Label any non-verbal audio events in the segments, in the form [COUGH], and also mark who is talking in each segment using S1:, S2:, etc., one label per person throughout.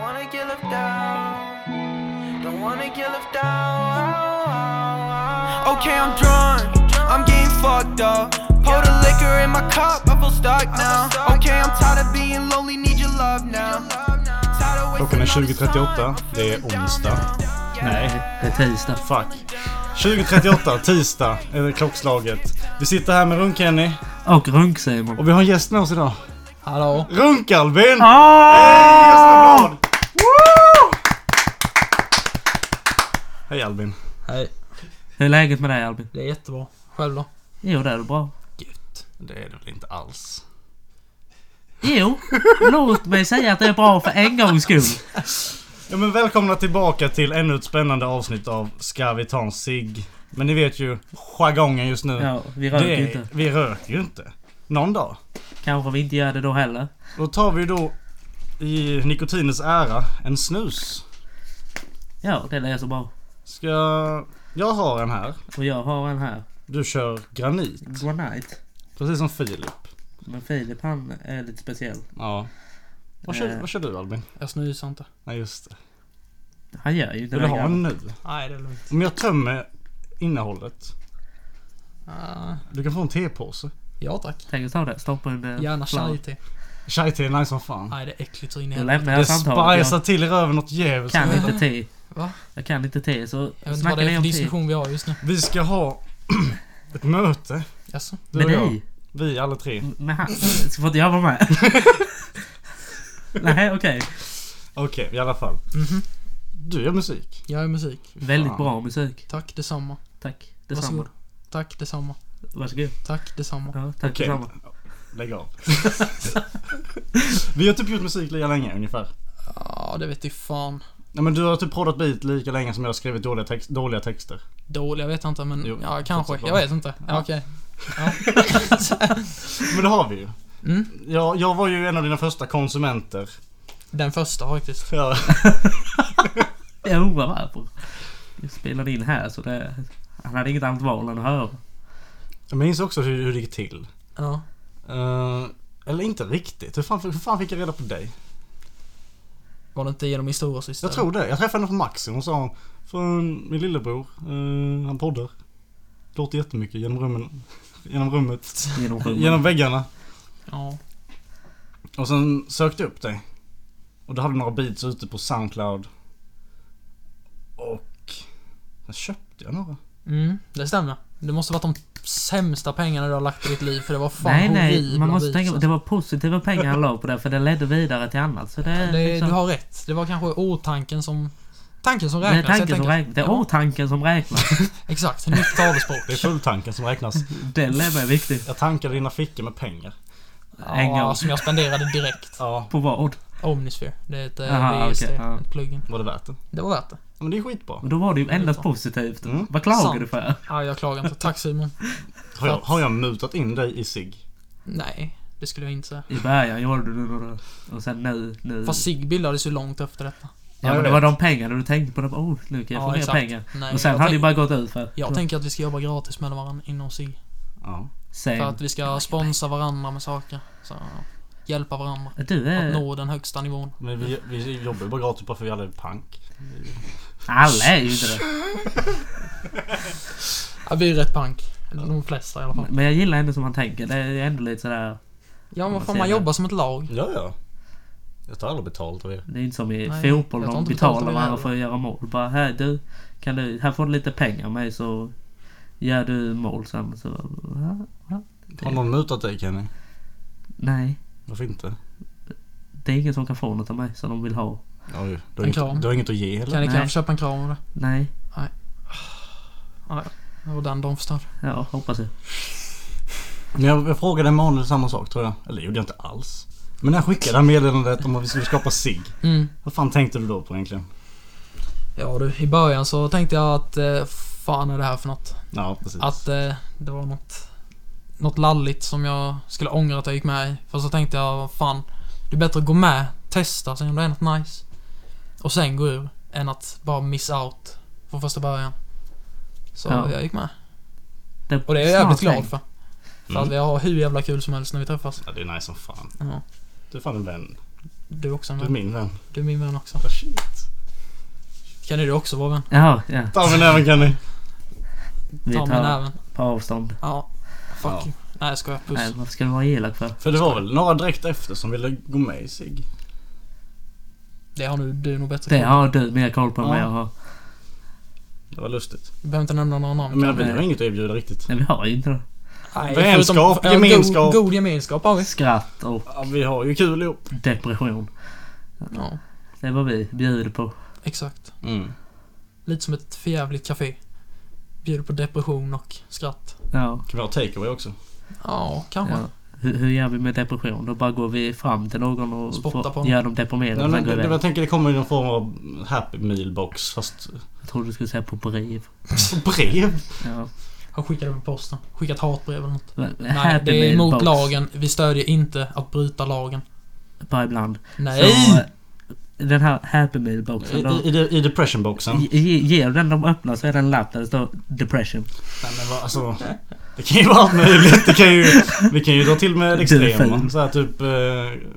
S1: wanna get left out. Don't wanna get left out. Okay, I'm drunk. I'm getting fucked up. Pour the liquor in my cup. I feel stuck now. Okay, I'm tired of being lonely. Need your love now. Tired of
S2: Klockan är
S1: wasting all this time.
S2: 20.38. Det är onsdag.
S3: Nej, det är tisdag.
S2: Fuck. 20.38, tisdag, är det klockslaget. Vi sitter här med Runk-Kenny
S3: Och Runk-Simon.
S2: och vi har en gäst med oss idag.
S4: Hallå?
S2: Runk-Albin!
S3: Ah!
S2: Woo! Hej Albin.
S4: Hej.
S3: Hur är läget med dig Albin?
S4: Det är jättebra. Själv då?
S3: Jo, det är bra.
S2: Gött. Det är det väl inte alls?
S3: Jo, låt mig säga att det är bra för en gångs skull.
S2: Ja men välkomna tillbaka till ännu ett spännande avsnitt av Ska vi ta en cigg? Men ni vet ju jargongen just nu.
S3: Ja, vi röker
S2: det
S3: ju
S2: är,
S3: inte.
S2: vi röker ju inte. Någon dag.
S3: Kanske vi inte gör det då heller.
S2: Då tar vi då i nikotinens ära en snus.
S3: Ja, det är så bra.
S2: Ska... Jag har en här.
S3: Och jag har en här.
S2: Du kör granit.
S3: Granite.
S2: Precis som Filip.
S3: Men Filip han är lite speciell.
S2: Ja. Vad kör,
S3: Eh.
S2: vad kör du Albin?
S4: Jag snusar inte.
S2: Nej just det.
S3: Han gör ju inte
S2: Vill du
S3: det.
S2: ha
S3: grabben.
S2: en nu?
S4: Nej, det är lugnt.
S2: Om jag tömmer innehållet.
S4: Ah,
S2: Du kan få en tepåse.
S4: ja tack.
S3: Tänk att ta det. Stoppa in det.
S4: Gärna chai-te.
S2: Chai-te är nice som fan.
S4: Nej, det är äckligt så in i
S3: Nu
S4: helvete.
S3: lämnar
S2: Det
S3: jag samtalet.
S2: spicar
S3: Jag
S2: till i röven något djävulskt.
S3: kan inte te.
S4: Va?
S3: Jag kan inte te så
S4: Jag vet inte vad
S3: snackar
S4: det
S3: ni
S4: är för
S3: om te.
S4: diskussion vi har just nu.
S2: Vi ska ha [CLEARS THROAT] ett möte.
S4: Jaså?
S2: Du
S3: Med
S2: och jag.
S3: dig?
S2: Vi alla tre.
S3: Men han, så får inte jag vara med? [LAUGHS] Nej, okej.
S2: Okej, i alla fall.
S3: Mhm.
S2: Du gör musik.
S4: Jag gör musik.
S3: Väldigt bra musik.
S4: Tack detsamma.
S3: Tack. Detsamma.
S4: Varsågod. Tack detsamma.
S3: Varsågod.
S4: Tack detsamma.
S3: Ja, tack
S2: Okej.
S3: detsamma.
S2: Lägg av. [LAUGHS] vi har typ gjort musik lika länge ungefär.
S4: Ja, Ah, det vet du fan.
S2: Nej men du har typ proddat beat lika länge som jag har skrivit dåliga, text, dåliga texter.
S4: Dåliga vet jag inte, men
S2: Jo,
S4: ja,
S2: fortsätt
S4: kanske.
S2: bara.
S4: Jag vet inte. Ja, okej.
S2: Men det har vi ju.
S4: Mm.
S2: Jag, jag var ju en av dina första konsumenter.
S4: Den första faktiskt.
S2: Ja.
S3: Jag undrar varför. Jag spelade in här så det... Han hade inget annat val än att höra.
S2: Jag minns också hur, hur det gick till.
S4: Ja.
S2: Eh, eller inte riktigt. Hur fan, hur fan fick jag reda på dig?
S4: Var det inte genom historiesyster?
S2: Jag tror det. Jag träffade henne på Maxi. Hon sa Från min lillebror. eh, han poddar. Låter jättemycket genom rummen. Genom rummet.
S3: Genom rummet.
S2: Genom väggarna.
S4: Ja.
S2: Och sen sökte jag upp dig. Och du hade några beats ute på Soundcloud. Och... Sen köpte jag några.
S4: Mm, det stämmer. Det måste varit de sämsta pengarna du har lagt i ditt liv, för det var fan
S3: nej, nej.
S4: horribla
S3: Man måste
S4: beats,
S3: tänka på
S4: alltså.
S3: det var positiva pengar han la på det för det ledde vidare till annat. Så det, är
S4: Det,
S3: liksom,
S4: du har rätt. Det var kanske åtanken som... Tanken som
S3: det är
S4: räknas. jag
S3: tanken som
S4: tänker-
S3: räknas. Det är
S4: Ja,
S3: åtanken som räknas.
S4: Exakt, nytt
S2: Det är
S4: talespråk.
S2: fulltanken som räknas.
S3: Den är mig viktig.
S2: Jag tankade dina fickor med pengar.
S3: [LAUGHS] En
S4: Ja,
S3: gång.
S4: som jag spenderade direkt.
S2: Ja.
S3: På vad?
S4: Omnisphere. Det är ett
S3: Aha,
S4: Aha, VST,
S3: okej, ja.
S4: ett plugin.
S2: Var det värt det?
S4: Det var värt det.
S2: Ja, Men det är skitbra.
S3: Men då var det ju endast positivt.
S2: Mm.
S3: Vad klagar
S4: Sant.
S3: du för?
S4: Ja, jag klagar inte. Tack Simon.
S2: Har jag, har jag mutat in dig i sig?
S4: Nej, det skulle jag inte säga.
S3: I början gjorde du några... Och sen nu... nu.
S4: Fast SIG bildades ju långt efter detta.
S3: Ja,
S2: Ja,
S3: men det
S2: jag
S3: var
S2: vet.
S3: de pengarna du tänkte på. De, bara, oh, nu kan jag
S4: Ja,
S3: få mer
S4: exakt.
S3: pengar.
S4: Nej,
S3: och sen
S4: jag
S3: hade det
S4: tänk-
S3: bara gått ut för.
S4: Jag tänker att vi ska jobba gratis mellan varandra inom SIG.
S2: Ja.
S3: Sen,
S4: För att vi ska sponsra varandra med saker. Så, hjälpa varandra.
S3: Du
S4: Att
S3: är...
S4: nå den högsta nivån.
S2: Men vi, vi jobbar ju bara gratis bara för vi alla är pank.
S3: Alla är ju inte det.
S4: Ja, vi är rätt pank. De flesta i alla fall.
S3: Men jag gillar ändå som han tänker. Det är ändå lite sådär...
S4: Ja, men
S3: Vad
S4: fan
S3: säger
S4: man
S3: du?
S4: jobbar som ett lag.
S2: Ja, ja. Jag tar aldrig betalt av er.
S3: Det är inte som i
S4: Nej,
S3: fotboll.
S4: jag tar
S3: De
S4: inte betalt av
S3: betalar
S4: er
S3: varandra
S4: heller.
S3: för att göra mål. Bara, här du. Kan du... Här får du lite pengar av mig så... Gör du mål sen så... "Va? Va?"
S2: Har någon mutat dig Kenny?
S3: Nej.
S2: Varför inte?
S3: Det är ingen som kan få något av mig som de vill ha.
S2: Oj, du, har
S4: En kram.
S2: inget, du har inget att ge eller?
S4: Kan ni
S3: Nej.
S4: kanske köpa en kram av det?
S3: Nej.
S4: Ja, ja. det var den de förstörde.
S3: Ja, hoppas jag.
S2: Men Jag, jag frågade Emanuel samma sak tror jag. Eller det gjorde jag inte alls. Men när jag skickade det här meddelandet om att vi skulle skapa sig.
S4: Mm.
S2: Vad fan tänkte du då på egentligen?
S4: Ja du, i början så tänkte jag att eh, fan är det här för något?
S2: Ja, precis.
S4: Att eh, det var något, något lalligt som jag skulle ångra att jag gick med i. För så tänkte jag, fan, det är bättre att gå med, testa, se om det är något nice. Och sen gå ur, än att bara miss out från första början. Så
S3: Ja.
S4: jag gick med.
S3: Det
S4: Och det är jag jävligt
S3: smart
S4: glad
S3: tänkt.
S4: för. För
S2: Mm.
S4: att vi har hur jävla kul som helst när vi träffas.
S2: Ja, det är nice som fan.
S4: Ja.
S2: Du är fan en vän.
S4: Du är också en
S2: Du är
S4: vän.
S2: min vän.
S4: Du är min vän också.
S2: Ah, shit.
S4: Kan du också vara vän?
S3: Jaha, ja.
S2: Ta mig näven Kenny.
S3: Vi
S4: Ta mig
S3: tar
S4: näven.
S3: på avstånd.
S4: Ja. Fuck
S2: Ja.
S4: you. Nej jag skojar. Puss.
S3: Nej, varför ska du vara elak för?
S2: För det var väl några direkt efter som ville gå med i SIG.
S4: Det har nu du nog bättre
S3: Det
S4: koll.
S3: har du mer koll på än vad
S2: Ja.
S3: jag har.
S2: Det var lustigt.
S4: Du behöver inte nämna några namn.
S2: Jag menar vi
S3: Nej.
S2: har inget att erbjuda riktigt.
S3: Nej, vi har ju inte det.
S4: Nej,
S2: Vänskap,
S4: förutom- ja,
S2: gemenskap.
S4: God, god gemenskap har vi.
S3: Skratt och
S2: Ja, vi har ju kul ihop.
S3: depression. Mm.
S4: Ja,
S3: Det är vad vi bjuder på.
S4: exakt.
S2: Mm.
S4: Lite som ett förjävligt café. Bjuder på depression och skratt.
S3: Ja.
S2: Kan vi ha takeaway också?
S4: Ja, kanske.
S3: ja. Hur, hur gör vi med depression? Då bara går vi fram till någon och
S4: Spottar
S3: får-
S4: på dem.
S3: gör dem deprimerade
S2: Nej,
S3: och
S2: men,
S3: sen går
S2: det,
S3: vi
S2: det,
S3: iväg.
S2: jag tänker det kommer i någon form av happy meal box fast
S3: Jag trodde du skulle säga på brev.
S2: brev.
S3: Ja.
S4: Han skickade med posten. Skickat hatbrev eller
S3: [LAUGHS]
S4: något. Nej,
S3: Happy
S4: det är
S3: meal
S4: emot
S3: box.
S4: lagen. Vi stödjer inte att bryta lagen.
S3: Bara ibland.
S4: Nej!
S3: Så, eh, den här happy meal
S2: I,
S3: boxen då.
S2: i, i, de- i depression boxen.
S3: Ge- ge- Ger du den de öppnar så är det en lapp där det står depression.
S2: Nej, men vad, alltså, det kan ju vara allt möjligt. Det kan ju, vi kan ju dra till med det extrema.
S3: Delfin.
S2: Så här, typ eh,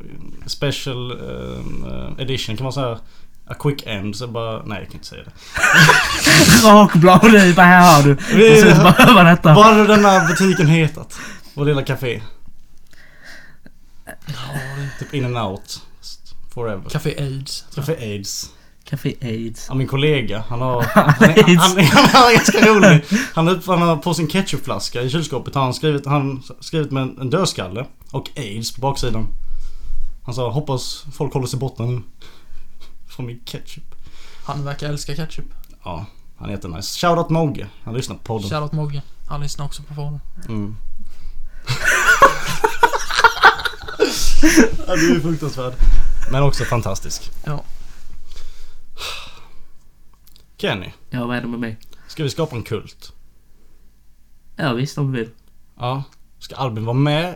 S2: special eh, edition kan man säga. A quick end så bara, nej jag kan inte säga det.
S3: Rakblad ut, här har du.
S2: Vi-
S3: Och sen så bara öva detta.
S2: Vad hade den här butiken hetat? Vår lilla café.
S4: Ja, det är
S2: Typ in and out. Forever.
S4: Café Aids.
S2: Café aids.
S3: Café aids.
S2: Ja, min kollega, han har... Han, han, han, han är ganska rolig. Han, har upp, han har på sin ketchupflaska i kylskåpet har han skrivit, han skrivit med en, en dödskalle och aids på baksidan. Han sa hoppas folk håller sig borta nu. Från min ketchup.
S4: Han verkar älska ketchup.
S2: Ja, han är jättenice. Shoutout Mogge. Han lyssnar på podden.
S4: Shoutout Mogge. Han lyssnar också på podden.
S2: Mm. ja, du är fruktansvärd. Men också fantastisk.
S4: Ja.
S2: Kenny,
S3: Ja, vad är det med mig?
S2: ska vi skapa en kult?
S3: Ja, visst om vi vill.
S2: Ja. Ska Albin vara med?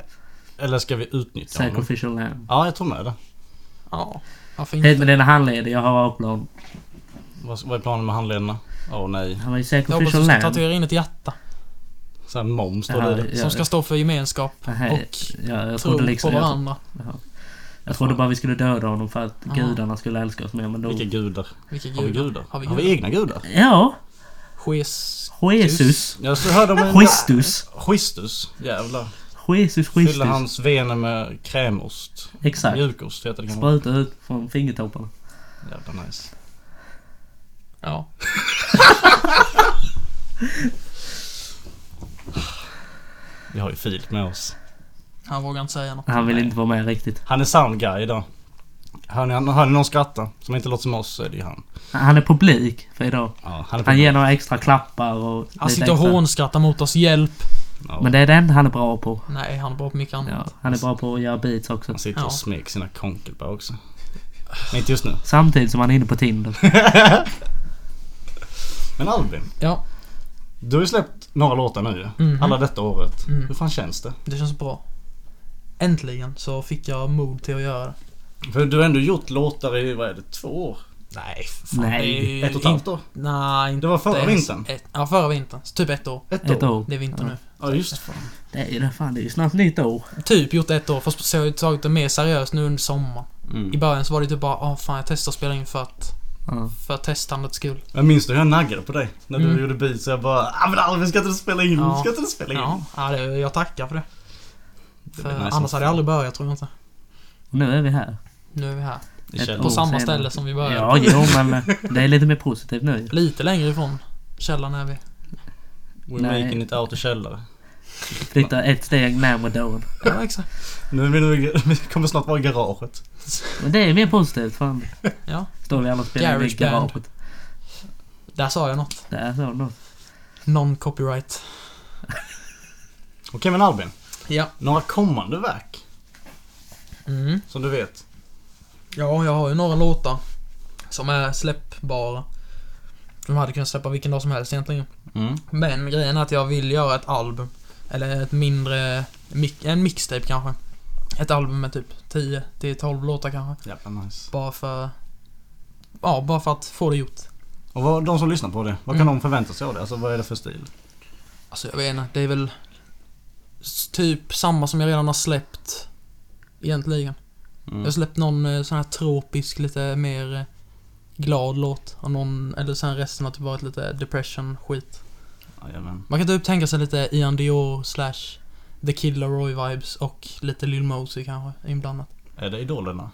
S2: Eller ska vi utnyttja honom?
S3: Sacrificial lamb.
S2: Ja, jag tror med det.
S4: Ja. Varför inte?
S3: Hit med dina handleder, jag har A-plan.
S2: Vad, vad är planen med handlederna? Åh oh, nej.
S3: Han var ju
S4: Jag hoppas du
S3: sacrificial
S4: ska
S3: lamb.
S4: tatuera in ett hjärta.
S2: Så här moms står det i det.
S3: Ja,
S4: Som ska stå för gemenskap
S3: [LAUGHS] Aha,
S4: och
S3: ja, jag
S4: tro
S3: trodde liksom...
S4: på
S3: Jag,
S4: varandå.
S3: jag trodde bara vi skulle döda honom för att
S4: Aha.
S3: gudarna skulle älska oss mer, men då...
S2: Vilka gudar?
S4: Vilka
S2: Har vi
S4: gudar.
S2: gudar?
S4: Har vi
S2: Har vi
S4: gudar?
S2: egna gudar?
S3: Ja,
S4: Ches...
S3: Jesus.
S2: Jag så hörde om en...
S3: Christus.
S2: Schistus. Jävlar.
S3: Jesus
S2: Fyllde
S3: Christus.
S2: hans vener med krämost.
S3: Exakt.
S2: Mjukost heter det kanske.
S3: Spruta ut från fingertopparna.
S2: Jävla nice.
S4: Ja.
S2: Vi har ju Filip med oss.
S4: Han vågar inte säga något.
S3: Han vill inte vara med riktigt.
S2: Han är sound guy idag. Hör ni, hör ni någon skratta som inte låter som oss så är det ju han.
S3: Han är publik för idag.
S2: Ja, han är
S3: Han ger några extra klappar och
S4: Han
S3: lite
S4: sitter och
S3: extra.
S4: hånskrattar mot oss. Hjälp!
S2: ja,
S3: Men det är det enda han är bra på.
S4: Nej, han är bra på mycket annat.
S3: Ja, han är bra på att göra beats också.
S2: Han sitter och
S4: Ja.
S2: smeker sina konkelbar också. Men inte just nu.
S3: Samtidigt som han är inne på Tinder.
S2: Men Albin.
S4: Ja.
S2: Du har ju släppt några låtar nu ju.
S4: Mhm.
S2: Alla detta året.
S4: Mm.
S2: Hur fan känns det?
S4: Det känns bra. Äntligen så fick jag mod till att göra det.
S2: För du har ändå gjort låtar i, vad är det, två år?
S4: Nej, för
S3: Nej.
S4: det är ju
S2: Ett och ett
S4: in-
S2: halvt år?
S4: Nej, inte
S2: Det var förra
S4: ens
S2: vintern.
S4: Ett, ja, förra vintern. Så Typ ett år.
S2: Ett,
S3: Ett år.
S4: Det är vinter
S3: Ja.
S4: nu.
S2: Ja just fan.
S3: Det är ju det, fan, det är ju snart nytt år.
S4: Typ gjort ett år, fast så har jag tagit det mer seriöst nu under sommaren.
S2: Mm.
S4: I början så var det typ bara, ah fan jag testar att spela in för att,
S3: Ja.
S4: för testandets skull.
S2: Jag minns hur jag naggade på dig när du
S4: Mm.
S2: gjorde beats och jag bara ah, men Albin ska inte du spela in?
S4: Ja.
S2: Ska inte du spela in?
S4: Ja, ja det, jag tackar för det.
S2: Det
S4: för
S2: blir nice
S4: annars
S2: som
S4: hade jag aldrig börjat tror jag inte.
S3: Och nu är vi här.
S4: Nu är vi här.
S2: fan. I
S3: Ett
S2: källaren.
S4: På
S3: år
S4: samma
S3: senare.
S4: ställe som vi började.
S3: Ja, jo, men
S4: [LAUGHS]
S3: eh, det är lite mer positivt nu.
S4: Lite längre ifrån källan är vi.
S2: We're
S3: Nej.
S2: making it out i källare.
S3: Flytta ett steg närmare döden.
S4: Ja, exakt.
S2: Nu är vi nog, vi kommer snart vara i garaget.
S3: Men det är mer positivt. Fan.
S4: Ja.
S3: Står vi alla och spelar i
S4: Garageband.
S3: garaget.
S4: Där sa jag något.
S3: Det är så nog.
S4: Non-copyright.
S2: Okej men Albin.
S4: Ja.
S2: Några kommande verk
S4: Mm.
S2: som du vet.
S4: Ja, jag har ju några låtar som är släppbara. De hade kunnat släppa vilken dag som helst egentligen.
S2: Mm.
S4: Men grejen är att jag vill göra ett album. Eller ett mindre... mix- En mixtape kanske. Ett album med typ 10 till 12 låtar kanske.
S2: Jävla nice.
S4: Bara för... Ja, bara för att få det gjort.
S2: Och vad, de som lyssnar på det, vad kan
S4: Mm.
S2: de förvänta sig av det? Alltså vad är det för stil?
S4: Alltså jag vet inte, det är väl... s- Typ samma som jag redan har släppt. Egentligen.
S2: Mm.
S4: Jag har släppt någon eh, sån här tropisk, lite mer eh, glad låt. Och någon, eller sen resten har typ varit lite depression-skit.
S2: Jajamän.
S4: Man kan typ tänka sig lite Ian Dior slash The Kid Laroi-vibes och lite Lil Mosey kanske inblandat.
S2: Är det idolerna?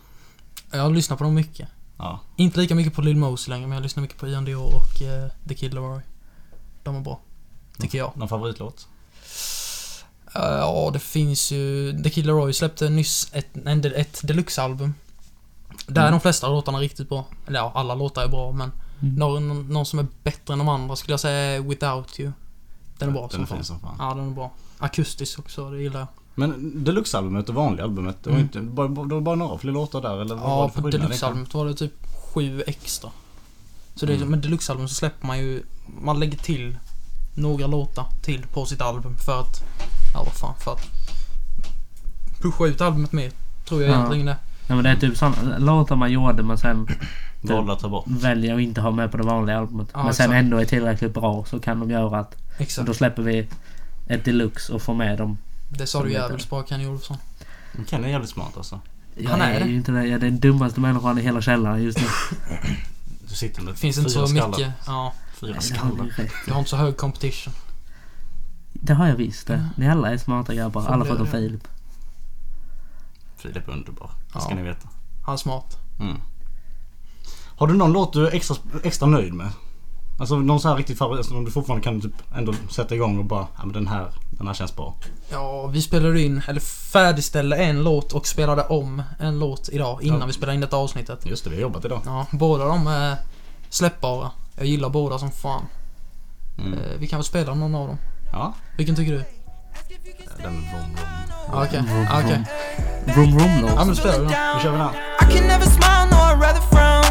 S4: Jag lyssnar på dem mycket.
S2: Ja.
S4: Inte lika mycket på Lil Mosey längre, men jag lyssnar mycket på Ian Dior och eh, The Kid Laroi. De är bra. Tycker jag.
S2: Någon favoritlåt?
S4: Eh, Ja, det finns ju... The Kid Laroi släppte nyss ett, en, del- ett deluxe-album. Där är
S2: Mm.
S4: de flesta låtarna riktigt bra. Eller ja, alla låtar är bra, men
S3: Mm.
S4: någon, någon som är bättre än de andra skulle jag säga är Without You. Den är bra
S2: Den är
S4: som
S2: fin
S4: fan.
S2: som fan.
S4: Ja, den är bra. Akustisk också, det gillar jag.
S2: Men deluxe-albumet och vanliga albumet, det var,
S4: Mm.
S2: inte, bara, bara- det var bara några fler låtar där eller? vad var
S4: Ja,
S2: det för
S4: på
S2: skillnad
S4: deluxe-albumet var det typ sju extra. Så det är,
S2: Mm.
S4: med deluxe-album så släpper man ju... Man lägger till några låtar till på sitt album för att... Ja, vad fan, för att... Pusha ut albumet mer, tror jag
S3: Ja.
S4: egentligen det.
S3: Nej, men det är typ sådana låtar man gjorde men sen
S2: egentligen? Valde att ta bort.
S3: väljer att inte ha med på det vanliga albumet.
S4: Ja,
S3: men sen
S4: exakt.
S3: ändå är tillräckligt bra så kan de göra att så
S4: Exakt.
S3: då släpper vi ett deluxe och får med dem.
S4: Det sa
S3: Som
S4: du
S3: heter-
S4: jävligt bra Kenny Olofsson.
S2: Ken är jävligt smart alltså.
S3: Jag
S4: Han är det.
S3: ju inte det. Jag är den dummaste människan i hela källaren just nu.
S2: Du sitter med
S4: Det finns inte
S2: fyra
S4: så
S2: skallar.
S4: mycket. Ja,
S2: Fyra
S3: Det har ni
S2: skallar.
S3: rätt.
S4: du har inte så hög competition.
S3: Det har jag visst det. Ni alla är smarta grabbar.
S4: Får
S3: Alla
S4: bli
S3: förutom
S4: det.
S3: Filip.
S2: Filip är underbar. Det ska
S4: Ja.
S2: ni veta.
S4: Han är smart.
S2: Mm. Har du någon låt du är extra, extra nöjd med? Alltså någon så här riktigt favorit som du fortfarande kan typ ändå sätta igång och bara ja men den här, den här känns bra.
S4: Ja, vi spelade in, eller färdigställde en låt och spelade om en låt idag innan
S2: Ja.
S4: vi spelade in detta avsnittet.
S2: Just det, vi har jobbat idag.
S4: Ja, båda de är släppbara. Jag gillar båda som fan.
S2: Mm.
S4: Eh, Vi kan väl spela någon av dem.
S2: Ja,
S4: Vilken tycker du?
S2: den är vrom, vrom.
S4: Ja, Okej, ja, okej.
S3: Vroom vroom
S4: Ja,
S3: låt.
S4: men då spelar vi den.
S2: Nu kör vi den.
S1: I can never smile, no, I'd rather frown.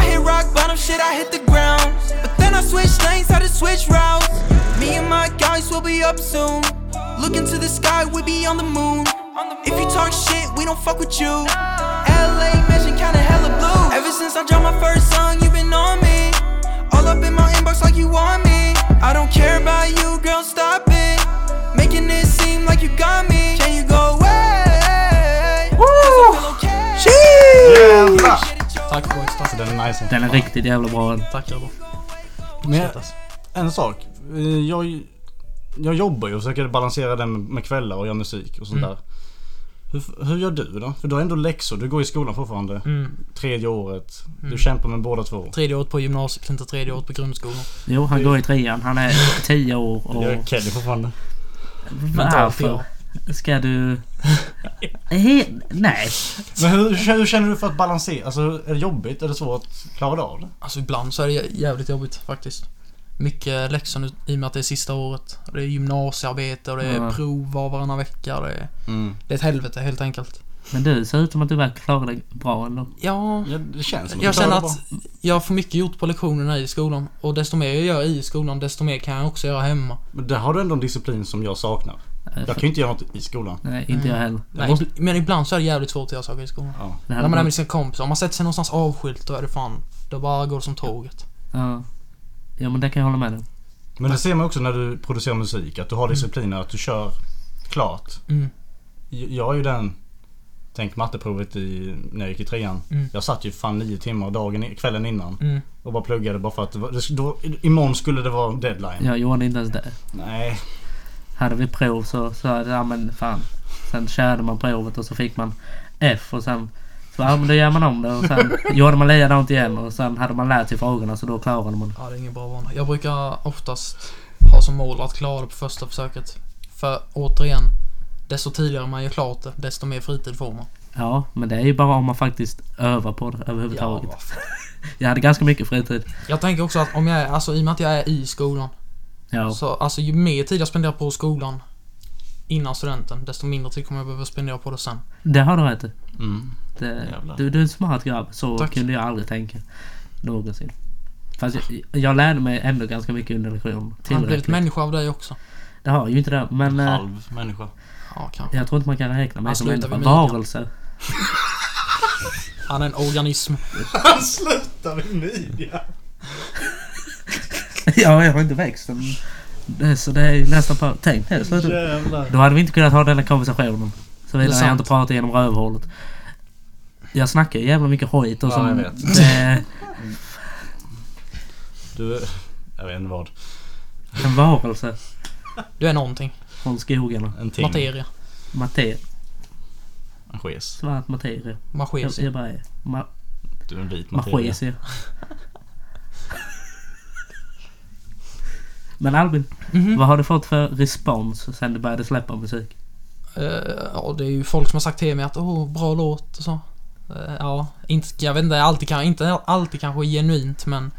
S1: I hit rock bottom, shit, I hit the ground. But then I switch lanes, I just switch routes. Me and my guys will be up soon. Looking to the sky, we be on the moon. If you talk shit, we don't fuck with you. LA mission kinda hella blue. Ever since I dropped my first song, you been on me. All up in my inbox like you want me. I don't care about you, girl, stop it. Making it seem like you got me. Can you go away? Woo!
S2: Jävlar!
S1: Tá
S4: Tack boys, tack.
S2: Så den är nice.
S3: Den är riktigt jävla bra.
S4: Tack grabbar.
S2: Men jag- en sak. Eh, Jag, jag jobbar ju och försöker balansera det med, med kvällar och göra musik och sånt
S4: Mm.
S2: där. Hur, hur gör du då? För du har ändå läxor. Du går i skolan fortfarande.
S4: Mm.
S2: Tredje året. Du
S4: Mm.
S2: kämpar med båda två.
S4: Tredje året på gymnasiet, inte tredje året på grundskolan.
S3: Jo, han går i trean. Han är tio år
S2: Jag är
S3: och...
S2: Kenny fortfarande.
S4: jag.
S3: Varför ska du... He- Nej.
S2: Men hur, hur känner du för att balansera? Alltså är det jobbigt? Är det svårt att klara av det?
S4: Alltså ibland så är det jä- jävligt jobbigt faktiskt. Mycket läxor nu, i och med att det är sista året. Och Det är gymnasiearbete och det är
S3: Ja.
S4: prov var varannan vecka. och Det är,
S2: Mm.
S4: det är ett helvete helt enkelt.
S3: Men du ser ut som att du verkar klara dig bra ändå.
S4: Ja,
S2: Mm. Ja, det känns som
S4: jag
S2: du klarar
S4: känner
S2: det
S4: att jag får mycket gjort på lektionerna i skolan. Och desto mer jag gör i skolan, desto mer kan jag också göra hemma.
S2: bra. Men där har du ändå en disciplin som jag saknar. Jag kan ju inte göra något i skolan.
S3: Eh, Nej, inte jag heller.
S4: Nej,
S2: måste-
S4: ibl- Men ibland så är det jävligt svårt att göra saker i skolan.
S2: Ja.
S3: Det
S4: När
S3: hade
S4: man är
S3: varit-
S4: med sina kompisar, om man sätter sig någonstans avskilt, då är det fan... Då bara går det som tåget.
S3: Ja. ja, men det kan jag hålla med om.
S2: Men det ser man också när du producerar musik. Att du har discipliner. Att du kör klart.
S4: Mm.
S2: Jag är ju den Tänk matteprovet i, när jag gick i trean.
S4: Mm.
S2: Jag satt ju fan nio timmar dagen, i- kvällen innan
S4: Mm.
S2: och bara pluggade bara för att det var, det, då, imorgon skulle det vara deadline.
S3: Jag gjorde inte ens det.
S2: Nej.
S3: Hade vi prov så sa jag ja men fan. Sen körde man provet och så fick man F och sen så ja men då gör man om det och sen gjorde man likadant igen och sen hade man lärt sig frågorna så då klarade man.
S4: Ja, det är ingen bra vana. Jag brukar oftast ha som mål att klara det på första försöket. För återigen, desto tidigare man gör klart det, desto mer fritid får man.
S3: Ja men det är ju bara om man faktiskt övar på det överhuvudtaget.
S4: vad fan.
S3: Jag hade ganska mycket fritid.
S4: jag tänker också att om jag är, alltså i och med att jag är i skolan,
S3: Ja,
S4: så alltså ju mer tid jag spenderar på skolan innan studenten, desto mindre tid kommer jag behöva spendera på det sen.
S3: det har du rätt i.
S2: Mm.
S3: Det,
S2: Jävlar.
S3: du, du är en smart grabb. Så
S4: Tack.
S3: kunde jag aldrig tänka. Någonsin. Fast jag, jag lärde mig ändå ganska mycket under lektionen.
S4: Han har blivit
S3: Tillräckligt.
S4: människa av dig också.
S3: Det har ju inte det. Men eh,
S2: Halv människa.
S4: Ja, kanske.
S3: jag tror inte man kan räkna mig
S4: Han
S3: som
S4: slutar
S3: människa.
S4: vid midjan.
S3: Varelse. [LAUGHS]
S4: Han är en organism.
S2: Han slutar vid midja.
S3: ja, jag har inte växt än. Det- Så det är ju nästan på... Tänk dig, sluta.
S2: Jävlar.
S3: Då hade vi inte kunnat ha den här konversationen.
S4: Det är
S3: Såvida jag
S4: sant.
S3: inte pratar genom rövhålet. jag snackar ju jävla mycket hojt och
S2: Ja,
S3: som...
S2: jag vet.
S3: Det,
S2: Du... Jag vet inte vad.
S3: en varelse
S4: Du är någonting.
S3: från skogarna.
S2: En ting.
S4: Materia.
S3: Materia.
S2: En skes.
S3: Svart materia. Jag,
S4: Maskesi.
S3: jag bara är... Ma,
S2: Du är en vit materia.
S3: magesia. Men Albin,
S4: Mhm.
S3: vad har du fått för respons sen du började släppa musik?
S4: Eh, ja, det är ju folk som har sagt till mig att åh, bra låt och så. Eh, ja, inte, jag vet inte alltid, kan, inte alltid kanske genuint men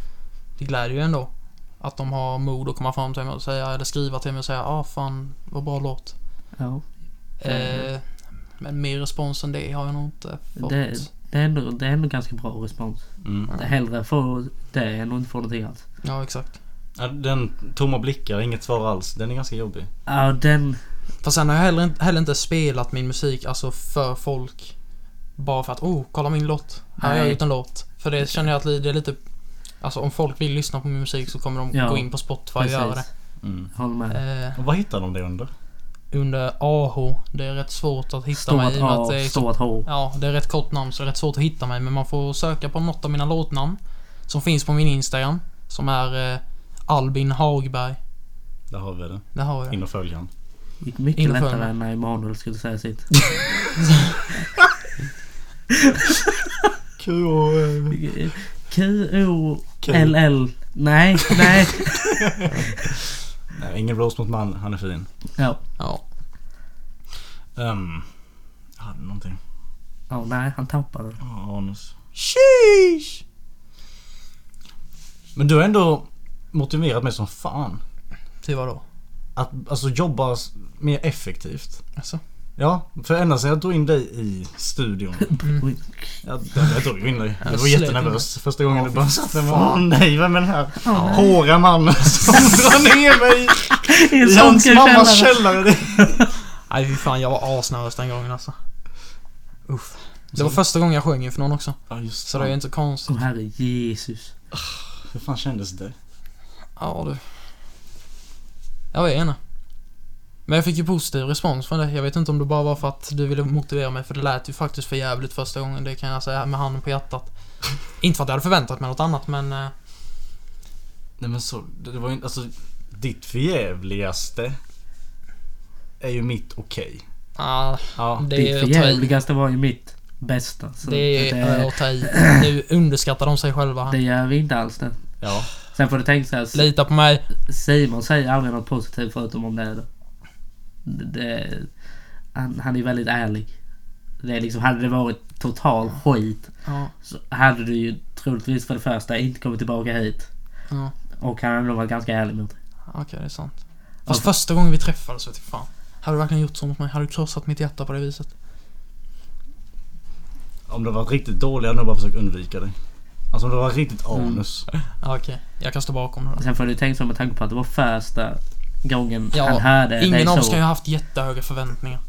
S4: det gläder ju ändå. Att de har mod att komma fram till mig och säga, eller skriva till mig och säga ah fan vad bra låt.
S3: Ja,
S4: Eh, men mer respons än det har jag nog inte fått.
S3: det, det, är ändå, det är ändå ganska bra respons.
S2: Mm.
S3: Det är hellre få det än att inte få någonting alls.
S4: Ja, exakt.
S2: Ja, Den tomma blickar, inget svar alls. Den är ganska jobbig.
S3: Ja, den...
S4: Fast sen har jag heller, inte- heller inte spelat min musik alltså för folk. Bara för att oh, kolla min låt. Här har jag
S3: Nej.
S4: gjort en låt. För det känner jag att det är lite... Alltså om folk vill lyssna på min musik så kommer de
S3: Ja,
S4: gå in på Spotify och göra det.
S3: Precis.
S2: Mm.
S3: Håller med.
S4: Eh,
S2: Och vad hittar de det under?
S4: under AH, det är rätt svårt att hitta mig.
S3: Stort
S4: i och med att
S3: A,
S4: det är så-
S3: stort H.
S4: Ja, det är rätt kort namn så det är rätt svårt att hitta mig. Men man får söka på något av mina låtnamn. Som finns på min Instagram. Som är eh, Albin Hagberg.
S2: Där har vi det.
S4: Det har jag.
S2: In och följ han.
S3: Gick mycket
S4: Inför
S3: lättare
S4: mig.
S3: än när Emanuel skulle säga sitt. Q-O-L-L... Nej, nej.
S2: Nej, ingen roast mot man. Han är fin.
S3: Ja,
S4: Ja.
S2: Um, jag hade någonting.
S3: Ja, nej, han tappade det.
S2: Ja, anus.
S4: Sheesh!
S2: Men du har ändå motiverat mig som fan.
S4: Till vadå?
S2: Att alltså, jobba s- mer effektivt.
S4: Alltså.
S2: Ja, för ända sedan jag drog in dig i studion.
S3: Oj,
S2: Jag, jag drog ju in dig. Jag var
S4: slet
S2: jättenervös första gången du bara satt där. Åh nej, vem är den här
S3: Ja.
S2: håriga mannen [LAUGHS] som drar ner mig
S3: I en
S2: i hans
S3: sunken
S2: mammas
S3: källare.
S2: källare? Det-
S4: Nej fy fan, jag var asnervös den gången alltså. Uff. Det var första gången jag sjöng inför någon också.
S2: Ja, just
S4: Så det är ju
S2: det.
S4: inte så konstigt.
S3: Åh herre Jesus.
S2: Hur fan kändes det?
S4: Ja du. Jag vet inte. Men jag fick ju positiv respons från det. Jag vet inte om det bara var för att du ville motivera mig för det lät ju faktiskt för jävligt första gången. Det kan jag säga med handen på hjärtat. inte för att jag hade förväntat mig något annat men... eh,
S2: Nej men så, det det var ju inte, alltså ditt förjävligaste är ju mitt okej.
S4: ah,
S2: Ja.
S4: det
S3: Ditt
S4: är att ta i.
S3: förjävligaste var ju mitt bästa. Så
S4: Det är att ta i. Nu underskattar de sig själva
S3: det
S4: här.
S3: gör vi inte alls det.
S2: Ja.
S3: Sen får du tänka så här. S-
S4: Lita på mig.
S3: Simon säger aldrig något positivt förutom om det är det. det han, han är väldigt ärlig. Det är liksom, hade det varit total skit
S4: Ja,
S3: så hade du ju troligtvis för det första inte kommit tillbaka hit.
S4: ja.
S3: Och han hade nog varit ganska ärlig mot dig.
S4: Okej, det är sant. Fast
S3: Alltså-
S4: första gången vi träffades vet jag fan. Hade du verkligen gjort så mot mig? Hade du krossat mitt hjärta på det viset?
S2: Om det var riktigt dåligt hade jag nog bara försökt undvika dig. Alltså om det var riktigt anus.
S4: Ja, okej. Jag kan stå bakom det. där.
S3: Sen får du tänka så med tanke på att det var första gången
S4: Ja,
S3: han hörde dig
S4: Ingen av
S3: så.
S4: oss kan ju ha haft jättehöga förväntningar.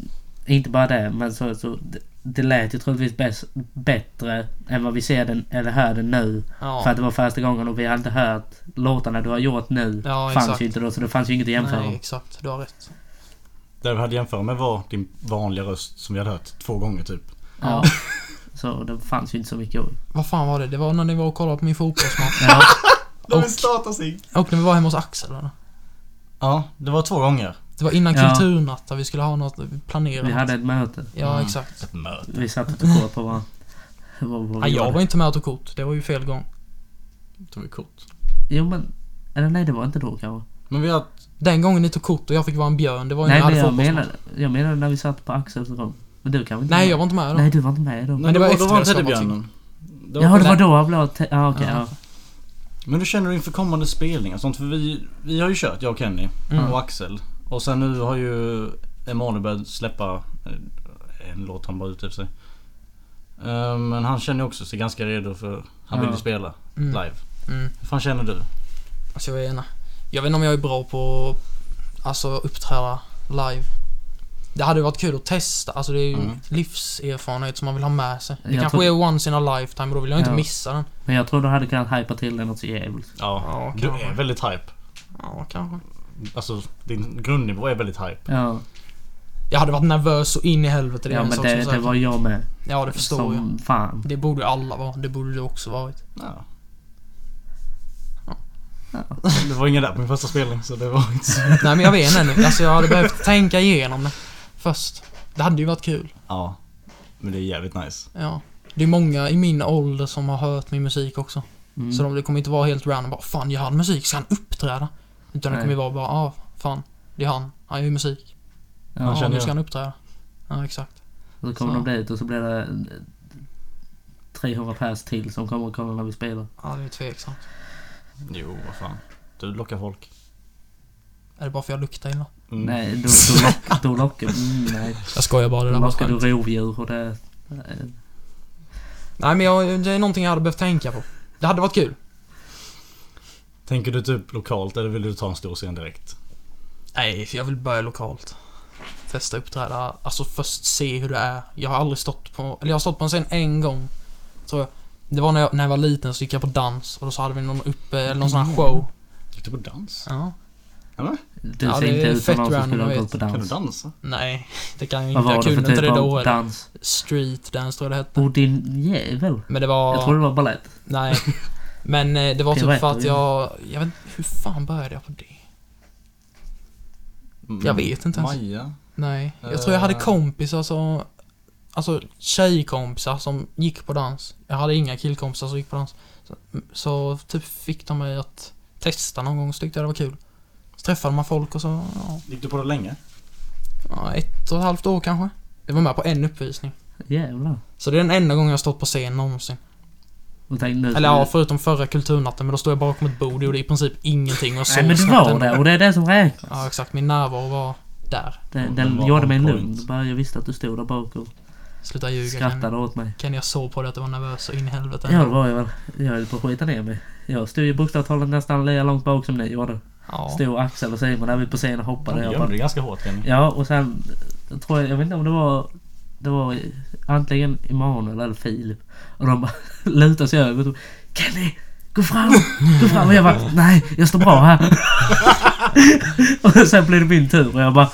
S3: Inte bara det, men så, så det, det lät ju troligtvis bäst, bättre än vad vi ser den, eller hör den nu.
S4: Ja.
S3: För att det var första gången och vi hade inte hört låtarna du har gjort nu.
S4: Ja,
S3: fanns
S4: exakt.
S3: ju inte då, så det fanns ju inget att jämföra.
S4: Nej,
S3: med.
S4: exakt. Du har rätt.
S2: Det vi hade jämfört med var din vanliga röst som vi hade hört två gånger typ.
S3: Ja. Så det fanns ju inte så mycket
S4: [LAUGHS]
S3: att...
S4: Vad fan var det? Det var när ni var och kollade på min fotbollsmatch.
S3: Ja,
S4: De vill
S2: starta sig.
S4: och när vi var hemma hos Axel. Eller?
S2: Ja, det var två gånger.
S4: Det var innan
S3: Ja.
S4: kulturnatt där vi skulle ha något, vi planerade
S3: vi
S4: något.
S3: hade ett möte.
S4: Ja, exakt.
S2: Ett möte.
S3: Vi satt och tog kort på varandra. Vad, vad
S4: Ja,
S3: vi
S4: jag
S3: gjorde.
S4: var inte med och tog kort. Det var ju fel gång.
S2: Tog vi kort.
S3: Jo men... Eller nej, det var inte då kanske.
S2: Men vi har ett...
S4: Den gången ni tog kort och jag fick vara en björn, det var ju
S3: nej,
S4: när
S3: men
S4: jag hade
S3: jag
S4: fotbollsmatch.
S3: menade, jag menade när vi satt på Axels rum. Men du kanske inte
S4: Nej, jag var inte med då.
S3: Nej, du var inte med då.
S4: Nej, det var
S2: då var
S4: efter jag
S2: teddybjörnen. Det var-
S3: Jaha, det
S4: Nej.
S3: var då han blev... te- Ja, okej.
S4: Ja.
S3: ja.
S2: Men hur känner du inför kommande spelningar och sånt? För vi, vi har ju kört, jag och Kenny
S4: Mm.
S2: och Axel. Och sen nu har ju Emanuel börjat släppa eh, en låt han bara ut efter sig. Eh, Men han känner ju också sig ganska redo för han vill
S3: Ja.
S2: ju spela
S4: Mm.
S2: live.
S4: Mm.
S2: Hur fan känner du?
S4: Alltså jag vet inte. Jag vet inte om jag är bra på att alltså, uppträda live. Det hade ju varit kul att testa. Alltså det är ju
S2: Mm.
S4: livserfarenhet som man vill ha med sig. Det
S3: Jag
S4: kanske
S3: tror-
S4: är once in a lifetime och då vill jag inte
S3: Ja.
S4: missa den.
S3: Men jag tror du hade kunnat hypa till det något så jävligt.
S2: Ja,
S4: Ja,
S2: du
S4: kanske.
S2: är väldigt hype.
S4: Ja, kanske.
S2: Alltså din grundnivå är väldigt hype.
S3: Ja.
S4: Jag hade varit nervös så in i helvete. Det är
S3: Ja
S4: en
S3: men
S4: sak som
S3: det,
S4: är
S3: det
S4: säker.
S3: var jag med.
S4: Ja, det förstår jag.
S3: Som fan.
S4: Det borde ju alla vara. Det borde du också varit.
S2: Ja. [LAUGHS] Det var ingen där på min första spelning så det var inte så...
S4: Nej, men jag vet inte. Alltså, jag hade behövt tänka igenom det först. Det hade ju varit kul.
S2: Ja. Men det är jävligt nice.
S4: Ja. Det är många i min ålder som har hört min musik också.
S3: Mm.
S4: Så de, det kommer inte vara helt random bara Fan, gör han musik? Ska han uppträda? Utan det
S3: Nej.
S4: kommer ju vara bara Ja, ah, fan. Det är han. Han gör ju musik.
S2: Han
S3: ja,
S4: Ja,
S2: känner
S4: nu
S2: jag.
S4: ska han uppträda. Ja, exakt.
S3: och så kommer
S4: så.
S3: de dit och så blir det eh, 300 pers till som kommer och kollar när vi spelar.
S4: Ja, det är tveksamt.
S2: Jo, vad fan. Du lockar folk.
S4: Är det bara för jag luktar illa?
S2: Mm.
S3: Nej, då, då, lock, då lockar... Mm, nej.
S4: Jag skojar bara, det
S3: Då
S4: där var
S3: lockar
S4: skönt.
S3: du rovdjur och det... eh,
S4: Nej, men jag, det är någonting jag hade behövt tänka på. Det hade varit kul.
S2: Tänker du typ lokalt eller vill du ta en stor scen direkt?
S4: Nej, för jag vill börja lokalt. Testa uppträda, alltså först se hur det är. Jag har aldrig stått på, eller jag har stått på en scen en gång. Tror jag. Det var när jag, när jag var liten så gick jag på dans och då så hade vi någon uppe, eller någon sån här show.
S2: Gick du på dans?
S4: Ja.
S3: Du
S4: Ja,
S3: ser
S4: det är
S3: inte ut som
S4: fett
S3: någon som
S4: random,
S3: skulle ha
S4: jag
S3: gått på
S2: Kan du
S3: dans.
S2: dansa?
S4: Nej, [LAUGHS] det kan jag inte.
S3: Vad var
S4: Jag
S3: det
S4: kunde
S3: för
S4: inte
S3: typ
S4: det då.
S3: av
S4: Eller.
S3: dans?
S4: Street dance tror jag det hette.
S3: Åh din jävel.
S4: Men det var...
S3: Jag trodde det var balett.
S4: Nej. Men eh, det var typ
S3: Piruetter,
S4: för att
S3: ja.
S4: jag... Jag vet inte, hur fan började jag på det?
S2: Mm.
S4: Jag vet inte ens.
S2: Maja?
S4: Nej, jag tror jag hade
S2: Eh.
S4: kompisar som... Alltså tjejkompisar som gick på dans. Jag hade inga killkompisar som gick på dans. Så, så typ fick de mig att testa någon gång så tyckte jag det var kul. Så träffade man folk och så... Ja,
S2: Gick du på det länge?
S4: ja, ett och ett halvt år kanske. Jag var med på en uppvisning.
S3: Jävlar.
S4: Så det är den enda gången jag har stått på scen någonsin.
S3: Och tänkte, nu ska
S4: Eller
S3: vi-
S4: ja, förutom förra kulturnatten men då stod jag bakom ett bord och gjorde i princip ingenting och så
S3: Nej men du var där och det är det som räknas.
S4: Ja exakt, min närvaro var där.
S3: Den,
S2: Den
S3: den
S2: var
S3: gjorde
S2: on
S3: mig
S2: point.
S3: lugn. Bara jag visste att du stod där bak och
S4: Sluta ljuga Kenny.
S3: skrattade åt mig.
S4: Kenny, jag såg på dig att du var nervös så in i helvete.
S3: Ja det var jag väl. Jag höll på att skita ner mig. Jag stod ju bokstavligt talat nästan lika långt bak som ni gjorde.
S4: Ja.
S3: Stod Axel och Simon där vi på scenen och hoppade.
S2: Du
S3: Jag
S2: gömde
S3: bara,
S2: dig ganska hårt Kenny.
S3: ja och sen jag tror jag, jag vet inte om det var det var antingen Emanuel eller Filip. Och de bara [LAUGHS] lutade sig över och tog, Kenny! Gå fram! Gå fram! Och jag bara nej jag står bra här. [LAUGHS] och sen blev det min tur och jag bara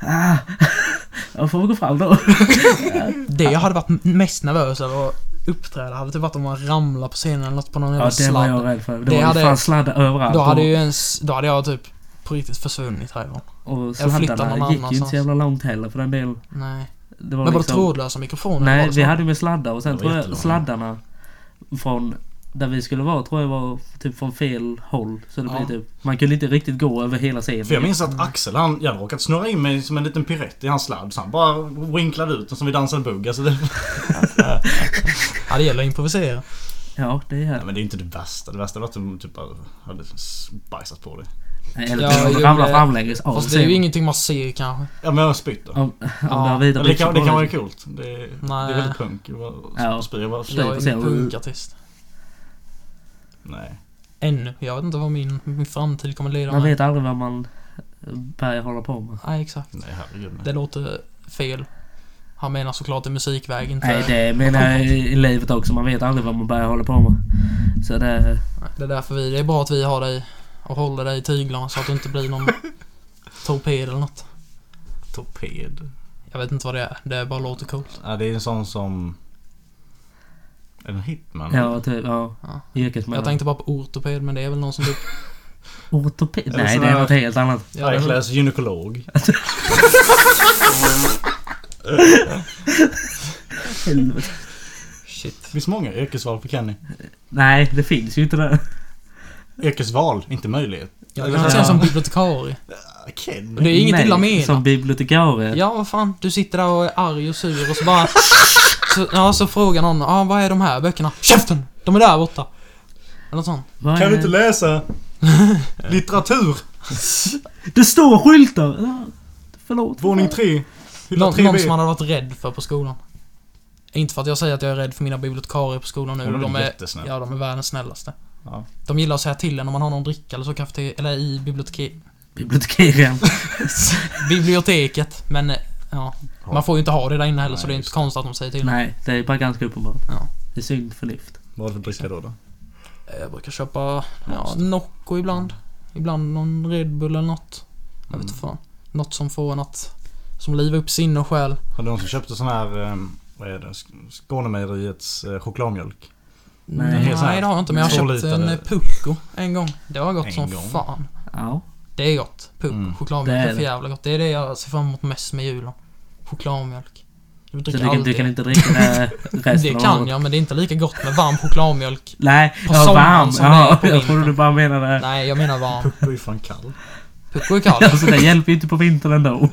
S3: ah, [LAUGHS] jag får väl gå fram då.
S4: Det jag hade varit m- mest nervös över att uppträda hade typ varit om man ramlade på scenen eller något på någon jävla
S3: Ja, det var jag
S4: sladd.
S3: rädd för. Det,
S4: Det
S3: var
S4: hade-
S3: ju fan sladdar överallt.
S4: Då hade
S3: och,
S4: ju ens, då hade jag typ på riktigt försvunnit härifrån.
S3: och
S4: flyttat någon
S3: sladdarna gick ju inte
S4: annanstans.
S3: så jävla långt heller för den delen.
S4: Nej.
S3: Det
S4: Men
S3: var
S4: var det
S3: liksom,
S4: trådlösa mikrofoner? Var
S3: Nej,
S4: det
S3: vi
S4: så?
S3: hade ju med sladdar och sen
S2: Det var
S3: tror jag
S2: jättelångt.
S3: sladdarna från där vi skulle vara tror jag var typ från fel håll. Så det
S4: Ja.
S3: blev typ, man kunde inte riktigt gå över hela scenen.
S2: För jag minns att Axel han, jag hade råkat snurra in mig som en liten pirett i hans sladd så han bara winklade ut och som vi dansade bugg. Alltså det...
S4: Ja, det gäller att improvisera.
S3: Ja, det är
S2: Nej men det är inte det värsta. Det värsta var att de typ bara hade bajsat på dig.
S3: Nej, Eller
S4: Ja,
S3: ja,
S4: jo,
S3: ramlar
S4: det-
S3: framlänges av
S4: Fast det är ju
S3: scenen.
S4: ingenting man ser kanske.
S2: Ja men jag har spytt då.
S3: Om, om
S4: Ja,
S3: du har vita
S2: Men det,
S3: byxor
S2: kan, det
S3: på
S2: kan vara
S3: dig.
S2: coolt. Det, är- det
S4: Nej.
S2: är väldigt punk. Jag bara
S3: Ja.
S2: spyr. Jag bara,
S4: Jag är ingen
S3: Improvisera.
S4: punkartist.
S2: nej.
S4: Ännu. Jag vet inte vad min, min framtid kommer leda
S3: Man
S4: mig.
S3: vet aldrig vad man börjar hålla på med.
S4: Nej, exakt.
S2: Nej herregud.
S4: Det
S2: Nej.
S4: låter fel. Han menar såklart i musikväg, inte...
S3: Nej,
S4: det...
S3: det menar jag i i livet också. Man vet aldrig vad man börjar hålla på med. Så det...
S4: är därför vi... Det är bra att vi har dig och håller dig i tyglarna så att du inte
S3: [LAUGHS]
S4: blir någon torped eller något.
S2: Torped.
S4: Jag vet inte vad det är. Det bara låter coolt.
S2: Ja, det är en sån som... Är det en hitman?
S3: Ja, typ. Ja.
S4: Ja.
S3: Yrkesman.
S4: Jag tänkte bara på ortoped, men det är väl någon som typ...
S3: Ortoped?
S2: Eller
S3: Nej,
S2: sån
S3: det är
S2: här-
S3: något helt annat.
S4: Ja, det-
S2: Färgkläs gynekolog.
S3: Helvete.
S4: Shit.
S2: Det finns många yrkesval för Kenny.
S3: Nej, det finns ju inte det.
S2: Yrkesval, inte möjlighet.
S4: Jag
S2: Eller
S4: kan
S2: så-
S4: se som bibliotekarie.
S2: Ah, Kenny.
S4: Det är inget
S3: Nej,
S4: illa menat.
S3: Som bibliotekarie.
S4: Ja, vad fan. Du sitter där och är arg och sur och så bara... Så, ja, så frågar någon. Ja, ah, vad är de här böckerna? Käften! De är där borta. Eller något sånt.
S3: Vad
S2: Kan
S3: är
S2: du
S3: det?
S2: inte
S4: [LAUGHS]
S2: läsa litteratur?
S3: Det står skyltar! Ja, Förlåt.
S2: Våning 3. Hylla
S4: Nå- någon
S2: 3B.
S4: som man hade varit rädd för på skolan. Inte för att jag säger att jag är rädd för mina bibliotekarier på skolan nu.
S2: Ja, de är
S4: de är,
S2: jättesnälla.
S4: ja, de är världens snällaste.
S2: Ja.
S4: De gillar att säga till en om man har någon dricka eller så kaffe eller i biblioteket.
S3: Bibliotekarien.
S4: biblioteket. Men eh, ja, man får ju inte ha det där inne heller så
S2: Nej,
S4: det är inte
S2: just
S4: konstigt att de säger till.
S3: Nej, det är bara ganska uppenbart.
S4: Ja.
S3: Det är synd förnuft.
S2: Vad är det för dricka då? då?
S4: Eh, Jag brukar köpa ja, Nocco ibland. Ibland någon Red Bull eller något. Jag vet inte fan. Något som får en att Som livar upp sinne och själ.
S2: Har du någon som köpte sån här, ehm, vad är det, Sk- Skånemejeriets eh,
S4: [LAUGHS]
S2: chokladmjölk?
S3: Nej.
S2: helt så här.
S4: Nej det har jag inte men jag
S2: Två
S4: har köpt
S2: liter
S4: en
S2: där.
S4: eh, Pulko en gång. Det har
S2: En
S4: gått som
S2: gång.
S4: fan.
S3: Ja.
S4: Det är gott. Pulko.
S2: Mm.
S4: Chokladmjölk
S3: Det är
S4: det är för
S3: det.
S4: jävla gott. Det är det jag ser fram emot mest med julen. Chokladmjölk. Du
S3: Så
S4: dricker
S3: du, kan- du
S4: aldrig.
S3: kan inte dricka det resten
S4: [LAUGHS] det
S3: av
S4: kan
S3: året.
S4: jag men det är inte lika gott med varm
S3: [LAUGHS]
S4: chokladmjölk.
S3: Nej,
S4: På
S3: jag var
S4: sommaren
S3: varm.
S4: som det är
S3: Ja,
S4: på
S3: jag trodde
S4: vintern.
S3: du bara menade...
S4: Nej jag menar varm.
S2: Det är ju fan kall.
S4: Pulko är
S3: [LAUGHS]
S4: kall.
S3: Alltså det hjälper ju inte på vintern
S4: [LAUGHS]
S3: ändå.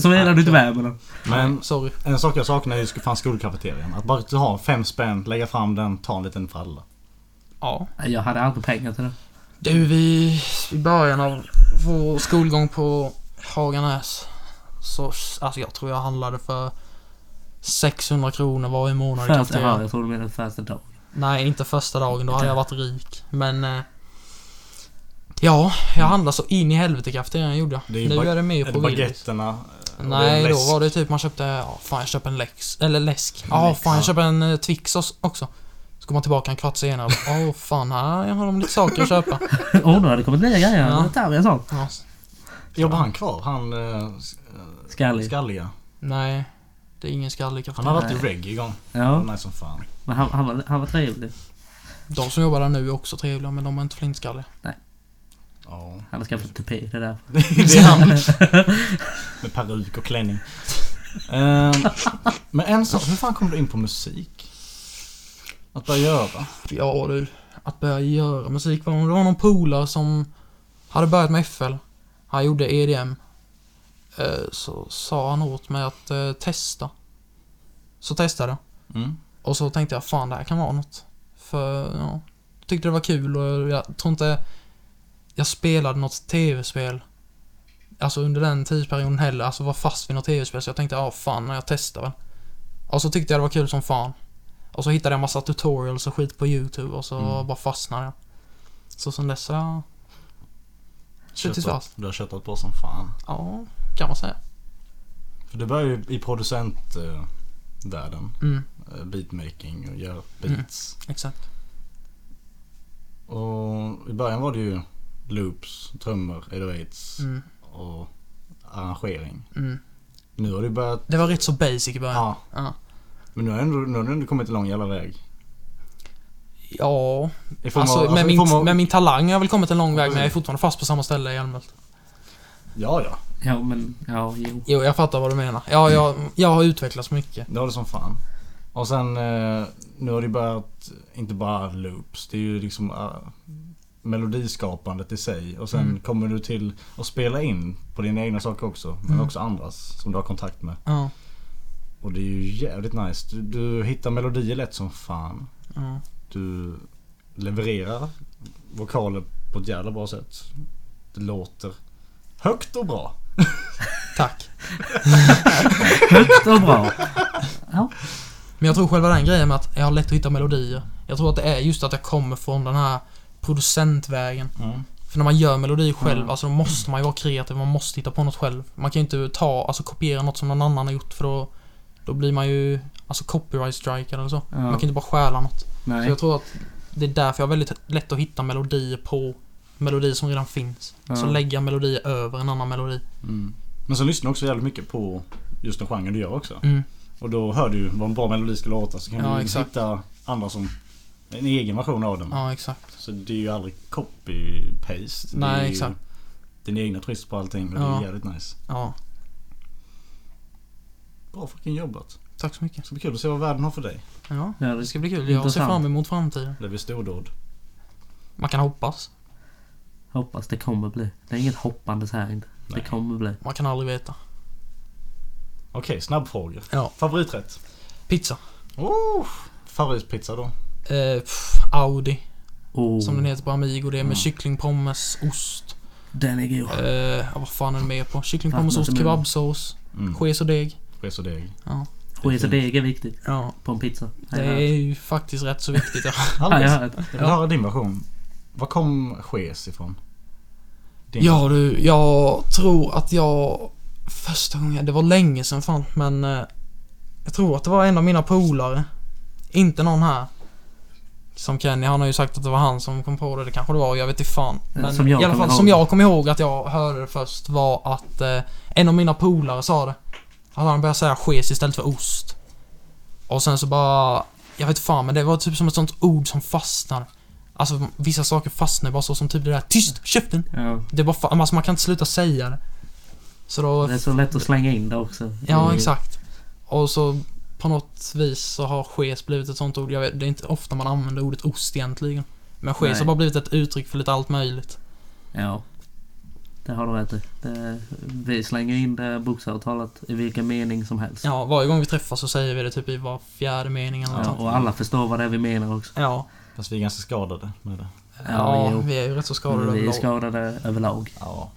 S3: Såvida du inte värmer den.
S2: Men
S4: Sorry.
S2: en sak jag saknar är ju sk- fan skolkafeterian. Att bara ha fem spänn, lägga fram den, ta en liten för alla.
S4: Ja.
S3: Nej, Jag hade aldrig pengar till det.
S4: Du, vi... I början av vår skolgång på Haganäs så... Alltså jag tror jag handlade för 600 kronor varje månad i
S3: Första
S4: kafeterian.
S3: dagen, jag tror du menade första dagen.
S4: Nej, inte första dagen. Då hade jag varit rik. Men... Eh, ja, jag handlade så in i helvete i kafeterian gjorde jag.
S2: Det är ju
S4: nu
S2: bag-
S4: är det mer
S2: Är det
S4: på Willys.
S2: baguetterna? eh, och
S4: Nej,
S2: det är
S4: då
S2: läsk?
S4: var det typ man köpte... Ja, fan jag köper en läx. Eller läsk. Ja,
S2: Läx,
S4: fan
S2: ja.
S4: jag köper en eh, Twix os- också. Så kom man tillbaka en kvart senare och bara, åh fan, här har de lite saker
S2: [LAUGHS]
S4: att köpa.
S3: Åh, nu har det kommit nya grejer.
S4: Ja.
S3: Ja. Där är sånt.
S4: Ja,
S2: Jobbar han kvar? Han eh, s-
S3: Skallig.
S2: skalliga?
S4: nej, det är ingen skallig
S2: Han
S4: kafeteria.
S2: har varit i reggae igång.
S3: Ja,
S2: Nej som fan.
S3: men han, han, var, han var trevlig.
S4: De som jobbar där nu är också trevliga men de är inte flintskalliga.
S2: Ja. [LAUGHS]
S3: Han har skaffat tupé, det där.
S2: Det är han. Med peruk och klänning. Ehm, men en sak, hur fan kom du in på musik? Att börja göra?
S4: Ja du, att börja göra musik. Det var någon polare som hade börjat med FL. Han gjorde EDM. Eh, Så sa han åt mig att eh, testa. Så testade jag.
S2: Mm.
S4: Och så tänkte jag fan det här kan vara något. För ja, tyckte det var kul och jag tror inte jag spelade något tv-spel. Alltså under den tidsperioden heller, alltså var fast vid något tv-spel så jag tänkte ja fan, jag testar väl. Och så tyckte jag det var kul som fan. Och så hittade jag massa tutorials och skit på youtube och så
S2: Mm.
S4: bara fastnade jag. Så sen dess har jag, Suttit
S2: Köttat-
S4: fast.
S2: Du har köttat på som fan.
S4: ja, kan man säga.
S2: För du började ju i eh, producentvärlden.
S4: Mm,
S2: eh, Beatmaking och göra beats.
S4: exakt. Mm.
S2: Och i början var det ju loops, trummor, 808s
S4: Mm,
S2: och arrangering.
S4: mm.
S2: Nu har du börjat...
S4: Det var rätt så basic i början.
S2: Ja,
S4: Ja.
S2: men nu har du ändå, nu har du ändå kommit en lång jävla väg.
S4: ja.
S2: I form
S4: Alltså,
S2: av-
S4: med,
S2: i
S4: min,
S2: form av- Mm.
S4: med min talang har jag väl kommit en lång väg men jag är fortfarande fast på samma ställe i allmänhet.
S2: Ja, ja.
S3: Ja, men... Ja, jo.
S4: Jo, jag fattar vad du menar. Ja, jag, jag har utvecklats mycket.
S2: Det var det som fan. Och sen eh, nu har det börjat, inte bara loops, det är ju liksom eh, melodiskapandet i sig. Och sen
S4: Mm.
S2: kommer du till att spela in på dina egna saker också. Men
S4: Mm.
S2: också andras som du har kontakt med.
S4: Ja,
S2: Och det är ju jävligt nice. Du, du hittar melodier lätt som fan.
S4: ja.
S2: Du levererar vokaler på ett jävla bra sätt. Det låter högt och bra.
S4: Tack.
S3: Högt och bra.
S4: Men jag tror själva den grejen med att jag har lätt att hitta melodier. Jag tror att det är just att jag kommer från den här producentvägen.
S2: Mm.
S4: För när man gör melodier själv,
S3: Mm.
S4: alltså då måste man ju vara kreativ, man måste hitta på något själv. Man kan ju inte ta, alltså kopiera något som någon annan har gjort för då, då blir man ju, alltså copyright strikad eller så.
S3: Ja.
S4: Man kan inte bara stjäla något. Så
S3: Nej.
S4: jag tror att det är därför jag har väldigt lätt att hitta melodier på melodier som redan finns. Så
S3: Ja.
S4: lägga melodier över en annan melodi.
S2: Mm. Men sen lyssnar du också jävligt mycket på just den genren du gör också.
S4: Mm.
S2: Och då hör du ju vad en bra melodi ska låta så kan
S4: Ja,
S2: du
S4: exakt.
S2: hitta andra som en egen version av den.
S4: Ja, exakt.
S2: Så det är ju aldrig copy-paste. Det
S4: Nej,
S2: är ju
S4: exakt.
S2: Din egna twist på allting och det
S4: Ja.
S2: är jävligt nice.
S4: Ja,
S2: Bra fucking jobbat.
S4: tack så mycket.
S2: Det ska bli kul att se vad världen har för dig.
S4: Ja,
S3: Ja,
S4: det
S3: det
S4: ska bli kul. Jag ser
S3: Intressant.
S4: fram emot framtiden.
S2: Det blir stordåd.
S4: Man kan hoppas.
S3: Hoppas det kommer bli. Det är inget hoppandes här inte.
S2: Nej.
S3: Det kommer bli.
S4: Man kan aldrig veta.
S2: Okej, snabbfrågor.
S4: Ja.
S2: Favoriträtt?
S4: Pizza.
S2: Oh, favoritpizza då?
S4: Eh, pff, Audi,
S3: Oh,
S4: som den heter på Amigo. Det är med
S2: Mm.
S4: kyckling, pommes, ost.
S3: den är god.
S4: Eh, ja, vad fan är det mer på? Kyckling,
S3: Vattnet
S4: pommes,
S3: är
S4: ost,
S3: min.
S4: kebabsås,
S2: Mm.
S4: ches och deg.
S2: Res och deg.
S4: Ja.
S3: Ches och deg är viktigt
S4: ja,
S3: på en pizza.
S4: det är ju faktiskt rätt så viktigt. Ja.
S3: Ja, jag
S2: Alex,
S3: har hört.
S2: jag vill höra din version. Var kom ches ifrån? Din.
S4: Ja du, jag tror att jag första gången, det var länge sedan fan men eh, jag tror att det var en av mina polare. Inte någon här. Som Kenny, han har ju sagt att det var han som kom på det. Det kanske det var, jag vet inte fan.
S3: Ja,
S4: Men
S3: som jag
S4: i alla
S3: kommer
S4: fall som
S3: ihåg.
S4: jag kom ihåg att jag hörde det först var att eh, en av mina polare sa det. Att han började säga skes istället för ost. Och sen så bara... Jag vet fan men det var typ som ett sånt ord som fastnar. Alltså vissa saker fastnar bara så som typ det där Tyst! Käften!
S3: Ja.
S4: Det är bara fa- alltså, man kan inte sluta säga det. Så då...
S3: Det är så lätt att slänga in det också.
S4: Ja,
S3: i-
S4: exakt. Och så på något vis så har skes blivit ett sånt ord. Jag vet, det är inte ofta man använder ordet ost egentligen. Men skes
S3: Nej.
S4: har bara blivit ett uttryck för lite allt möjligt.
S3: Ja. Det har du rätt i. Det- Vi slänger in det bokstavligt talat i vilken mening som helst.
S4: Ja, varje gång vi träffas så säger vi det typ i var fjärde mening eller något
S3: Ja,
S4: sånt.
S3: och alla förstår vad det är vi menar också.
S4: Ja,
S2: Fast vi är ganska skadade med det.
S4: ja,
S3: jo.
S4: vi är ju rätt så skadade
S3: Vi är
S4: överlag.
S3: skadade överlag.
S2: Ja.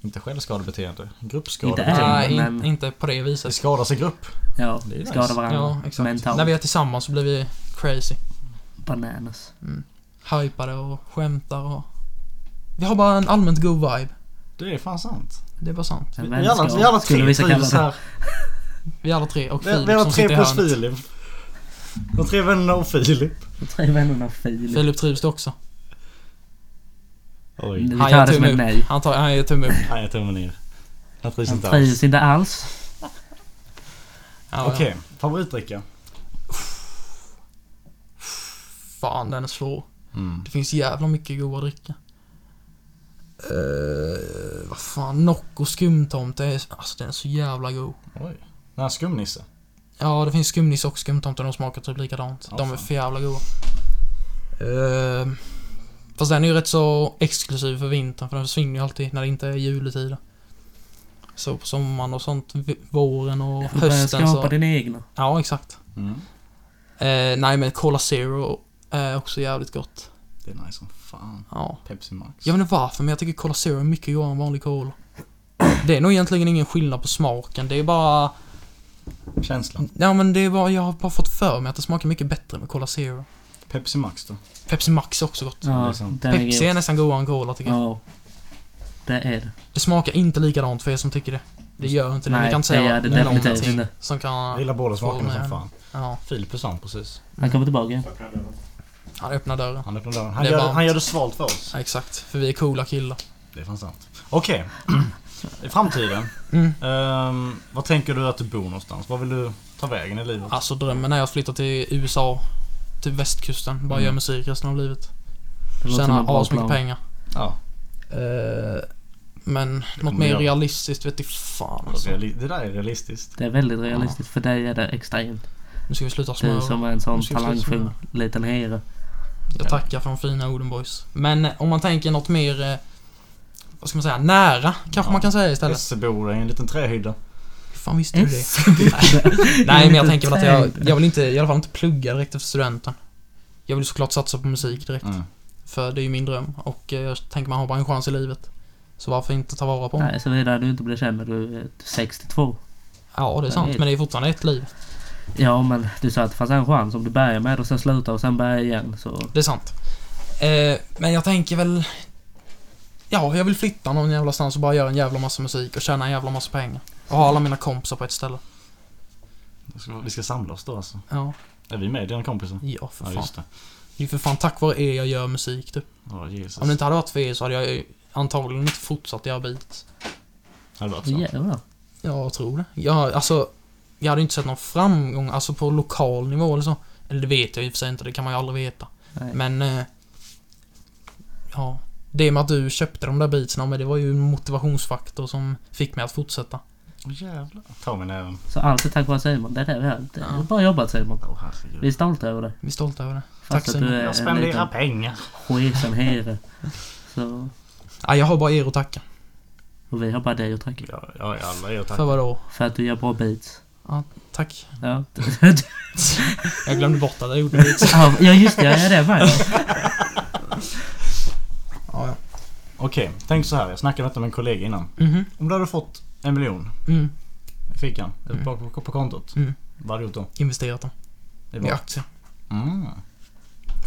S2: Inte självskadebeteende.
S3: Inte
S2: Gruppskadebeteende.
S3: än.
S4: Nej, in,
S3: men-
S4: inte på det
S2: Vi
S4: viset.
S2: skadar sig grupp.
S3: Ja,
S2: Det är ju
S3: skadar
S2: nice.
S3: varandra
S4: Ja, exakt.
S3: mentalt.
S4: När vi är tillsammans så blir vi crazy.
S3: Bananas.
S4: Hypade och skämtar och... Vi har bara en allmänt god vibe.
S2: Det är fan sant.
S4: Det är bara sant.
S3: En
S2: Vi vi alla,
S3: vänskap,
S2: vi alla
S3: skulle
S2: tre
S3: vissa kalla
S2: trivs
S3: det.
S2: här.
S4: Vi alla tre och
S2: Vi,
S4: Filip
S2: vi alla
S4: som
S2: tre
S4: sitter i
S2: plus
S4: hörnet.
S2: Filip. De tre vännerna och Filip.
S3: De Tre vännerna Filip.
S4: Filip trivs det också.
S2: Oj.
S3: Vi
S4: Han
S3: tar
S4: gör
S3: det som
S4: tumme
S3: ett
S4: upp.
S3: nej.
S4: Han, tar, han ger tumme upp.
S2: Nej, jag tummar ner. Han trivs
S3: Han
S2: inte alls.
S3: trivs inte alls.
S4: Ja,
S2: Okej,
S4: ja.
S2: favoritdricka?
S4: Fan, den är svår.
S2: Mm.
S4: Det finns jävla mycket goda dricka. Uh, vad fan, Nocco skumtomte är... Alltså den är så jävla god.
S2: Oj. Den här skumnisse.
S4: Ja, det finns skumnisse och skumtomte. De smakar typ likadant.
S2: Ja,
S4: de är
S2: fan.
S4: för jävla goda. Eh, fast den är ju rätt så exklusiv för vintern för den försvinner ju alltid när det inte är juletider. Så på sommaren och sånt, v- våren och
S3: Du börjar
S4: hösten
S3: skapa
S4: så...
S3: dina egna.
S4: Ja, exakt.
S2: Mm.
S4: Eh, nej men Cola Zero är också jävligt gott.
S2: Det är nice som fan.
S4: Ja.
S2: Pepsi Max.
S4: Jag vet inte varför men jag tycker Cola Zero är mycket godare än vanlig Cola. Det är nog egentligen ingen skillnad på smaken. Det är bara...
S2: Känslan.
S4: Ja men det är bara... Jag har bara fått för mig att det smakar mycket bättre med Cola Zero.
S2: Pepsi Max då?
S4: Pepsi Max är också gott.
S3: Ja,
S2: liksom.
S3: Mm, den är
S4: Pepsi är
S3: god.
S4: nästan godare än Cola tycker jag.
S3: Ja. Det är det.
S4: Det smakar inte likadant för er som tycker det. Det gör inte det. Ni
S3: Nej,
S4: kan inte
S3: det
S4: säga
S3: gör det
S4: någonting
S3: definitivt inte.
S4: som
S2: Jag
S4: kan...
S2: gillar båda smakerna som
S4: men-
S2: fan.
S4: Ja.
S2: Filip försvann precis.
S3: Han kommer tillbaka.
S4: Han öppnar dörren.
S2: Han öppnade dörren. Han
S4: Det är
S2: gör,
S4: varmt.
S2: han gör det svalt för oss.
S4: Ja, exakt. För vi är coola killar.
S2: Det är fan sant. Okej. [CLEARS THROAT] I framtiden.
S4: Mm.
S2: Ehm, vad tänker du att du bor någonstans? Vad vill du ta vägen i livet?
S4: Alltså drömmen är att flytta till USA. Till västkusten. Bara
S2: Mm.
S4: göra musik resten av livet.
S3: Det låter som
S4: Tjäna
S3: en bra
S4: asmycket
S3: plan.
S4: pengar.
S2: Ja.
S4: Eh, men något
S2: kommer
S4: mer
S2: göra.
S4: realistiskt vet i fan alltså.
S2: Reali- det där är realistiskt.
S3: Det är väldigt realistiskt. För dig är det extremt.
S4: Nu ska vi sluta
S3: Du
S4: smöra.
S3: som är en sån
S4: Nu ska vi sluta
S3: talangfull
S4: smöra.
S3: liten herre.
S4: Jag tackar för de fina orden boys. Men eh, om man tänker något mer, eh, vad ska man säga, nära kanske
S2: Ja.
S4: man kan säga istället.
S2: Essebor är en liten trähydda.
S4: Hur fan visste du det?
S3: S.
S4: [LAUGHS] Nej men jag
S3: Lite
S4: tänker väl att jag,
S3: träd.
S4: jag vill inte, i alla fall inte plugga direkt efter studenten. Jag vill såklart satsa på musik direkt.
S2: Mm.
S4: För det är ju min dröm och eh, jag tänker man har bara en chans i livet. Så varför inte ta vara på
S3: [LAUGHS]
S4: den?
S3: Nej, såvida du inte blir känd när du är 62.
S4: Ja det är
S3: Jag
S4: sant
S3: vet.
S4: men det är fortfarande ett liv.
S3: Ja, men du sa att det fanns en chans om du börjar med det och sen slutar och sen börjar igen. Så
S4: Det är sant. Eh, men jag tänker väl... Ja, jag vill flytta någon jävla stans och bara göra en jävla massa musik och tjäna en jävla massa pengar. Och ha alla mina kompisar på ett ställe.
S2: Vi ska- Vi ska samla oss då alltså.
S4: Ja,
S2: Är vi med dina kompisar?
S4: ja för
S2: Ja
S4: Mm. fan.
S2: just det.
S4: Det är för fan tack vare er jag gör musik typ.
S2: Ja Jesus.
S4: Om det inte hade varit för er så hade jag ju antagligen inte fortsatt göra beats.
S2: Hade varit så.
S3: jävlar.
S4: Jag tror det. Jag, alltså, jag hade inte sett någon framgång, alltså på lokal nivå eller så. Eller det vet jag i och för sig inte, det kan man ju aldrig veta.
S3: Nej.
S4: Men... Eh, ja. Det med att du köpte de där beatsen men det var ju en motivationsfaktor som fick mig att fortsätta.
S2: Åh jävlar. Ta mig näven.
S3: Så allt är tack vare Simon. Det är det vi har. Det är
S4: Ja.
S3: bra jobbat Simon.
S2: Åh
S3: Vi är
S2: herregud.
S3: stolta över det.
S4: Vi är stolta över det. Tack
S3: Fast
S4: så
S3: att du
S4: mycket.
S3: är
S2: Jag
S3: en
S2: spenderar
S3: liten
S2: pengar.
S3: skesen herre. Så,
S4: Ja, jag har bara er att tacka.
S3: och vi har bara dig att tacka.
S2: Ja, ja alla er tack.
S4: För vadå?
S3: För att du gör bra beats.
S4: Tack.
S3: Ja,
S4: Jag glömde bort att jag gjorde det.
S3: [LAUGHS] ja just det. Jag är det med.
S4: Ja, ja.
S2: Okej, tänk så här. Jag snackade detta med en kollega innan.
S4: Mhm.
S2: Om du hade fått en miljon
S4: Mm.
S2: i fickan, eller på, på, på kontot.
S4: Mm.
S2: Vad hade du gjort då?
S4: Investerat dem
S2: Det
S4: i
S2: var-
S4: aktier.
S2: Mm.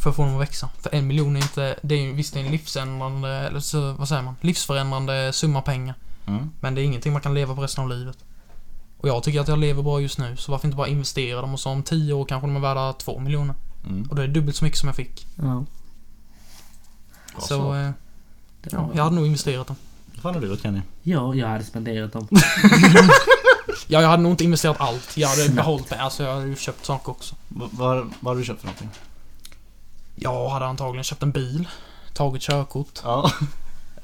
S4: För att få dem att växa. För en miljon är inte... Det är ju visst det är en livsändrande... Eller så, vad säger man? Livsförändrande summa pengar.
S2: Mm.
S4: Men det är ingenting man kan leva på resten av livet. Och jag tycker att jag lever bra just nu, så varför inte bara investera dem och så om 10 år kanske de är värda 2 miljoner.
S2: mm.
S4: Och det är dubbelt så mycket som jag fick.
S3: Ja.
S2: Bra
S4: så
S2: svar.
S4: eh,
S3: Det
S4: ja,
S3: var-
S4: jag hade nog investerat dem.
S2: Vad fan har du gjort Kenny?
S3: Ja, jag hade spenderat dem.
S4: Ja, jag hade nog inte investerat allt. Jag [LAUGHS] hade
S3: Snabbt.
S4: behållit det. Alltså jag hade ju köpt saker också.
S2: Vad, vad, vad har du köpt för någonting?
S4: Jag hade antagligen köpt en bil. Tagit körkort.
S2: Ja.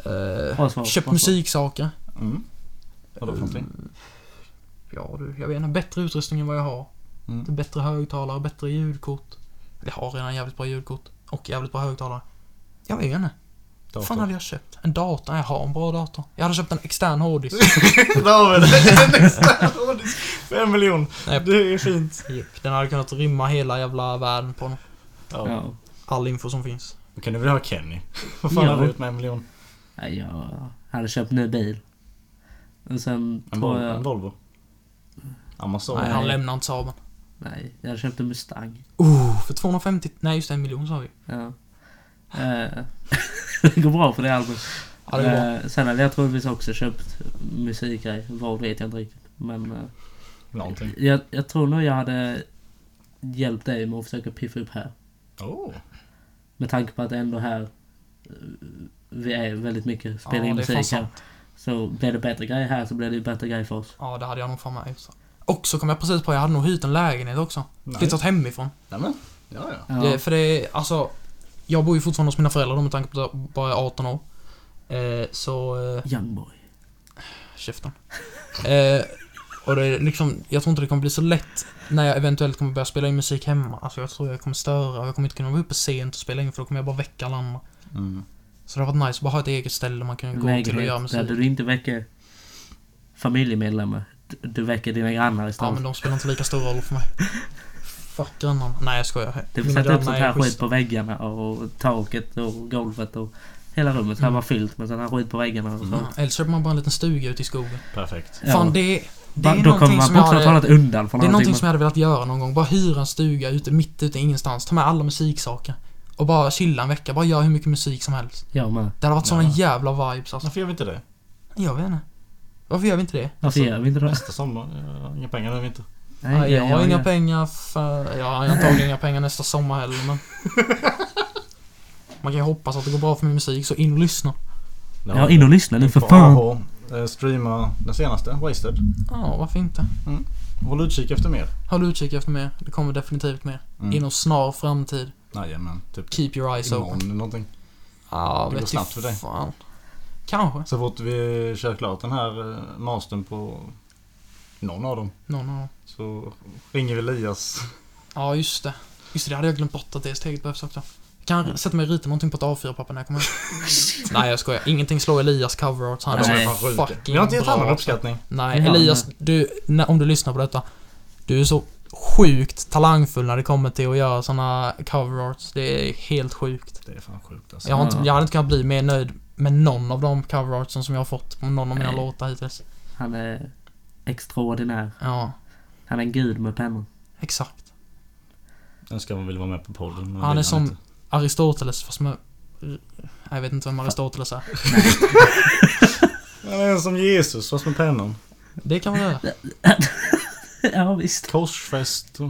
S4: Eh,
S3: Bra svar,
S4: Köpt
S3: bra svar.
S4: musiksaker.
S2: Mm. Vad då för någonting?
S4: Ja du, jag vet inte. Bättre utrustning än vad jag har.
S2: Mm.
S4: Det är Bättre högtalare, bättre ljudkort. Jag har redan jävligt bra ljudkort. Och jävligt bra högtalare. Jag vet inte. Vad fan
S2: [LAUGHS] Dator.
S4: hade jag köpt? En dator? Jag har en bra dator. Jag hade köpt en extern hårddisk. [LAUGHS]
S2: David, en extra hårddisk för [LAUGHS] en miljon.
S4: Nej.
S2: Det är fint.
S4: Japp, Den hade kunnat rymma hela jävla världen på den.
S2: Ja.
S3: Ja.
S4: All info som finns.
S2: Då kan du väl ha Kenny? Vad fan
S3: Ja.
S2: har du gjort med en miljon?
S3: Ja, jag hade köpt ny bil. Och sen
S2: En,
S3: tror
S2: Vol- en
S3: jag...
S2: Volvo? Amazon?
S4: Nej,
S3: eh, Nej.
S4: han lämnar inte Saaben.
S3: Nej, jag hade köpt en Mustang.
S4: Oh, för 250... Nej just det, en miljon sa vi.
S3: Ja. [LAUGHS] Eh, det går bra för det albumet.
S4: Ja, det går bra.
S3: Eh, sen hade jag troligtvis också köpt musikgrej. Vad vet jag inte riktigt. Men eh,
S2: Någonting.
S3: jag, jag tror nog jag hade hjälpt dig med att försöka piffa upp här.
S2: Oh.
S3: Med tanke på att ändå här eh, vi är väldigt mycket spelar
S4: Ja,
S3: in
S4: det är fan
S3: musik här.
S4: sant.
S3: Så blir det bättre grejer här så blir det ju bättre grejer för oss.
S4: Ja, det hade jag nog fan med. just det. Och så kom jag precis på, jag hade nog hyrt en lägenhet också.
S2: Nej.
S4: Flyttat hemifrån.
S2: Nämen. Ja, ja.
S3: Ja.
S4: Det, för det är, alltså... Jag bor ju fortfarande hos mina föräldrar då, med tanke på att jag bara är 18 år. Eh, så... Eh,
S3: Young boy.
S4: käften. Eh, och det är liksom, jag tror inte det kommer bli så lätt när jag eventuellt kommer börja spela in musik hemma. Alltså jag tror jag kommer störa och jag kommer inte kunna vara uppe sent och spela in för då kommer jag bara väcka alla andra.
S2: Mm.
S4: Så det har varit nice att bara ha ett eget ställe där man kan gå till och göra
S3: Lägenhet där
S4: musik.
S3: du inte väcker familjemedlemmar. Du- Du väcker dina grannar
S4: Ja
S3: istället.
S4: men de spelar inte lika stor roll för mig. Fuck grannarna. Nej jag skojar.
S3: Du får
S4: Mina
S3: sätta upp
S4: grannar
S3: sånt
S4: är
S3: här skit
S4: schyssta.
S3: på väggarna och taket och golvet och hela rummet.
S4: Mm.
S3: Så här var fyllt med sån här skit på väggarna och så.
S4: Ja, Eller så köper man bara en liten stuga ute i skogen.
S2: Perfekt.
S3: Ja.
S4: Fan det, det
S3: Va-
S4: är
S3: Då kommer
S4: någonting
S3: man
S4: som jag
S3: bokstavligt
S4: hade,
S3: talat undan från
S4: Det är någonting
S3: allting.
S4: som jag hade velat göra någon gång. Bara hyra en stuga ute, mitt ute i ingenstans. Ta med alla musiksaker. Och bara chilla en vecka. Bara göra hur mycket musik som helst.
S3: Jag med.
S4: Det hade varit såna
S2: Ja.
S4: jävla vibes alltså.
S2: Varför gör vi inte det?
S4: Jag vet inte. Varför gör vi inte det?
S3: Varför gör vi inte det?
S2: Nästa sommar? Jag har inga pengar nu vi inte.
S3: Nej,
S4: Nej, jag
S3: ja,
S4: har inga
S3: ja.
S4: pengar för... Jag har antagligen inga pengar nästa sommar heller
S3: [LAUGHS]
S4: men... Man kan ju hoppas att det går bra för min musik så in och lyssna.
S3: Ja, in och lyssna nu för
S2: På
S3: fan.
S2: AH, eh, Streama den senaste, Wasted.
S4: Ja, varför inte?
S2: Håll utkik efter mer.
S4: Håll utkik efter mer. Det kommer definitivt mer.
S2: Mm.
S4: Inom snar framtid.
S2: Jajamän, typ
S4: Keep your eyes
S2: imorgon
S4: open.
S2: eller någonting.
S4: Ja,
S2: Det
S4: vet
S2: går
S4: ju
S2: snabbt för dig.
S4: Fan. Kanske.
S2: Så fort vi kör klart den här eh, mastern på någon av dem
S4: Någon av dem.
S2: så ringer vi Elias.
S4: Ja, just det. Just det, det hade jag glömt bort att det steget behövs också. Jag
S2: Mm.
S4: kan sätta mig och rita någonting på ett A4-papper när jag kommer hem.
S2: [LAUGHS]
S4: Nej, jag skojar. Ingenting slår Elias coverart. Han
S3: Nej,
S4: är
S2: fan
S4: så
S2: sjuka.
S4: fucking
S2: Vi har inte Mm. gett
S4: bra.
S2: honom uppskattning.
S4: Nej,
S3: Ja,
S4: Elias, du, när, om du lyssnar på detta. Du är så sjukt talangfull när det kommer till att göra såna cover arts. Det är helt sjukt.
S2: Det är fan sjukt alltså.
S4: Jag, har inte,
S3: Ja.
S4: jag hade inte kunnat bli mer nöjd med någon av de cover artsen som jag har fått på någon av mina
S3: Nej.
S4: låtar hittills.
S3: Han är extraordinär.
S4: Ja,
S3: Han är en gud med pennor. [LAUGHS]
S4: exakt.
S2: Önskar man vill vara med på podden. men
S4: Han är
S2: vill
S4: som-
S2: inte.
S4: Aristoteles fast med... Nej, Jag vet inte vem Aristoteles är.
S2: Han är som Jesus fast med pennan.
S4: Det kan man göra.
S3: ja, visst.
S2: Korsfäst och...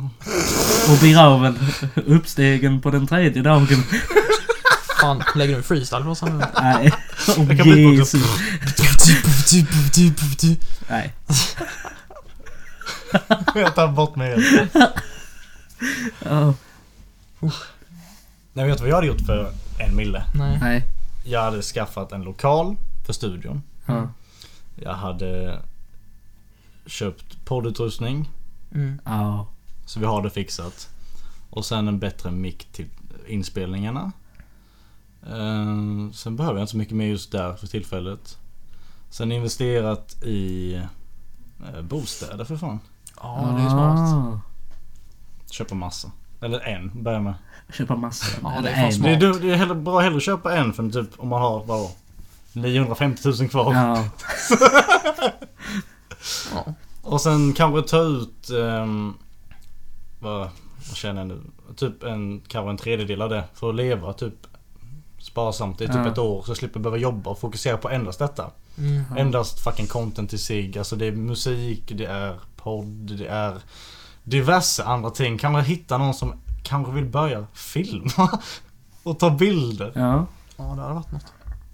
S3: Och begraven. Uppstegen på den tredje dagen.
S4: [LAUGHS] Fan, lägger du freestyle på oss här nu?
S3: Nej.
S2: Jag kan
S3: Oh,
S2: bli på
S3: Jesus. Nej.
S2: [LAUGHS] Jag tar bort mig helt.
S3: Ja,
S2: Nej vet du vad jag hade gjort för en mille?
S4: Nej.
S3: nej.
S2: Jag hade skaffat en lokal för studion.
S3: Ja.
S2: Jag hade köpt poddutrustning
S4: Mm.
S3: Ja.
S2: så vi har det fixat. Och sen en bättre mick till inspelningarna. Eh, Sen behöver jag inte så mycket mer just där för tillfället. Sen investerat i eh, bostäder för fan.
S4: Ja, det är smart.
S3: Ah.
S2: Köpa massa. Eller en, börja med.
S3: Köpa massor.
S4: Ja, det är
S3: Eller
S4: fan
S3: en.
S4: smart.
S2: Det är, du- det är hellre, bra hellre att köpa en för typ om man har vadå? 950 000 kvar.
S3: Ja.
S4: Ja.
S2: Och sen kanske ta ut... ehm, vad, vad känner jag nu? Typ en, kanske en tredjedel av det för att leva typ sparsamt i typ
S3: Ja.
S2: ett år så slipper jag behöva jobba och fokusera på endast detta.
S4: Mm.
S3: Ja.
S2: Endast fucking content till sig. Alltså det är musik, det är podd, det är diverse andra ting. Kan man hitta någon som kanske vill börja filma. [LAUGHS] Och ta bilder.
S3: Ja.
S4: Ja, det hade varit något.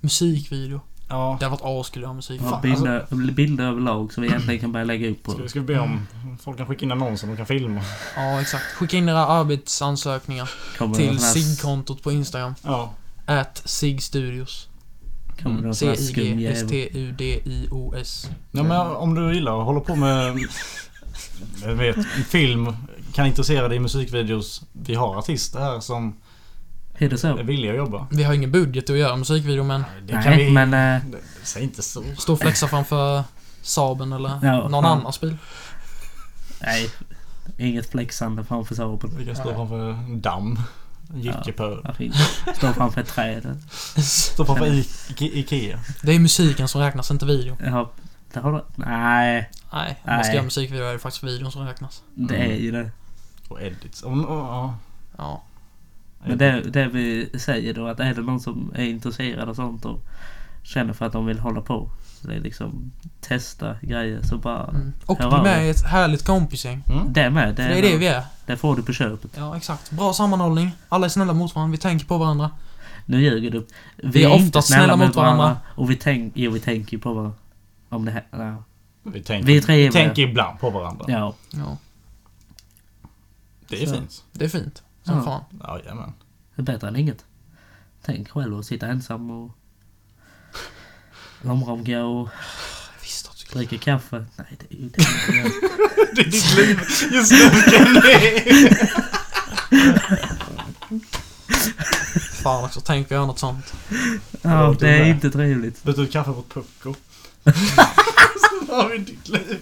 S4: Musikvideo.
S2: Ja.
S4: Det hade varit askul att göra musik.
S3: Ja,
S2: Fan,
S3: bilder,
S4: alltså-
S3: bilder överlag som vi egentligen kan börja lägga upp på.
S2: Ska, ska vi be om
S3: Mm.
S2: folk kan skicka in annonser de kan filma?
S4: Ja, exakt. Skicka in era arbetsansökningar
S3: Kommer det någon
S4: till
S3: sån här-
S4: SIG-kontot på Instagram.
S2: Ja.
S4: At SIG Studios.
S3: Kommer det någon sån här skum jävel?
S4: C-I-G-S-T-U-D-I-O-S.
S2: ja men
S3: Eh.
S2: om du gillar att hålla på med jag vet, film, kan intressera dig i musikvideos. Vi har artister här som
S3: Är det
S2: är
S3: så?
S2: villiga att jobba.
S4: Vi har ingen budget att göra musikvideo men
S2: Det kan
S3: Nej,
S2: vi...
S3: men... eh,
S2: Säg inte så.
S4: stå och flexa framför Saben eller
S3: Ja,
S4: någon
S3: fan.
S4: annans bil. [LAUGHS]
S3: Nej. Inget flexande framför Saab.
S2: Vi kan stå framför en damm. Jickepöl.
S3: Ja, fint. Står framför ett träd.
S2: Stå framför I- I- Ikea.
S4: Det är musiken som räknas, inte video.
S3: Ja, det har du... Nej,
S4: Nej, om man ska
S3: Nej.
S4: göra musikvideo är det faktiskt videon som räknas.
S3: det är ju
S4: Mm.
S3: det.
S2: Och edits. Om, och, ja.
S4: Ja.
S3: Men det, det vi säger då att är det någon som är intresserad av sånt och känner för att de vill hålla på. Så det är liksom testa grejer så bara...
S4: Mm. Och
S3: hör
S4: bli
S3: av
S4: med
S3: dig.
S4: i ett härligt kompisgäng.
S3: Det med. Det,
S4: För det är det vi är.
S3: det får du på köpet.
S4: Ja, exakt. Bra sammanhållning. Alla är snälla mot varandra. Vi tänker på varandra.
S3: Nu ljuger du. Vi,
S4: är
S3: inte
S4: ofta snälla mot varandra.
S3: Och vi tänker... Jo, vi tänker ju på varandra. Om det här... Ja.
S2: Vi tänker,
S3: Vi
S2: vi
S3: är trevliga.
S2: tänker ibland på varandra.
S3: ja.
S4: Ja,
S2: Det är
S3: Så.
S2: fint.
S4: det är fint. Som
S3: Ja.
S4: fan.
S2: Ja, jajamän.
S3: Det är bättre än inget. Tänk själv att sitta ensam och... Lomronka och
S4: Jag visste att du skulle...
S3: dricka kaffe. Nej, det är ju det man gör.
S2: Det är ditt liv just nu [LAUGHS] Kenny!
S4: Fan också, tänk att göra något sånt.
S3: Ja, det är inte trevligt.
S2: Byt ut kaffe mot
S3: [LAUGHS]
S2: pucko. Så har vi ditt liv.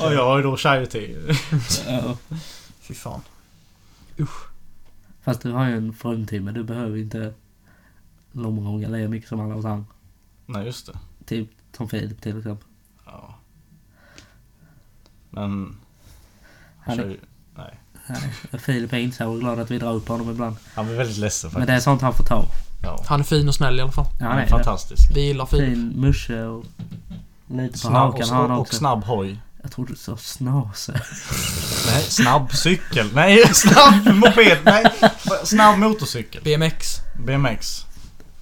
S2: Ja, jag har ju då chai-te.
S3: Ja.
S4: Fy fan.
S3: Fast du har ju en fruntimme. Du behöver ju inte lomronka lika mycket som alla oss andra.
S2: Nej, just det.
S3: Typ som Filip till exempel.
S2: Ja. Men... Han,
S3: Han
S2: kör
S3: är,
S2: ju, nej.
S3: nej, Filip är inte så glad att vi drar upp honom ibland.
S2: han blir väldigt ledsen
S3: Men
S2: faktiskt.
S3: det är sånt han får ta.
S2: ja.
S4: Han är fin och snäll i alla fall.
S3: Ja,
S2: Han
S3: nej,
S2: är fantastisk.
S4: Vi gillar Filip.
S3: Fin Typ musche och lite på
S2: Snabb,
S3: hakan har han
S2: och, och
S3: också.
S2: snabb hoj.
S3: Jag tror du sa snase. [LAUGHS]
S2: Nej, snabb cykel. Nej, [LAUGHS] snabb moped. Nej, snabb motorcykel.
S4: BMX.
S2: BMX.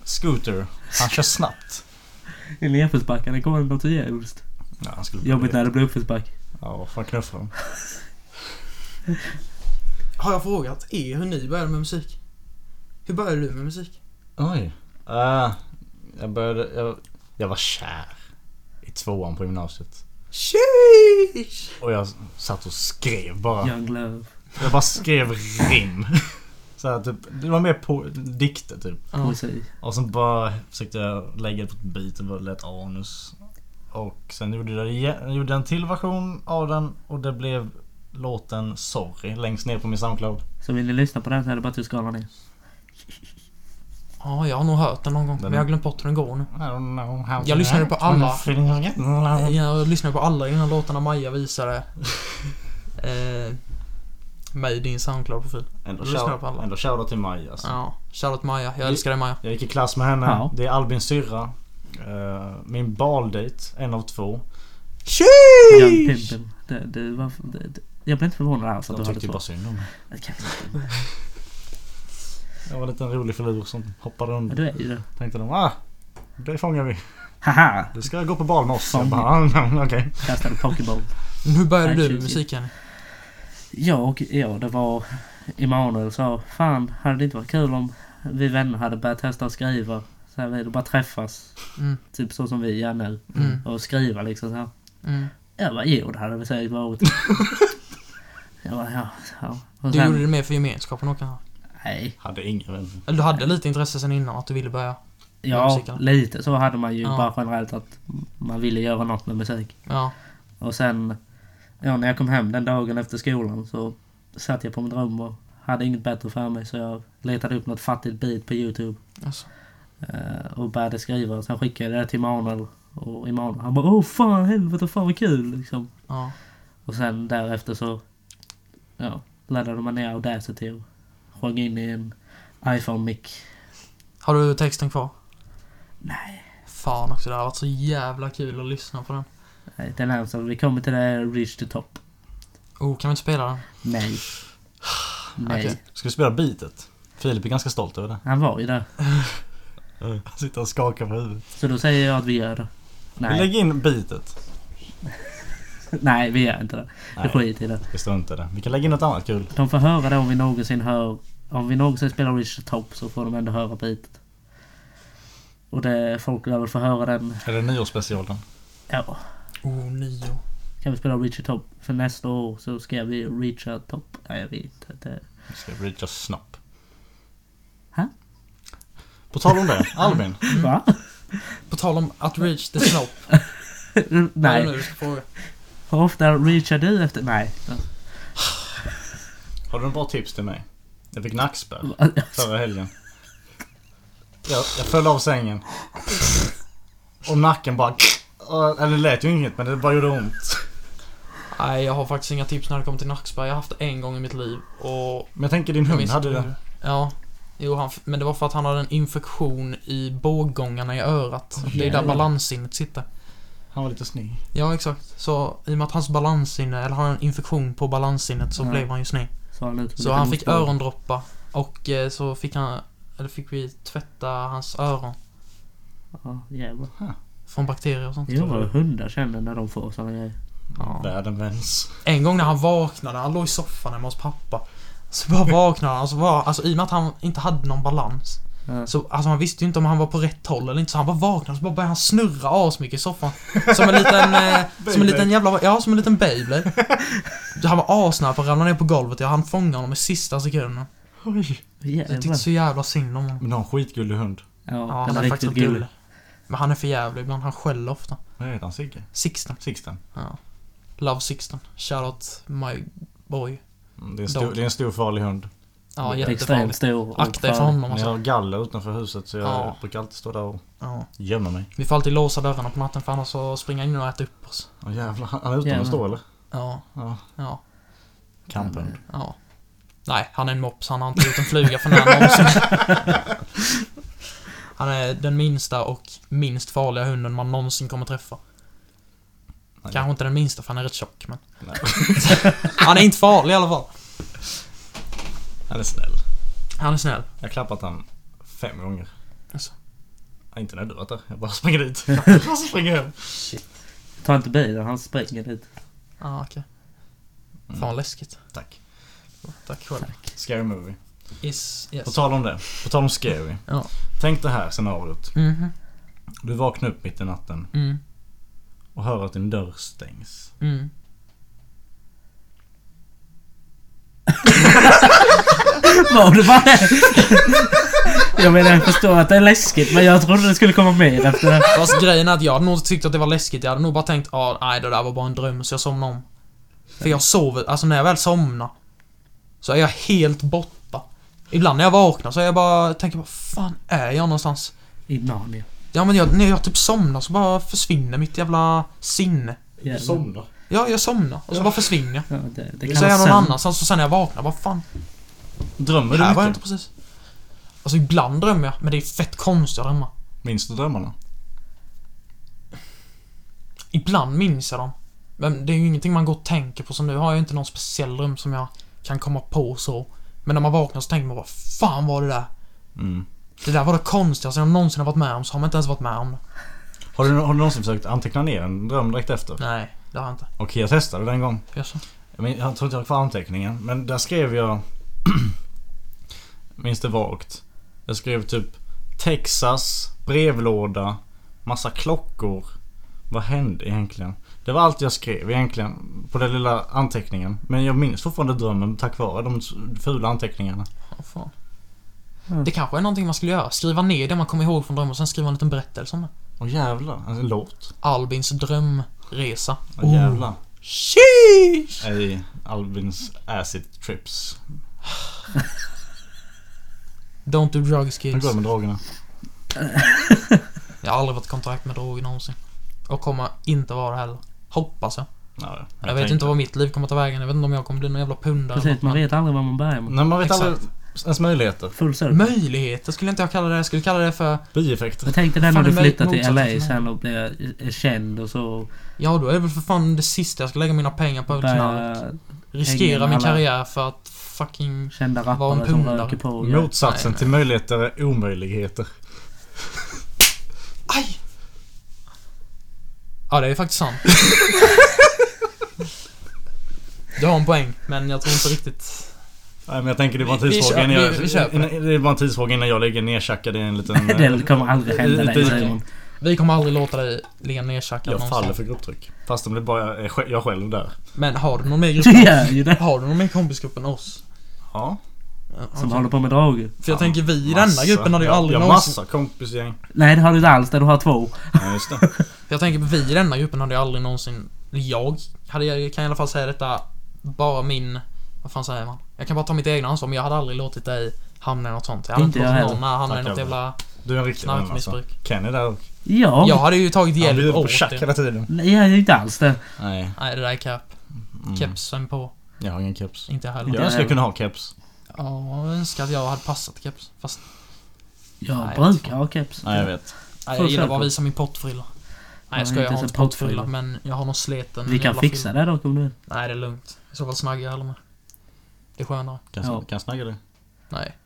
S2: Scooter. Han kör snabbt.
S3: I nedförsbacken, det kommer något jävligt.
S2: Ja, han skulle
S3: Jobbigt när det blir uppförsbacke.
S2: Ja, fan knuffa dem.
S4: Har jag frågat er hur ni började med musik? Hur började du med musik?
S2: Oj. Ah, jag började... Jag, jag var kär. I tvåan på gymnasiet.
S4: Sheesh!
S2: Och jag satt och skrev bara.
S3: Young Love.
S2: Jag bara skrev rim. [LAUGHS] Så här, typ, det var mer på dikter typ.
S3: Poesi.
S2: Och sen bara försökte jag lägga det på ett beat och bara lät anus. Och sen gjorde jag, igen- jag gjorde en till version av den och det blev låten Sorry längst ner på min Soundcloud.
S3: Så vill ni lyssna på den så är det bara att du skalar ner.
S4: Ja, jag har nog hört den någon gång, men
S2: Den-
S4: jag har glömt bort hur den går nu.
S2: I don't know how
S4: Jag lyssnade på alla.
S2: alla.
S4: Jag lyssnade på alla innan låtarna Maja [LAUGHS] visade eh, mig din Soundcloud-profil.
S2: Ändå
S4: Jag lyssnade på alla.
S2: shout- ändå shoutout till Maja alltså.
S4: Ja, shoutout Maja. Jag älskar dig Maja.
S2: Jag gick i klass med henne.
S3: Ja.
S2: Det är Albins syrra. Eh, min baldejt, en av två.
S3: Young
S4: Sheesh!
S3: Pimpin. Det, det, var, det, det, jag blev inte förvånad alls att
S2: De
S3: du hade
S2: tyckte ju
S3: två.
S2: bara synd om mig.
S3: Det kan jag inte.
S2: Jag var en liten rolig filur som hoppade
S3: Ja,
S2: runt.
S3: Du är ju det.
S2: Tänkte de ah, det fångar vi.
S3: Haha!
S2: Du ska gå på bal med oss. Jag bara, [LAUGHS] ah, okej.
S3: Kastade pokéboll.
S4: Men hur började du med
S3: Actually,
S4: musik Jenny?
S3: Jag och ja, det var Emanuel sa Fan, hade det inte varit kul om vi vänner hade börjat testa att skriva? Så här, vi hade bara träffas.
S4: Mm.
S3: Typ så som vi gör nu.
S4: Mm.
S3: Och skriva liksom så här.
S4: Mm.
S3: Jag bara, jo det hade det säkert
S4: [LAUGHS]
S3: varit. jag bara, ja. ja. Och
S4: Du
S3: sen,
S4: gjorde det mer för gemenskapen och kanske?
S3: Nej.
S2: Hade inga vänner.
S4: Eller du hade lite intresse sen innan att du ville börja?
S3: Ja,
S4: musiken.
S3: lite så hade man ju
S4: Ja.
S3: bara generellt att man ville göra något med musik.
S4: Ja.
S3: Och sen, ja när jag kom hem den dagen efter skolan så satt jag på mitt rum och hade inget bättre för mig så jag letade upp något fattigt beat på Youtube.
S4: Alltså.
S3: Eh, och började skriva och sen skickade jag det till Emanuel. Och Emanuel han bara åh fan helvete fan vad kul liksom.
S4: Ja.
S3: Och sen därefter så ja, laddade man ner Audacity och sjöng in i en iPhone-mic.
S4: Har du texten kvar?
S3: Nej.
S4: Fan också, det har varit så jävla kul att lyssna på den.
S3: Nej, Den här som vi kommer till det är Reach the Top.
S4: Oh, kan vi inte spela den?
S3: Nej. Nej.
S4: okej.
S2: Ska vi spela beatet? Filip är ganska stolt över det.
S3: Han var ju där.
S2: [LAUGHS] Han sitter och skakar på huvudet.
S3: Så då säger jag att vi gör det.
S2: Vi
S3: Nej,
S2: lägger in beatet.
S3: nej vi gör inte det. Vi
S2: Nej.
S3: skiter i det.
S2: Vi struntar i det. Vi kan lägga in något annat kul.
S3: De får höra det om vi någonsin hör... Om vi någonsin spelar Richard Top så får de ändå höra bitet. Och det, folk lär väl få höra den...
S2: Är det nyårsspecialen?
S3: Ja.
S4: Oh, nio.
S3: Kan vi spela Richard Top? För nästa år så ska vi Richard Top. Nej jag vet inte. Det-
S2: Vi ska reacha snopp.
S3: Hä?
S2: På tal om det, Albin.
S3: Va?
S4: På tal om att reach the slope. Vad är det
S3: [LAUGHS] nej.
S4: nu du ska fråga?
S3: Hur ofta reachar du efter... Nej.
S2: Har du några bra tips till mig? Jag fick nackspärr förra helgen. Jag, jag föll av sängen. Och nacken bara... Eller det lät ju inget men det bara gjorde ont.
S4: Nej, jag har faktiskt inga tips när det kommer till nackspärr. Jag har haft det en gång i mitt liv och...
S2: Men jag tänker din
S4: jag
S2: hund
S4: minns
S2: hade
S4: inte
S2: det.
S4: hur. Ja. Jo, han, men det var för att han hade en infektion i båggångarna i örat. det är där
S3: jävlar.
S4: balanssinnet sitter.
S2: Han var lite snygg.
S4: Ja, exakt. Så i och med att hans balanssinne, eller han hade en infektion på balanssinnet så
S3: Ja.
S4: blev han ju sned.
S3: Så han, ut med
S4: Så
S3: lite
S4: han fick
S3: motstånd.
S4: örondroppar och eh, så fick han, eller fick vi tvätta hans öron
S3: Ja, jävlar.
S4: från bakterier och sånt.
S3: Jo, vad hundar känner när de får sådana grejer.
S4: Ja.
S2: Världen vänds.
S4: En gång när han vaknade, han låg i soffan hemma hos pappa. Så bara vaknade han, och så var, alltså i och med att han inte hade någon balans.
S3: Ja.
S4: Så alltså han visste ju inte om han var på rätt håll eller inte så han bara vaknade och så bara började han snurra asmycket i soffan. Som en liten, eh, som en
S2: Beyblade.
S4: liten jävla, ja som en liten Beyblade. Så Han var asnära på att ramla ner på golvet, jag hann fånga honom i sista sekunden.
S2: Oj.
S4: Jag
S3: Jävlar.
S4: tyckte så jävla typ synd om honom.
S2: Men du har en skitgullig hund.
S3: Ja,
S4: Ja,
S3: han är riktigt
S4: faktiskt
S3: gullig.
S4: gullig. Men han är för jävlig ibland, han skäller ofta.
S2: Vad heter han? Sigge?
S4: Sixten.
S2: Sixten?
S4: Ja. Love Sixten. Shoutout my boy.
S2: Mm, Det är en stor,
S4: Dog.
S2: det är en stor farlig hund.
S4: Ja,
S3: Extremt
S4: jättefarlig.
S3: stor. och
S4: Akta er för
S3: farlig.
S4: honom
S2: Men jag
S4: alltså.
S2: har galler utanför huset så jag
S4: Ja.
S2: brukar alltid stå där och
S4: Ja.
S2: gömma mig.
S4: Vi får alltid låsa dörrarna på natten för annars så springer han in och äter upp oss.
S2: Åh jävlar, han är utomhus
S3: Jävlar.
S2: då eller?
S4: Ja,
S2: Ja.
S4: ja,
S2: Kamphund.
S4: ja. Nej, han är en mops. Han har inte gjort en fluga för när någonsin. [LAUGHS] Han är den minsta och minst farliga hunden man någonsin kommer träffa.
S2: Nej.
S4: Kanske inte den minsta för han är rätt tjock men...
S2: Nej.
S4: [LAUGHS] Han är inte farlig i alla fall.
S2: Han är snäll.
S4: Han är snäll.
S2: Jag har klappat han fem gånger.
S4: Alltså.
S2: Ja, inte när du varit där. Jag bara springer
S4: [LAUGHS]
S2: dit. Jag springer hem.
S3: Ta inte bilen, han springer dit.
S4: Ja, okej.
S2: Mm.
S4: Fan vad läskigt.
S2: Tack.
S4: Tack själv.
S2: Scary movie.
S4: Is,
S2: På
S4: yes.
S2: tal om det. På tal om scary.
S4: Ja.
S2: Tänk det här scenariot.
S4: Mhm.
S2: Du vaknar upp mitt i natten
S4: Mm.
S2: och hör att din dörr stängs.
S4: Mm.
S3: Vad det var [LAUGHS] Jag menar jag förstår att det är läskigt men jag trodde det skulle komma mer efter det.
S4: Fast grejen är att jag hade nog tyckt att det var läskigt. Jag hade nog bara tänkt ah, nej det där var bara en dröm så jag somnade om. För jag sover, alltså när jag väl somnar så är jag helt borta. Ibland när jag vaknar så är jag bara, tänker bara fan är jag någonstans?
S3: I Narnia.
S4: Ja men jag, när jag typ somnar så bara försvinner mitt jävla sinne.
S3: Jävlar.
S4: Ja, jag somnar och så bara försvinner jag.
S3: Ja, det, det
S4: Så
S3: kan vara
S4: är jag någon
S3: sömn.
S4: annanstans och sen när jag vaknar, vad fan
S2: Drömmer
S4: här var
S2: du
S4: jag inte
S2: mycket?
S4: precis. Alltså ibland drömmer jag, men det är fett konstiga drömmar.
S2: Minns du drömmarna?
S4: Ibland minns jag dem. Men det är ju ingenting man går och tänker på, så nu har jag inte någon speciell dröm som jag kan komma på så. Men när man vaknar så tänker man vad fan var det där?
S2: Mm.
S4: Det där var det konstigaste jag någonsin har varit med om, så har man inte ens varit med om det.
S2: Har du, har du någonsin försökt anteckna ner en dröm direkt efter?
S4: Nej, det har jag inte.
S2: Okej, jag testade den en gång.
S4: Gör så.
S2: Jag min- jag tror inte jag har kvar anteckningen, men där skrev jag... [CLEARS THROAT] minns det vagt. Jag skrev typ Texas, brevlåda, massa klockor. Vad hände egentligen? Det var allt jag skrev egentligen på den lilla anteckningen. Men jag minns fortfarande drömmen tack vare de s- fula anteckningarna.
S4: Åh, fan.
S3: Mm.
S4: Det kanske är någonting man skulle göra. Skriva ner det man kommer ihåg från drömmen och sen skriva en liten berättelse om det.
S2: Åh jävlar, en låt.
S4: Albins drömresa. Oh,
S2: Åh jävlar.
S4: Sheesh!
S2: Ej, Albins acid trips.
S4: Don't do drugs
S2: Hur
S4: kids.
S2: går det med drogerna?
S4: Jag har aldrig varit i kontakt med droger någonsin. Och kommer inte vara det heller. Hoppas jag.
S2: Ja, jag
S4: Jag, vet
S2: tänkte-
S4: inte vad mitt liv kommer ta vägen. Jag vet inte om jag kommer bli någon jävla pundare. eller något,
S3: Precis, man
S4: men
S3: vet aldrig vad man börjar med.
S2: Nej, man vet
S4: Exakt.
S2: aldrig ens möjligheter.
S3: Full circle.
S4: Möjligheter skulle inte jag kalla det. Jag skulle kalla det för...
S2: Bieffekter.
S3: Jag tänkte det
S4: Fan,
S3: när du
S4: det är
S3: flyttar till
S4: motsatsen
S3: LA
S4: till mig.
S3: sen och blir känd och så.
S4: Ja, då är det väl för fan det sista jag ska lägga mina pengar på. är väl knark.
S3: Börjar...
S4: Riskera
S3: hänga med
S4: min
S3: alla-
S4: karriär för att fucking...
S3: Kända
S4: Var en
S3: rappare som
S4: pundare.
S3: röker på och grejer.
S2: Motsatsen
S4: Nej,
S2: till möjligheter är omöjligheter.
S4: Aj! Ja, det är
S3: [LAUGHS]
S4: faktiskt sant. du har en poäng, men jag tror inte riktigt...
S2: Nej men jag tänker det är bara en
S4: Vi- vi
S2: tidsfråga
S4: kör-
S2: innan jag...
S4: vi- vi kör på det.
S2: innan- Det är bara en tidsfråga innan jag ligger nertjackad i en
S3: [LAUGHS]
S2: liten...
S3: [LAUGHS]
S2: eh,
S3: Det kommer aldrig hända
S2: Lite-
S3: dig Simon.
S4: Vi kommer aldrig låta dig ligga nertjackad
S2: Jag
S4: någonstans.
S2: faller för grupptryck. Fast om det bara är sj- jag själv där.
S4: Men har du någon mer
S3: [LAUGHS]
S4: i
S3: Du
S4: gruppen?
S3: gör ju det.
S4: Har du någon mer i kompisgruppen än oss?
S2: Ja.
S4: Ja,
S3: Som
S4: okej.
S3: håller på med droger.
S4: För jag tänker vi i
S2: massa.
S4: denna gruppen hade ju
S2: Ja,
S4: aldrig
S2: Jag har
S4: någonsin...
S2: massa [LAUGHS] kompisgäng.
S3: Nej det har du inte alls. Där du har två.
S2: Ja just det.
S4: För Jag tänker vi i denna gruppen hade ju aldrig någonsin... eller Jag hade, jag kan i alla fall säga detta, bara min... Vad fan säger man? Jag kan bara ta mitt egna ansvar men jag hade aldrig låtit dig hamna i något sånt. Jag hade
S3: Inte
S4: inte låtit
S3: jag
S4: någon hamna i
S2: Tack,
S4: något jävla
S2: Du är en riktig vän alltså.
S4: knarkmissbruk.
S2: Kenny där och...
S3: Ja.
S4: Jag hade ju tagit
S2: Han
S4: hjälp
S2: bjuder på
S4: åt
S2: tjack
S4: dig.
S2: hela tiden.
S3: Nej jag är ju inte alls det.
S2: Nej.
S4: Nej det där är cap.
S2: Mm.
S4: Kepsen på.
S2: Jag har ingen keps.
S4: Inte jag
S2: Jag
S4: heller.
S3: Ja.
S2: önskar jag kunde ha keps.
S4: Ja, jag önskar att jag hade passat keps. Fast
S3: Jag
S4: Nej,
S3: brukar ha keps.
S2: Nej jag vet.
S4: nej,
S3: Får
S4: jag
S3: du
S4: gillar
S3: säga
S4: bara att
S3: på?
S4: visa min pottfrilla. Nej
S3: Ja,
S4: jag skojar, jag
S3: inte
S4: har
S3: så
S4: inte pottfrilla
S3: pottfrilla.
S4: men jag har någon sleten
S3: Vi kan
S4: jävla
S3: fixa
S4: frilla.
S3: det dock om du vill.
S4: Nej det är lugnt. I så fall snaggar jag hellre med. Det är skönare.
S2: Kan,
S3: Ja.
S2: kan jag snagga det?
S4: Nej.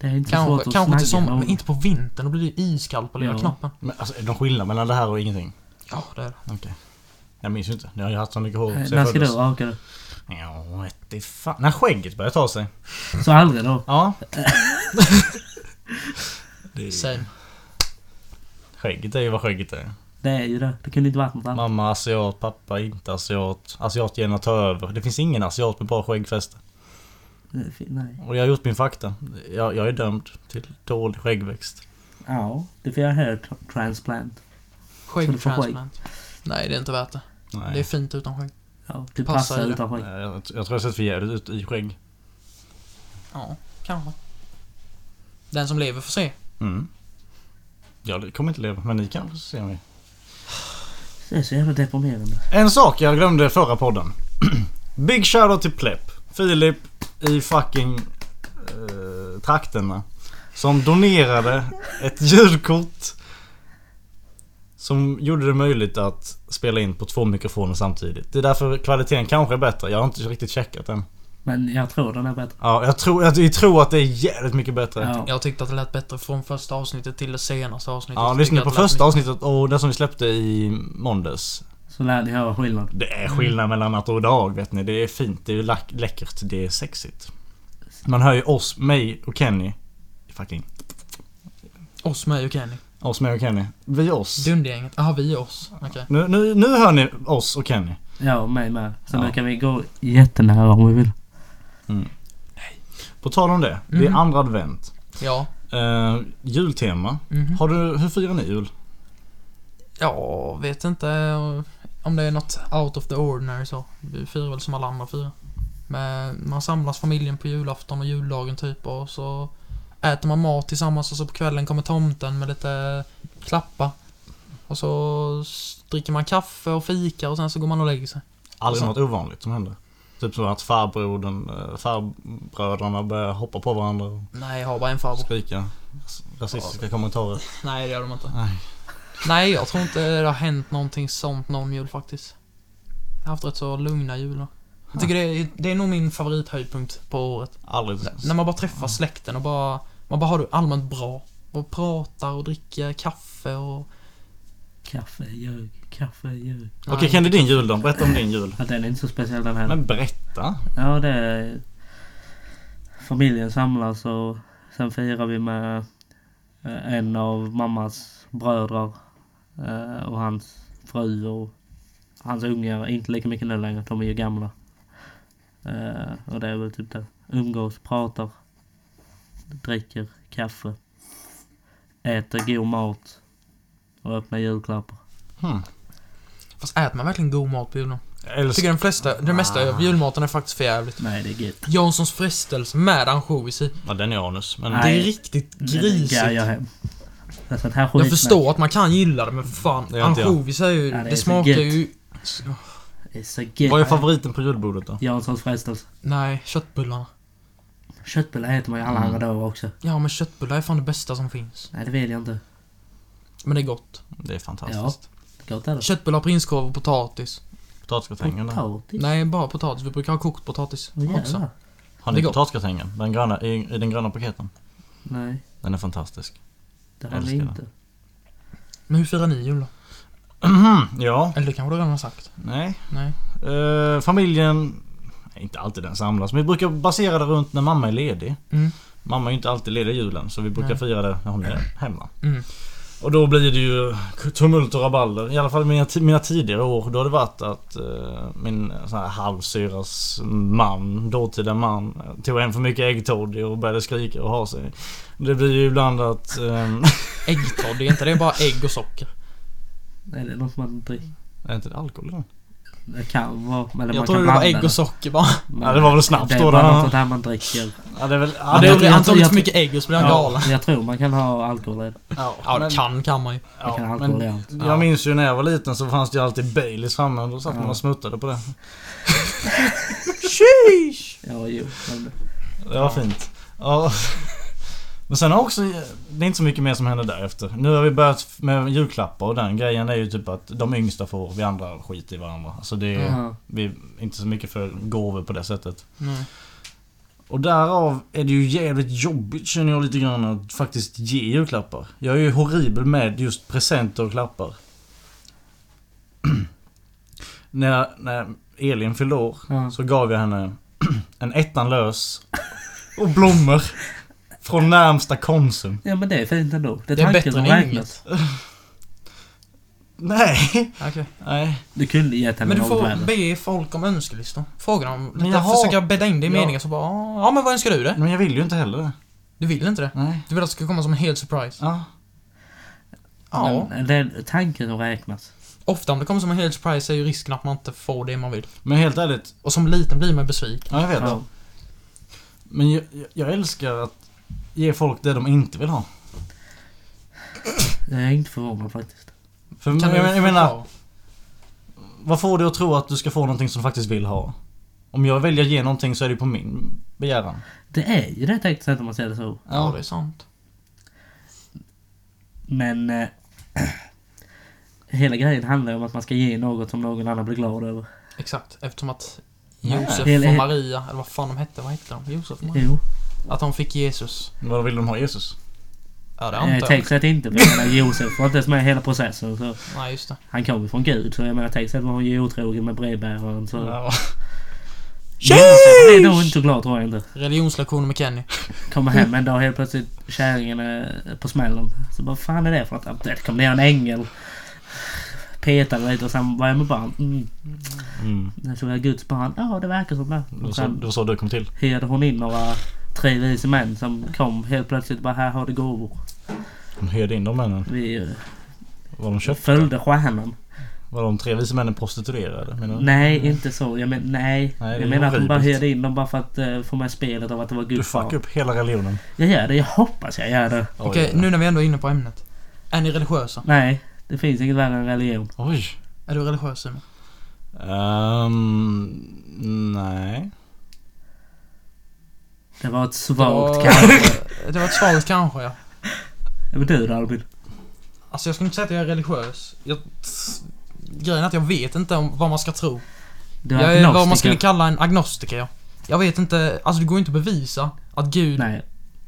S3: Det är inte svårt
S4: Kanske,
S3: att
S4: kanske
S3: snagga
S4: till sommaren,
S3: någon.
S4: men inte på vintern. Då blir det ju iskallt på lilla
S3: Ja.
S4: knappen.
S2: Men alltså är det någon skillnad mellan det här och ingenting?
S4: Ja, det är det.
S2: Jag minns ju inte. Jag har ju haft så mycket hår
S3: Nej,
S2: sen
S3: När
S2: jag
S3: ska du
S2: föddes.
S3: raka dig?
S2: Ja, vete fan. När skägget börjar ta sig.
S3: Så aldrig då?
S2: Ja. det är...
S4: Same.
S2: [LAUGHS] Skägget är ju vad skägget är.
S3: Det är ju det. Det kunde inte varit något annat.
S2: Mamma asiat, pappa inte asiat. Asiatierna tar över. Det finns ingen asiat med bra skäggfäste.
S3: Det fin- Nej.
S2: Och jag har gjort min fakta. Jag, jag är dömd till dålig skäggväxt.
S3: Ja, det får jag hair transplant. Så du får skägg.
S4: Skäggtransplant. Nej, det är inte värt det.
S2: Nej. Eh,
S4: Det är fint utan skägg.
S3: Ja, du
S4: Passar
S3: passar
S4: i det.
S3: utan skägg.
S2: jag, jag tror jag har sett för jävligt ut i skägg.
S4: Ja, kanske. Den som lever får se.
S2: Mm. Jag kommer inte leva, men ni kanske ser mig.
S3: Det är så jävla deprimerande.
S2: En sak jag glömde förra podden. [CLEARS THROAT] Big shoutout till Plepp. Filip i fucking eh, trakterna. Som donerade ett [LAUGHS] ljudkort. Som gjorde det möjligt att spela in på två mikrofoner samtidigt. Det är därför kvaliteten kanske är bättre. Jag har inte riktigt checkat den.
S3: Men jag tror den är bättre.
S2: Ja, jag tror, jag, jag tror att det är jävligt mycket bättre. Ja,
S3: Ja.
S4: Jag tyckte att det lät bättre från första avsnittet till det senaste avsnittet. Jag
S2: lyssna
S4: tycker
S2: på
S4: att det lät
S2: första
S4: mycket-
S2: avsnittet och det som vi släppte i måndags.
S3: Så lär ni höra skillnad.
S2: Det är skillnad mellan natt och dag vet ni. Det är fint, det är lack, läckert, det är sexigt. Man hör ju oss, mig och Kenny. Fucking.
S4: Oss med och Kenny.
S2: Oss, mig och Kenny. Vi oss.
S4: Dundergänget. Jaha, vi är oss. Okej.
S2: Nu, nu, nu hör ni oss och Kenny.
S3: Ja, mig med. Så
S2: Ja.
S3: nu kan vi gå jättenära om vi vill.
S2: På tal om det, det är
S4: Mhm.
S2: andra advent.
S4: Ja.
S2: Eh, jultema.
S4: Mhm.
S2: Har du, hur firar ni jul?
S4: Ja, vet inte om det är något out of the ordinary så. Vi firar väl som alla andra firar. Men man samlas familjen på julafton och juldagen typ och så äter man mat tillsammans och så på kvällen kommer tomten med lite klappa. Och så s- dricker man kaffe och fika och sen så går man och lägger sig.
S2: Aldrig
S4: Så.
S2: något ovanligt som händer. Typ som att farbrodern, eh, farbröderna börjar hoppa på varandra och
S4: Nej, jag har bara en farbror.
S2: skrika ras- rasistiska kommentarer.
S4: Nej, det gör de inte.
S2: Nej.
S4: Nej, jag tror inte det har hänt någonting sånt någon jul faktiskt. Jag har haft rätt så lugna jular. Jag tycker det är, det är nog min favorithöjdpunkt på året.
S2: Aldrig.
S4: N- När man bara träffar släkten och bara, man bara har det allmänt bra. Och pratar och dricker kaffe och...
S3: Kaffe, ljug, kaffe, ljug.
S2: Okej Kenny, din jul då? Berätta om din jul.
S3: Ja, den är inte så speciell den här.
S2: Men berätta.
S3: Ja, det är... Familjen samlas och sen firar vi med eh, en av mammas bröder eh, och hans fru och hans ungar. Inte lika mycket nu längre, de är ju gamla. Eh, Och det är väl typ det. Umgås, pratar, dricker kaffe, äter god mat och öppnar julklappar.
S2: Hmm.
S4: Fast äter man verkligen god mat på julen?
S2: Jag
S4: Jag
S2: älskar
S4: tycker den flesta,
S3: Ah.
S4: det mesta av julmaten är faktiskt för jävligt.
S3: Nej, det är gött.
S4: Janssons frestelse med ansjovis i.
S2: Ja, den är anus. Men
S4: Det
S3: Nej.
S4: är riktigt
S3: Det
S4: grisigt.
S3: är jag hem. Alltså, Det är sånt här skit
S4: Jag förstår att man kan gilla det men för fan.
S2: Det gör inte jag.
S4: Ansjovis är ju,
S3: Ja, det är
S4: det
S3: så
S4: smakar
S3: gött.
S4: ju...
S3: Det är så
S2: vad är
S3: gött.
S2: favoriten på julbordet då?
S3: Janssons frestelse.
S4: Nej, köttbullarna.
S3: Köttbullar äter man ju alla
S4: Mm.
S3: andra dagar också.
S4: Ja men köttbullar är fan det bästa som finns.
S3: Nej, det vill jag inte.
S4: Men det är gott.
S2: Det är fantastiskt.
S3: Gott är det.
S4: Köttbullar, prinskorv och potatis.
S2: Potatisgratängen där.
S3: Potatis?
S4: Nej, bara potatis. Vi brukar ha kokt potatis
S3: Åh, jävlar.
S4: också.
S2: Har
S4: Det
S2: ni
S4: går.
S2: potatisgratängen? Den gröna, i, I den gröna paketen?
S3: Nej,
S2: Den är fantastisk.
S3: det har vi
S2: Älskar
S3: inte.
S4: Men hur firar ni jul då? Mhm.
S2: ja,
S4: Eller det kanske du redan har sagt?
S2: nej.
S4: Nej.
S2: Eh, familjen... nej, Inte alltid den samlas, men vi brukar basera det runt när mamma är ledig.
S4: Mm.
S2: Mamma är ju inte alltid ledig julen, så vi brukar
S4: Nej.
S2: fira det när hon är hemma.
S4: Mm.
S2: Och då blir det ju tumult och rabalder. I alla fall mina, ti- mina tidigare år. Då har det varit att eh, min sån här halvsyras man, dåtida man, eh, tog hem för mycket äggtoddy och började skrika och ha sig. Det blir ju ibland att... ehm, [LAUGHS]
S4: Äggtoddy, är inte det bara ägg och socker?
S3: Nej, det är något man dricker.
S2: är inte det alkohol då?
S3: Det kan vara, eller man
S4: Jag
S3: kan
S4: trodde det
S3: blanda
S4: var ägg och socker bara.
S3: Men
S2: Ja, det var väl snabbt
S3: det är
S2: då,
S3: bara
S2: då.
S3: något sånt här man dricker.
S2: Ja det är väl... Ja,
S4: Han
S2: det,
S3: jag-
S4: tog-
S3: jag
S4: han
S3: tror-
S4: tog lite
S3: jag
S4: för mycket ägg och så blev han
S2: Ja.
S4: galen.
S3: Jag tror man kan ha alkohol i det.
S2: ja,
S4: Ja,
S2: men-
S4: det kan kan man ju.
S2: Ja,
S3: kan alkohol
S2: men
S3: igen.
S4: Ja.
S2: jag minns ju när jag var liten så fanns det ju alltid Baileys framme och då satt man
S3: Ja.
S2: och smuttade på det.
S3: Ja, jo. Men,
S2: Det var fint. Ja. [LAUGHS] Men sen har också, det är inte så mycket mer som händer därefter. Nu har vi börjat med julklappar och den grejen är ju typ att de yngsta får, vi andra skiter i varandra. Alltså det
S4: Mm.
S2: är,
S3: ja.
S2: vi är inte så mycket för gåvor på det sättet.
S4: Nej.
S2: Och därav är det ju jävligt jobbigt känner jag lite grann att faktiskt ge julklappar. Jag är ju horribel med just presenter och klappar. [CLEARS THROAT] när, när Elin fyllde år
S3: Ja.
S2: så gav jag henne [CLEARS THROAT] en ettan lös och blommor. Från närmsta Konsum.
S3: ja, men det är fint ändå. Det är,
S4: Det är
S3: tanken
S4: bättre
S3: som
S4: än
S3: räknas.
S4: inget.
S2: Nej.
S4: Okej.
S2: Nej.
S3: Du kunde gett henne
S4: Men du
S3: något
S4: får
S3: värre.
S4: be folk om önskelistor. Fråga dem
S2: Men
S4: lite,
S2: jaha.
S4: försöka bädda in det i
S2: Ja.
S4: meningen så bara "Ah, Ja men vad önskar du dig?
S2: Men jag vill ju inte heller det.
S4: Du vill inte det?
S2: Nej.
S4: Du vill att det ska komma som en hel surprise?
S2: Ja.
S4: Ja.
S3: Men det är tanken som räknas.
S4: Ofta om det kommer som en hel surprise är ju risken att man inte får det man vill.
S2: Men helt ärligt.
S4: Och som liten blir man besviken.
S2: Ja, jag vet.
S3: Ja.
S2: Men jag, jag- jag älskar att ge folk det de inte vill ha.
S3: Jag är inte förvånad faktiskt.
S2: För
S4: Kan
S2: jag,
S4: du
S2: men- jag menar,
S4: förklara?
S2: Vad får du att tro att du ska få någonting som du faktiskt vill ha? Om jag väljer att ge någonting så är det på min begäran.
S3: Det är ju det tekniskt sett om man säger det så.
S4: Ja, det är sant.
S3: Men... Eh, [CLEARS THROAT] hela grejen handlar ju om att man ska ge något som någon annan blir glad över.
S4: Exakt, eftersom att
S2: Nej.
S4: Josef
S3: Hela-
S4: och Maria, eller vad fan de hette, vad hette de? Josef och Maria?
S3: Jo.
S4: Att de fick Jesus.
S2: Vad vill de ha Jesus?
S4: Ja, det
S3: Eh,
S4: antar jag.
S3: Tekniskt sett inte. för jag menar, Josef var inte ens med i hela processen. Så
S4: Nej, just det.
S3: han kom ju från Gud. Så jag menar tekniskt sett var hon ju otrogen med brevbäraren. Så...
S2: Ja.
S3: Josef blev nog inte så glad tror jag inte.
S4: Religionslektioner med Kenny.
S3: Kommer hem en dag och helt plötsligt kärringen är på smällen. Så vad fan är det för att Ja, det kom ner en ängel. Petade lite och sen var jag med barn. Mm.
S2: Mm.
S3: Sen såg jag Guds barn. Ja det verkar som det.
S2: Det var
S3: Och
S2: så-
S3: sen
S2: det var så du kom till.
S3: hyrde hon in några tre vise män som kom helt plötsligt bara här har du gåvor.
S2: De hyrde in de männen.
S3: Vi eh,
S2: Var de köpt?
S3: följde stjärnan.
S2: Var de tre vise männen prostituerade? Menar du?
S3: Nej inte så. Jag men, nej.
S2: Mm. Nej, det är
S3: jag menar att hon bara
S2: horribelt.
S3: hyrde in dem bara för att eh, få med spelet av att det var
S2: Du
S3: Guds
S2: fuckar
S3: barn.
S2: upp hela religionen.
S3: Jag gör det. Jag hoppas jag gör det.
S2: Oj.
S4: Okej, nu när vi ändå är inne på ämnet. Är ni religiösa?
S3: Nej. Det finns inget värre än religion.
S2: Oj.
S4: Är du religiös Simon?
S2: Ehm... nej.
S3: Det var ett
S4: Det
S3: svagt
S4: var-
S3: kanske.
S4: Eh, [LAUGHS] Det var ett svagt kanske, ja.
S3: Ja, Men du då Albin?
S4: Alltså jag skulle inte säga att jag är religiös. Jag... Grejen är att jag vet inte om vad man ska tro.
S3: Du
S4: Jag är vad man
S3: agnostiker.
S4: skulle kalla en agnostiker, ja. Jag vet inte, alltså det går inte att bevisa att Gud
S3: Nej,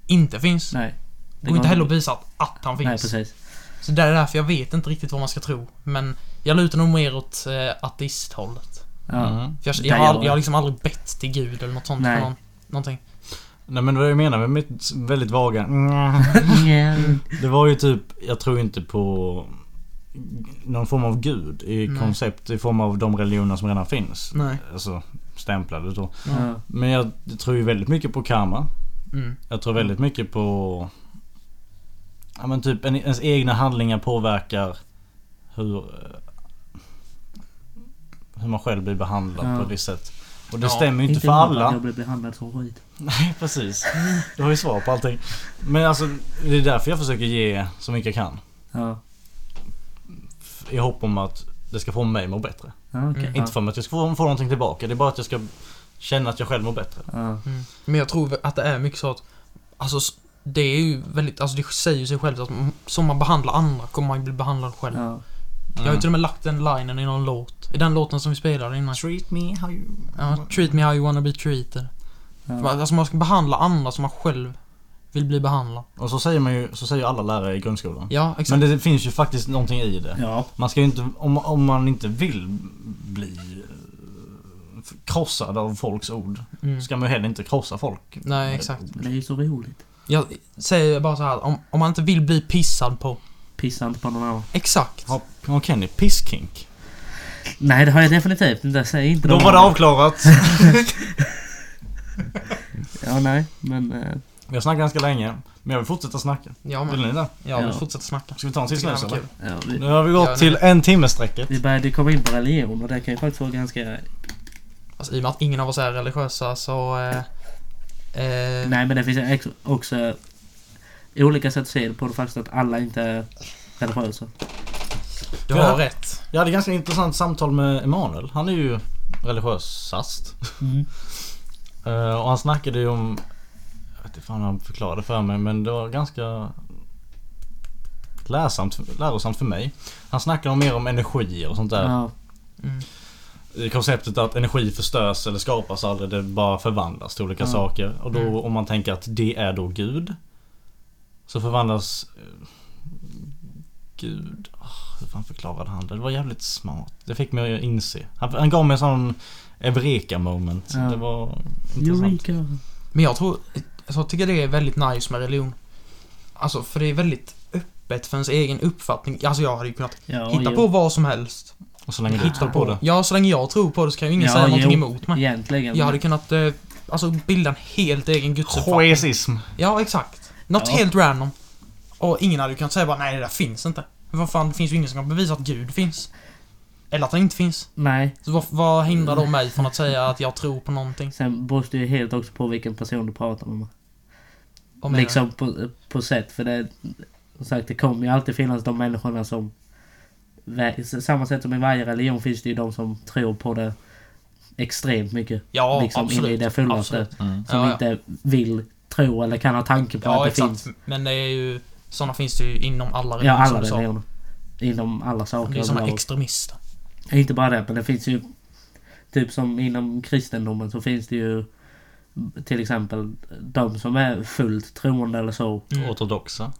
S4: inte finns.
S3: nej.
S4: det går inte heller att bevisa att, att han finns.
S3: Nej, precis.
S4: Så det är därför jag vet inte riktigt vad man ska tro. Men jag lutar nog mer åt eh, ateisthållet.
S3: Ja.
S2: Mm.
S4: För jag,
S3: Där
S4: jag,
S3: gör
S4: har,
S3: jag.
S4: jag har liksom aldrig bett till gud eller något sånt.
S3: Nej.
S4: för Någon, någonting.
S2: Nej men vad jag menar med mitt väldigt vaga mm. [LAUGHS] Det var ju typ, jag tror inte på någon form av gud i
S4: Nej.
S2: koncept i form av de religioner som redan finns.
S4: Nej.
S2: Alltså stämplade då.
S3: Ja.
S2: Men jag tror ju väldigt mycket på karma.
S4: Mm.
S2: Jag tror väldigt mycket på... Ja men typ en, ens egna handlingar påverkar hur... eh, Hur man själv blir behandlad
S3: Ja.
S2: på ett visst sätt. Och det
S4: Ja,
S2: stämmer ju inte för [LAUGHS]
S3: nog
S2: alla.
S3: att Jag blev behandlad som skit.
S2: Nej precis. Du har ju svar på allting. Men alltså det är därför jag försöker ge så mycket jag kan.
S3: Ja.
S2: I hopp om att det ska få mig att må bättre.
S3: Ja, okej.
S4: Mm.
S3: Ja.
S2: Inte för att jag ska få, få någonting tillbaka. Det är bara att jag ska känna att jag själv mår bättre.
S3: Ja.
S4: Men jag tror att det är mycket så att... Alltså s- det är ju väldigt, alltså det säger sig självt att m- som man behandlar andra kommer man bli behandlad själv.
S3: Ja.
S4: Jag har ju till och med lagt den linen i någon låt. I den låten som vi spelade innan.
S2: Treat me how you...
S4: Ja, treat me how you wanna be treated.
S3: Ja.
S4: Man, alltså man ska behandla andra som man själv vill bli behandlad.
S2: Och så säger man ju, så säger ju alla lärare i grundskolan.
S4: Ja, exakt.
S2: Men det finns ju faktiskt någonting i det.
S3: Ja.
S2: Man ska ju inte, om, om man inte vill bli eh, krossad av folks ord.
S4: Mm.
S2: Ska man ju heller inte krossa folk.
S4: Nej, exakt.
S3: Men det är ju så roligt.
S4: Jag säger bara så här, om, om man inte vill bli pissad på.
S3: Pissa inte på någon annan.
S4: Exakt.
S2: Har, har Kenny pisskink? Mm.
S3: Nej det har jag definitivt inte. Säg inte
S2: Då
S3: någon
S2: var det
S3: annan.
S2: avklarat.
S3: Ja nej men... eh,
S2: [LAUGHS] Vi har snackat ganska länge. Men jag vill fortsätta snacka.
S4: Ja,
S2: Vill
S4: men,
S2: ni det?
S4: ja, vi
S3: Ja.
S4: fortsätter snacka.
S2: Ska vi ta en sista snus eller?
S3: ja, vi,
S2: Nu har vi
S4: Ja,
S2: gått till en timme-strecket.
S3: vi började komma in på religion och det kan ju faktiskt vara ganska...
S4: Alltså, I och med att ingen av oss är religiösa så... Eh, eh,
S3: Nej men det finns ex- också olika sätt att se det på. Det faktiskt att alla inte är religiösa.
S4: Du har rätt.
S2: Jag hade ett ganska intressant samtal med Emanuel. Han är ju religiösast.
S3: Mm.
S2: [LAUGHS] Eh, och han snackade ju om... Jag vet inte fan hur han förklarade för mig men det var ganska lärsamt, lärosamt för mig. Han snackade om mer om energi och sånt där.
S3: Ja.
S4: Mm.
S2: I konceptet att energi förstörs eller skapas aldrig. Det bara förvandlas till olika
S3: Ja.
S2: saker. Och då
S4: Mm.
S2: om man tänker att det är då Gud. Så förvandlas eh, Gud. ah, hur fan förklarade han det? Det var jävligt smart. Det fick mig att inse. Han, han gav mig en sån Eureka moment.
S3: Ja.
S2: Det var intressant.
S3: Eureka.
S4: Men jag tror... alltså, Jag tycker det är väldigt nice med religion. Alltså, för det är väldigt öppet för ens egen uppfattning. Alltså, jag hade ju kunnat
S3: Ja,
S4: hitta
S3: jo.
S4: på vad som helst.
S2: Och så länge du
S3: Hittar
S2: hittar på det.
S4: Ja, så länge jag tror på det så kan ju ingen
S3: Ja,
S4: säga någonting
S3: jo.
S4: emot mig.
S3: Egentligen.
S4: Jag hade kunnat... Eh, alltså, bilda en helt egen gudsuppfattning.
S2: Poesism.
S4: Ja, exakt. Något
S3: Ja.
S4: helt random. Och ingen hade ju kunnat säga bara nej det där finns inte. Men vad fan, det finns ju ingen som kan bevisa att Gud finns. Eller att han inte finns.
S3: Nej.
S4: Så vad, vad hindrar då mig från att säga att jag tror på någonting?
S3: Sen beror det ju helt också på vilken person du pratar med.
S4: Vad menar du?
S3: Liksom på, på sätt. För det, som sagt, det kommer ju alltid finnas de människorna som... vä- Samma sätt som i varje religion finns det ju de som tror på det extremt mycket.
S4: Ja,
S3: liksom
S4: absolut.
S3: in i det fullaste.
S4: absolut.
S2: Mm.
S3: Som
S4: Ja, ja.
S3: inte vill tro eller kan ha tanken på
S4: Ja,
S3: att det
S4: exakt.
S3: finns.
S4: Men det är ju... Sådana finns det ju inom alla
S3: Ja,
S4: religioner
S3: alla
S4: som du sa.
S3: religioner. Inom alla saker.
S4: Liksom Det är ju sådana
S3: överlag.
S4: extremister.
S3: Inte bara det, men det finns ju... Typ som inom kristendomen så finns det ju till exempel de som är fullt troende eller så.
S4: Mm.
S2: Ortodoxa.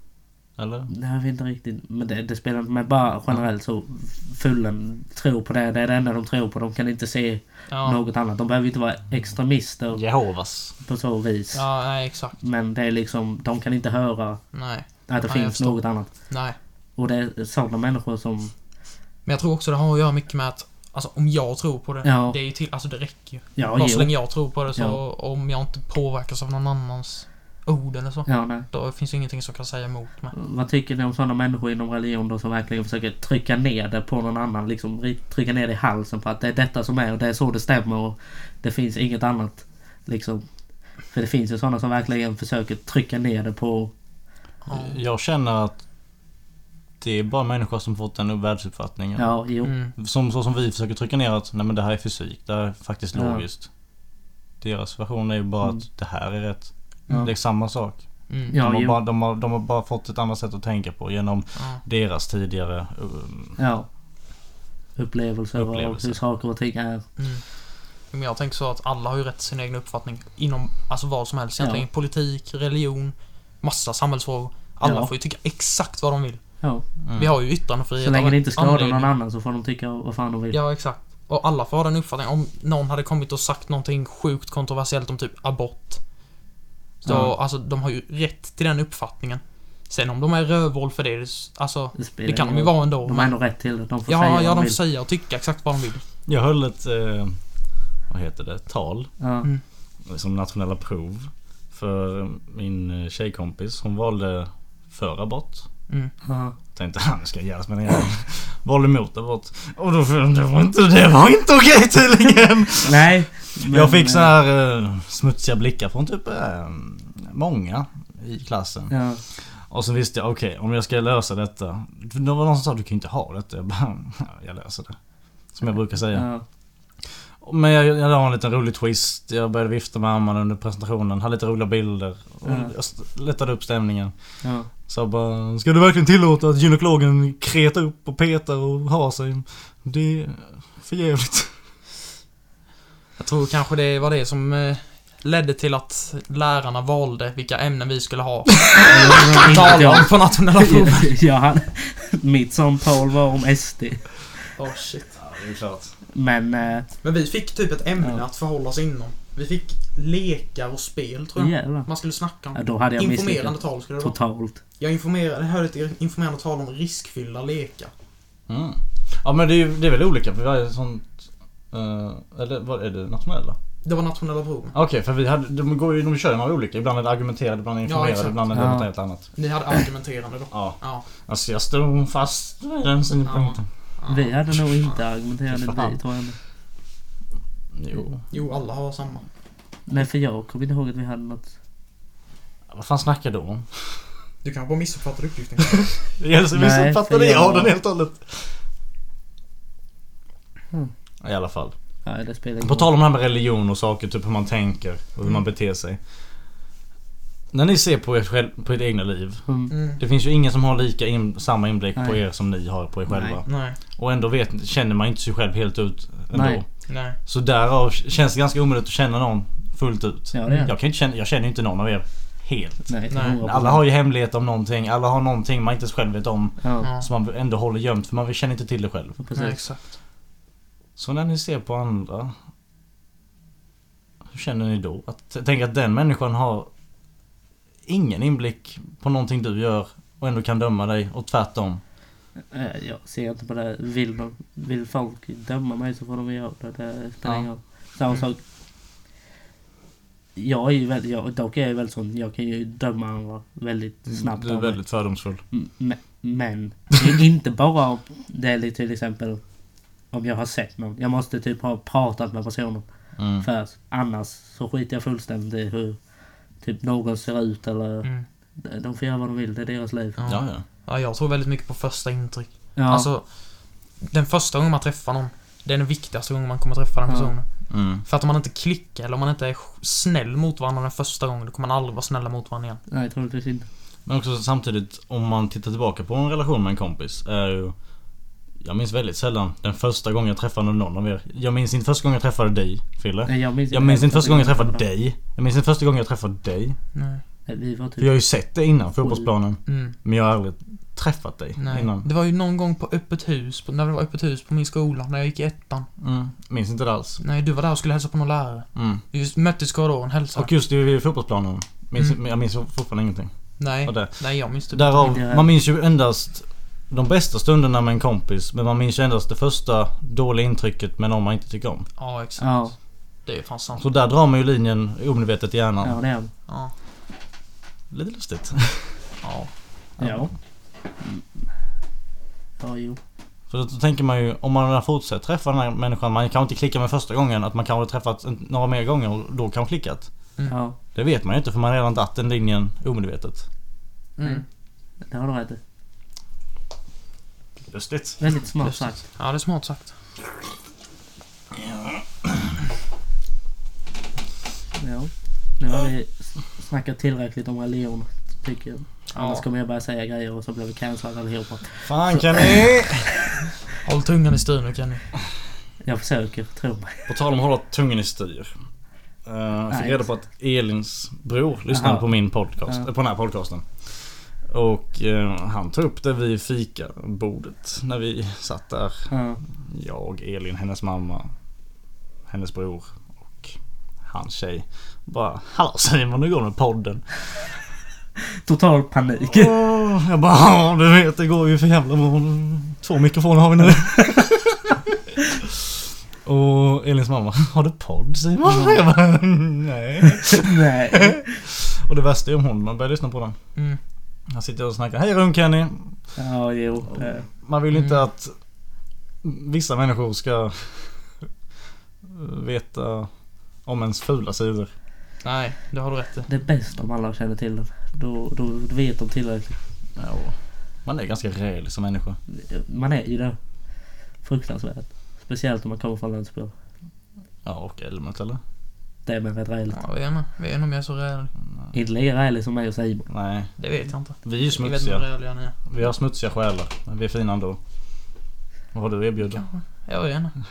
S2: Eller?
S3: Det här är inte riktigt, men det, det spelar inte men bara generellt så fullen tror på det. Det är det enda de tror på. De kan inte se
S4: Ja.
S3: något annat. De behöver inte vara extremister
S2: Jehovas.
S3: på så vis.
S4: ja, nej exakt.
S3: Men det är liksom, de kan inte höra
S4: Nej.
S3: att det
S4: jag
S3: finns
S4: förstår.
S3: något annat.
S4: Nej.
S3: Och det är sådana människor som,
S4: Men jag tror också det har att göra mycket med att... Alltså om jag tror på det.
S3: Ja.
S4: Det är ju till... Alltså det räcker ju.
S3: ja,
S4: Bara så
S3: jo.
S4: länge jag tror på det så
S3: Ja.
S4: om jag inte påverkas av någon annans ord eller så.
S3: Ja, nej.
S4: Då finns ju ingenting som kan säga emot mig.
S3: Vad tycker ni om sådana människor inom religion då som verkligen försöker trycka ner det på någon annan? Liksom ri- trycka ner det i halsen på att det är detta som är och det är så det stämmer och det finns inget annat. Liksom. För det finns ju sådana som verkligen försöker trycka ner det på...
S4: Ja.
S2: Jag känner att det är bara människor som fått den världsuppfattningen.
S3: Ja, jo.
S4: Mm.
S2: Som, så som vi försöker trycka ner att nej men det här är fysik, det här är faktiskt
S3: Ja.
S2: logiskt. Deras version är ju bara
S3: Mm.
S2: att det här är rätt.
S3: Ja.
S2: Det är samma sak.
S4: Mm.
S3: Ja,
S2: de, har
S3: jo.
S2: bara, de, har, de har bara fått ett annat sätt att tänka på genom
S4: Ja.
S2: deras tidigare... Um,
S3: Ja. Upplevelser och
S2: Upplevelser.
S3: hur saker och ting är.
S4: Mm. Men jag tänker så att alla har ju rätt till sin egen uppfattning inom alltså vad som helst egentligen. Politik, religion, massa samhällsfrågor. Alla
S3: Ja.
S4: får ju tycka exakt vad de vill.
S3: Ja.
S2: mm.
S4: Vi har ju
S3: Så
S4: yttrandefrihet
S3: länge
S4: av
S3: det inte
S4: en
S3: skadar
S4: anledning.
S3: någon annan så får de tycka vad fan de vill.
S4: Ja, exakt. Och alla får ha den uppfattningen. Om någon hade kommit och sagt någonting sjukt kontroversiellt om typ abort. Så,
S3: Ja.
S4: alltså, de har ju rätt till den uppfattningen. Sen om de är rövhål för det, det, s- alltså,
S3: spelar
S4: det kan de ju
S3: ingen
S4: vara ändå.
S3: roll. De har
S4: men-
S3: ändå rätt till det. De får säga
S4: Ja,
S3: vad
S4: ja, de får
S3: vill.
S4: säga och tycka exakt vad de vill.
S2: Jag höll ett... Eh, vad heter det? Tal.
S3: Ja.
S2: Som nationella prov. För min eh, tjejkompis. Hon valde för abort.
S4: Mm.
S3: Ja.
S2: Tänkte han ska göras med en jävel. [LAUGHS] Valde emot abort. Och då för- det var inte, det var inte okej tydligen.
S3: Nej. men,
S2: jag fick så
S3: eh,
S2: här eh, smutsiga blickar från typ eh, många i klassen.
S3: eh, Ja.
S2: Och så visste jag, okej om jag ska lösa detta. För Det var någon som sa du kan ju inte ha detta. Jag bara, [LAUGHS] "Ja, jag löser det. Som jag brukar säga.
S3: Ja.
S2: Men jag, jag la en liten rolig twist. Jag började vifta med armarna under presentationen. Hade lite roliga bilder. Och
S3: Ja.
S2: Jag st- lättade upp stämningen.
S3: ja.
S2: Så jag bara, ska du verkligen tillåta att gynekologen kretar upp och petar och har sig? Det är för jävligt.
S4: Jag tror kanske det var det som eh, ledde till att lärarna valde vilka ämnen vi skulle [LAUGHS] ha.
S3: Inte
S4: Tala om
S3: jag.
S4: på nationella
S3: [LAUGHS]
S4: provet.
S3: Jag hade, mitt som Paul var om SD.
S4: Oh, shit.
S2: Ja, det är klart.
S3: Men eh,
S4: Men vi fick typ ett ämne
S3: Ja.
S4: att förhålla oss inom. Vi fick lekar och spel tror jag.
S3: jävlar.
S4: Man skulle snacka
S3: Ja,
S4: om.
S3: då hade jag
S4: Informerande
S3: misslyckats.
S4: tal skulle det vara.
S3: Totalt.
S4: Jag informerade, hörde ett informerande tal om riskfyllda lekar.
S2: Mm. Ja men det är, ju, det är väl olika för varje sånt... eh, eller vad är det? Nationella?
S4: Det var nationella proven.
S2: Okej, för vi hade, de, går ju, de kör ju några olika. Ibland är det argumenterade, ibland är det
S4: Ja,
S2: informerade,
S4: exakt.
S2: ibland är det
S3: Ja.
S2: något helt annat.
S4: Ni hade argumenterande då.
S2: Ja.
S4: Ja.
S2: Alltså jag stod fast vid den synpunkten.
S4: ja.
S3: Vi hade nog inte argumenterat
S2: Fy fan.
S3: vi tror jag.
S2: Jo.
S4: Jo, alla har samma.
S3: Nej för jag kommer inte ihåg att vi hade något.
S2: Vad fan snackar du om? [LAUGHS] Alltså,
S4: Du kanske bara missuppfattade uppgiften.
S2: Jag
S3: Nej,
S2: missuppfattade
S3: för
S2: jag
S3: jag-
S2: den helt och hållet.
S3: Mm.
S2: I alla fall.
S3: Nej det spelar ingen
S2: På
S3: roll.
S2: tal om det här med religion och saker, typ hur man tänker och hur man
S4: Mm.
S2: beter sig. När ni ser på ert, själv, på ert egna liv.
S3: Mm.
S4: Mm.
S2: Det finns ju ingen som har lika in, samma inblick på
S3: Nej.
S2: er som ni har på er
S3: Nej.
S2: själva.
S4: Nej.
S2: Och ändå vet, känner man inte sig själv helt ut ändå.
S3: Nej.
S4: Nej.
S2: Så därav känns det ganska omöjligt att känna någon fullt ut.
S3: Ja det är det.
S2: Jag, kan inte känna, jag känner ju inte någon av er helt.
S3: Nej, till
S4: Nej.
S3: 100%.
S2: Alla har ju hemligheter om någonting. Alla har någonting man inte ens själv vet om.
S3: Ja,
S4: Ja.
S2: Som man ändå håller gömt för man känner inte till det själv.
S4: Nej,
S3: precis.
S4: exakt.
S2: Så när ni ser på andra. Hur känner ni då? Att, tänk att den människan har ingen inblick på någonting du gör och ändå kan döma dig och tvärtom.
S3: Eh, Jag ser inte på det. Vill, de, vill folk döma mig så får de göra det. Det spelar
S2: Ja.
S3: ingen roll. Samma
S4: Mm.
S3: sak. Jag är ju väldigt, jag, dock är jag väldigt sån, jag kan ju döma andra väldigt snabbt.
S2: Mm, Du är
S3: av mig.
S2: väldigt fördomsfull.
S3: M- Men, men det är inte bara om det är till exempel om jag har sett någon. Jag måste typ ha pratat med personen
S2: Mm.
S3: först. Annars så skiter jag fullständigt i hur typ någon ser ut eller
S4: Mm.
S3: de får göra vad de vill. Det är deras liv.
S4: Ja.
S2: Ja, ja.
S4: Ja, jag tror väldigt mycket på första intryck.
S3: Ja.
S4: Alltså, den första gången man träffar någon, det är den viktigaste gången man kommer träffa den
S3: Ja.
S4: personen.
S2: Mm.
S4: För att om man inte klickar eller om man inte är snäll mot varandra den första gången, då kommer man aldrig vara snälla mot varandra igen.
S3: Nej, troligtvis inte.
S2: Men också samtidigt om man tittar tillbaka på en relation med en kompis är ju Jag minns väldigt sällan den första gången jag träffade någon av er Jag minns inte första gången jag träffade dig Fille
S3: Nej, Jag minns,
S2: Jag minns inte första gången jag träffade
S3: dig.
S2: dig Jag minns inte första gången jag träffade dig
S4: Nej.
S3: Vi var
S2: För jag
S3: typ...
S2: har ju sett dig innan fotbollsplanen
S4: Mm.
S2: Men jag har aldrig träffat dig
S4: Nej.
S2: innan
S4: Det var ju någon gång på öppet hus, på, när det var öppet hus på min skola, när jag gick i ettan.
S2: mm. Minns inte det alls
S4: Nej, du var där och skulle hälsa på någon lärare.
S2: mm.
S4: Vi just möttes i korridoren, hälsade.
S2: Och just det vid fotbollsplanen minns,
S4: Mm.
S2: Jag minns fortfarande ingenting
S4: Nej,
S2: och det.
S4: nej jag minns typ
S2: Därav,
S3: det är-
S2: man minns ju endast de bästa stunderna med en kompis Men man minns ju endast det första dåliga intrycket med någon man inte tycker om
S4: Ja, exakt.
S3: Ja,
S4: Det är fan sant.
S2: Så där drar man ju linjen omedvetet i hjärnan.
S3: ja, det är han.
S4: Ja.
S2: Lite lustigt.
S4: ja.
S3: Ja. Mm. Ja, jo.
S2: För då tänker man ju om man fortsätter träffa den här människan. Man kanske inte klickar med första gången. Att man kanske har träffat en- några mer gånger och då kanske klickat.
S3: Ja,
S2: Det vet man ju inte för man har redan dratt den linjen omedvetet.
S4: Mm.
S3: det har du rätt i.
S2: Lustigt.
S3: Väldigt smart
S4: Just det.
S3: sagt.
S4: Ja, det är smart sagt.
S3: Ja. Nu har vi s- snackat tillräckligt om religion, tycker jag. Annars
S4: Ja.
S3: kommer jag börja säga grejer och så blir vi cancellade allihopa.
S2: Fan Kenny!
S4: Håll tungan i styr nu Kenny.
S3: Jag försöker, tro mig.
S2: På tal om att hålla tungan i styr. Eh, Jag fick
S3: Nej.
S2: reda på att Elins bror lyssnade
S3: Jaha.
S2: på min podcast.
S3: Ja.
S2: eh, På den här podcasten. Och eh, han tog upp det vid fikabordet. När vi satt där
S3: Ja.
S2: jag, Elin, hennes mamma, hennes bror och hans tjej. Bara Hallå Simon, hur går det med podden?
S3: Total panik.
S2: Åh, jag bara ja du vet det går ju för jävla bra. Två mikrofoner har vi
S4: [LAUGHS]
S2: nu. och Elins mamma, har du podd Simon? Jag bara, nej.
S3: [LAUGHS] Nej.
S2: Och det värsta är om hon, man börjar lyssna på den.
S4: Mm.
S2: Han sitter och snackar, hej Rum-Kenny.
S3: Ja, jo. Eh, det-
S2: Man vill ju inte
S4: Mm.
S2: att vissa människor ska eh, veta om ens fula sidor.
S4: Nej, det har du rätt i.
S3: Det är bäst om alla känner till den. Då, då vet de tillräckligt.
S2: Ja, man är ganska rälig som människa.
S3: Man är ju det. Fruktansvärt. Speciellt om man kommer från landsbygden.
S2: Ja, och Elmot eller?
S3: Det är man rätt räligt.
S4: Ja, vi är med. Vi är nog mer så räliga.
S3: Inte lika liksom rälig som mig och Simon.
S2: Nej,
S4: Det vet jag inte.
S2: vi är ju
S4: Jag vet inte hur
S2: smutsiga.
S4: räliga ni är.
S2: Vi har smutsiga själar, men vi är fina ändå. Vad har du erbjudit?
S4: Kanske. Jag vet inte.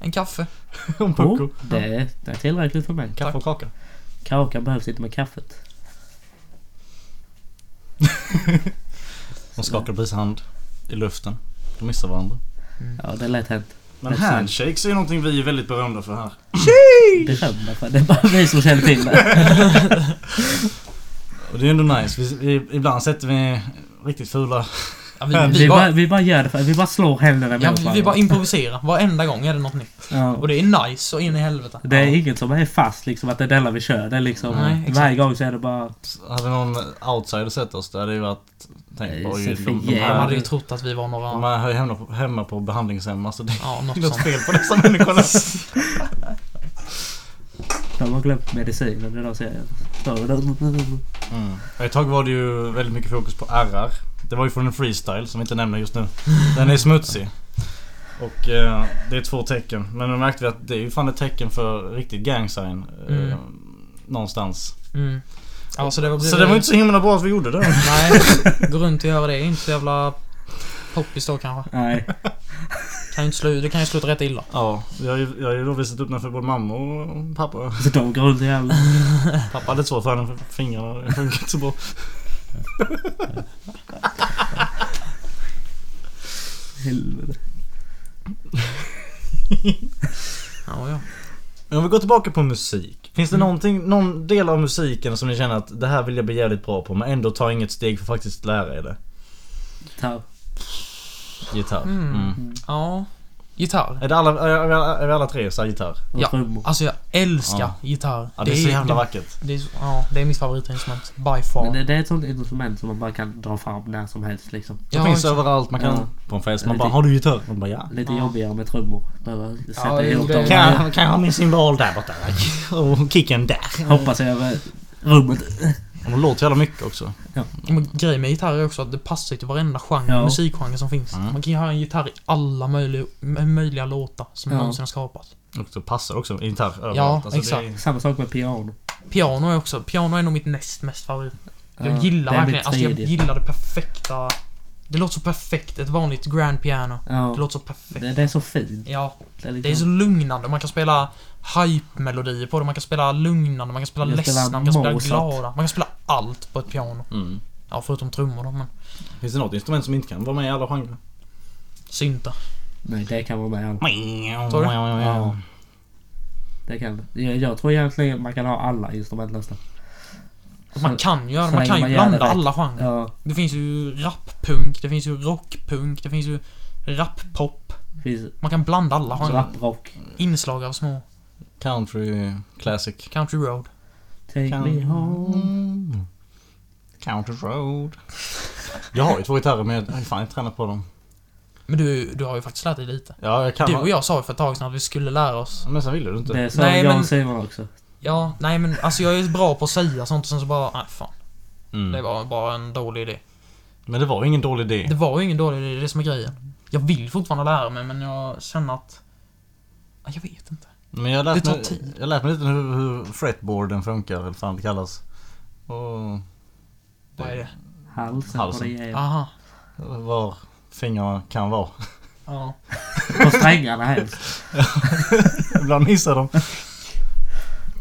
S4: En kaffe.
S2: [LAUGHS] Om
S3: Oh,
S2: Poco.
S3: det, är, det är tillräckligt för mig.
S2: Kaffe och kaka.
S3: Kakan behövs inte med kaffet.
S2: De skakade precis hand i luften. De missar varandra.
S3: Ja, det är lätt hänt.
S2: Men
S3: Precis.
S2: handshakes är ju någonting vi är väldigt berömda för här.
S3: Berömda för det är bara vi som känner till det.
S2: Och det är ändå nice. Vi, vi, ibland sätter vi riktigt fula...
S4: Ja, [LAUGHS] vi,
S3: Vi
S4: vi,
S3: bara,
S4: bara,
S3: vi bara gör det för vi bara slår händerna
S4: ja,
S3: mot
S4: vi, vi bara
S3: varandra.
S4: improviserar. Varenda gång är det något nytt.
S3: Ja.
S4: Och det är nice och in i helvete.
S3: Det är
S4: Ja.
S3: inget som är fast liksom, att det är denna vi kör. Det är liksom,
S4: Nej, exakt.
S3: varje gång så är det bara...
S2: Hade någon outsider sett oss där hade det ju varit...
S3: Nej,
S2: Tänkt bara,
S3: så
S2: oj, de, de,
S3: för
S4: Man
S2: här,
S4: hade ju trott att vi var
S2: de
S4: några...
S2: här hör ju hemma på, hemma på behandlingshem. Alltså det
S4: Ja,
S2: är
S4: något
S2: något
S4: sånt.
S2: fel på dessa människorna.
S3: [LAUGHS] De har glömt medicinen idag ser jag. Så-
S2: Mm. Ett tag var det ju väldigt mycket fokus på RR. Det var ju från en freestyle som vi inte nämner just nu. Den är smutsig. Och eh, det är två tecken. Men nu märkte vi att det är ju fan ett tecken för riktigt gang sign. Eh,
S4: Mm.
S2: Någonstans.
S4: Mm. Ja, så det var
S2: Så det var ju inte så himla bra att vi gjorde det.
S4: Nej, gå runt och göra det. Inte så jävla poppis då kanske.
S3: Nej.
S4: Kan ju inte sluta, det kan ju sluta rätt illa.
S2: [LAUGHS] Ja, jag har ju, jag har ju då visat upp den för både mamma och pappa.
S3: Så alltså, de går runt i jävla...
S2: Pappa hade svårt för henne för fingrarna. Det funkar inte så bra.
S3: Helvete.
S4: Ja, ja.
S2: Men om vi går tillbaka på musik. Finns det
S4: Mm.
S2: någonting, någon del av musiken som ni känner att det här vill jag bli jävligt bra på men ändå tar inget steg för att faktiskt lära er det?
S3: Gitarr.
S2: Gitarr.
S4: Mm.
S2: Mm.
S4: ja. Gitarr.
S2: Är, det alla, är, vi alla, är vi alla tre så här gitarr?
S3: Och
S4: Ja.
S3: trummor.
S4: Alltså jag älskar
S2: Ja.
S4: gitarr.
S2: Ja, det, är så jävla vackert.
S4: Det är, så- ja, det är mitt favoritinstrument. By far.
S3: Men det, det är ett sånt instrument som man bara kan dra fram när som helst liksom.
S2: Det
S4: Ja,
S2: finns
S4: exakt.
S2: överallt. Man kan
S3: Ja.
S2: på en fest.
S3: Ja,
S2: Man
S3: det-
S2: bara har du gitarr? Man bara ja.
S3: Lite
S4: Ja.
S3: jobbigare med trummor. Behöva sätta
S4: det-
S3: ihop
S4: det-
S3: dem.
S4: Kan
S2: jag, kan jag ha min symbol där borta? Och kicken där.
S3: Hoppas jag över rummet.
S2: Och de låter jävla mycket också.
S4: Men grejen med gitarr är också att det passar till varenda genre,
S3: Ja.
S4: musikgenre som finns.
S2: Mm.
S4: Man kan ju ha en gitarr i alla möjliga, möjliga låtar som
S3: Ja.
S4: någonsin har skapats.
S2: Och det passar också i gitarr överallt. Alltså,
S4: exakt.
S2: Det är,
S3: Samma sak med piano.
S4: Piano är också, piano är nog mitt näst mest favorit. Jag
S3: Ja,
S4: gillar
S3: det är
S4: verkligen,
S3: mitt
S4: alltså jag
S3: tredje.
S4: gillar det perfekta. Det låter så perfekt, ett vanligt grand piano.
S3: Ja.
S4: Det låter så perfekt.
S3: Det, det är så fint.
S4: Ja,
S3: Det är, liksom,
S4: det är så lugnande. Man kan spela hype-melodier på det, man kan spela lugnande, man kan spela
S3: Man kan spela
S4: ledsna, man kan spela
S3: Mozart.
S4: glada. Man kan spela allt på ett piano.
S2: mm.
S4: Ja, förutom trummor då, men
S2: Finns det något instrument som inte kan vara med i alla genrer?
S4: syntar.
S3: Nej, det kan vara med allt.
S4: Tror du?
S2: Ja.
S3: Det kan det. jag, jag tror egentligen man kan ha alla instrument nästan.
S4: Och Man
S3: Så-
S4: kan göra
S3: så
S4: det, man
S3: länge
S4: kan ju
S3: man gör det
S4: blanda
S3: rätt.
S4: alla genrer.
S3: Ja,
S4: Det finns ju rapppunk, det finns ju rockpunk, det finns ju rapppop.
S3: det finns
S4: Man kan blanda alla genrer.
S3: raprock.
S4: Inslag av små.
S2: Country classic.
S4: Country road.
S3: Take me home.
S2: Mm. Country road. Jag har ju två gitarrer men jag har ju fan inte tränat på dem.
S4: Men du, du har ju faktiskt lärt dig lite.
S2: Ja, jag kan.
S4: Du och jag sa ju för ett tag sedan att vi skulle lära oss.
S2: Men sen ville du inte.
S3: Det sa
S4: Nej,
S3: jag
S4: men-
S3: och Simon också.
S4: Ja, nej men alltså jag är bra på att säga sånt och sen så bara, nej fan.
S2: Mm.
S4: Det var bara en dålig idé.
S2: Men det var ingen dålig idé.
S4: Det var ju ingen dålig idé, det är det som är grejen. Jag vill fortfarande lära mig men jag känner att... Ja, Jag vet inte.
S2: Men jag har lärt,
S4: Det tar
S2: mig,
S4: tid.
S2: jag har lärt mig lite hur, hur fretboarden funkar, eller vad fan det kallas. Och
S4: Vad är det?
S3: Halsen,
S2: Halsen.
S3: på det
S4: Aha.
S2: var fingrarna kan vara. [LAUGHS]
S4: Ja.
S3: På strängarna helst.
S2: Ibland missar de.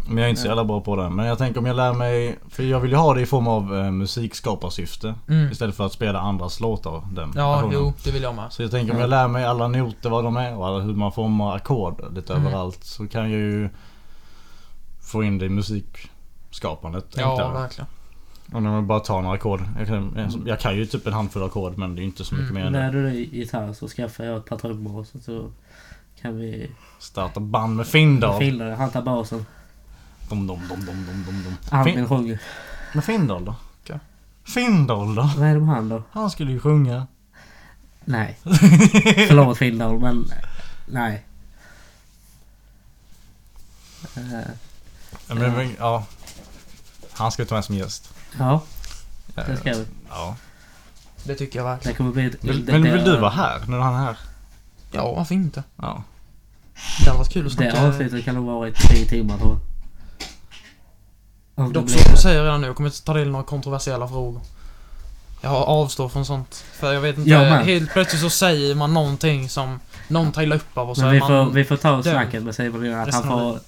S2: Men jag är inte så jävla bra på det. Men jag tänker om jag lär mig, för jag vill ju ha det i form av eh, musikskaparsyfte.
S4: Mm.
S2: Istället för att spela andras låtar. Den
S4: Ja,
S2: versionen.
S4: jo, det vill jag med.
S2: Så jag tänker om jag lär mig alla noter vad de är och alla- hur man formar ackord lite
S4: Mm.
S2: överallt. Så kan jag ju få in det i musikskapandet.
S4: Ja,
S2: enklare.
S4: verkligen.
S2: Och när man bara tar några ackord. Jag kan, jag, jag kan ju typ en handfull ackord men det är ju inte så mycket
S4: Mm.
S2: mer än
S3: När
S2: det.
S3: du är gitarr så skaffar jag ett par trummor och så, så kan vi
S2: Starta band med Finn då.
S3: Fille, han tar basen.
S2: Dom, dom, dom, dom, dom, dom, dom. Fin,
S3: Albin sjunger.
S2: men Finndal då?
S4: Okej.
S2: Finndal då?
S3: Vad är det med han då?
S2: Han skulle ju sjunga.
S4: [LAUGHS]
S3: Nej. Förlåt Findal, men nej. Eh,
S2: Ja, men, men, ja. Han ska ju ta med som gäst.
S3: ja, det ska vi.
S2: Ja.
S4: Det tycker jag verkligen.
S3: Det kommer bli ett...
S2: Vill,
S3: det-
S2: men
S3: det-
S2: vill du vara här? Nu är han här.
S4: Ja, varför inte?
S2: Ja.
S4: Det hade varit kul att
S3: Det
S4: snacka...
S3: avsnittet kan nog vara i tre timmar tror jag. Om det
S4: Dock
S3: blir
S4: som jag
S3: det.
S4: säger redan nu, jag kommer inte ta del i några kontroversiella frågor. Jag avstår från sånt. För jag vet inte.
S3: Jag med.
S4: helt plötsligt så säger man någonting som någon tar illa upp av och så
S3: Men
S4: är
S3: vi
S4: man...
S3: får, vi får ta
S4: död.
S3: snacket med Simon innan att han
S4: Resten av
S3: får...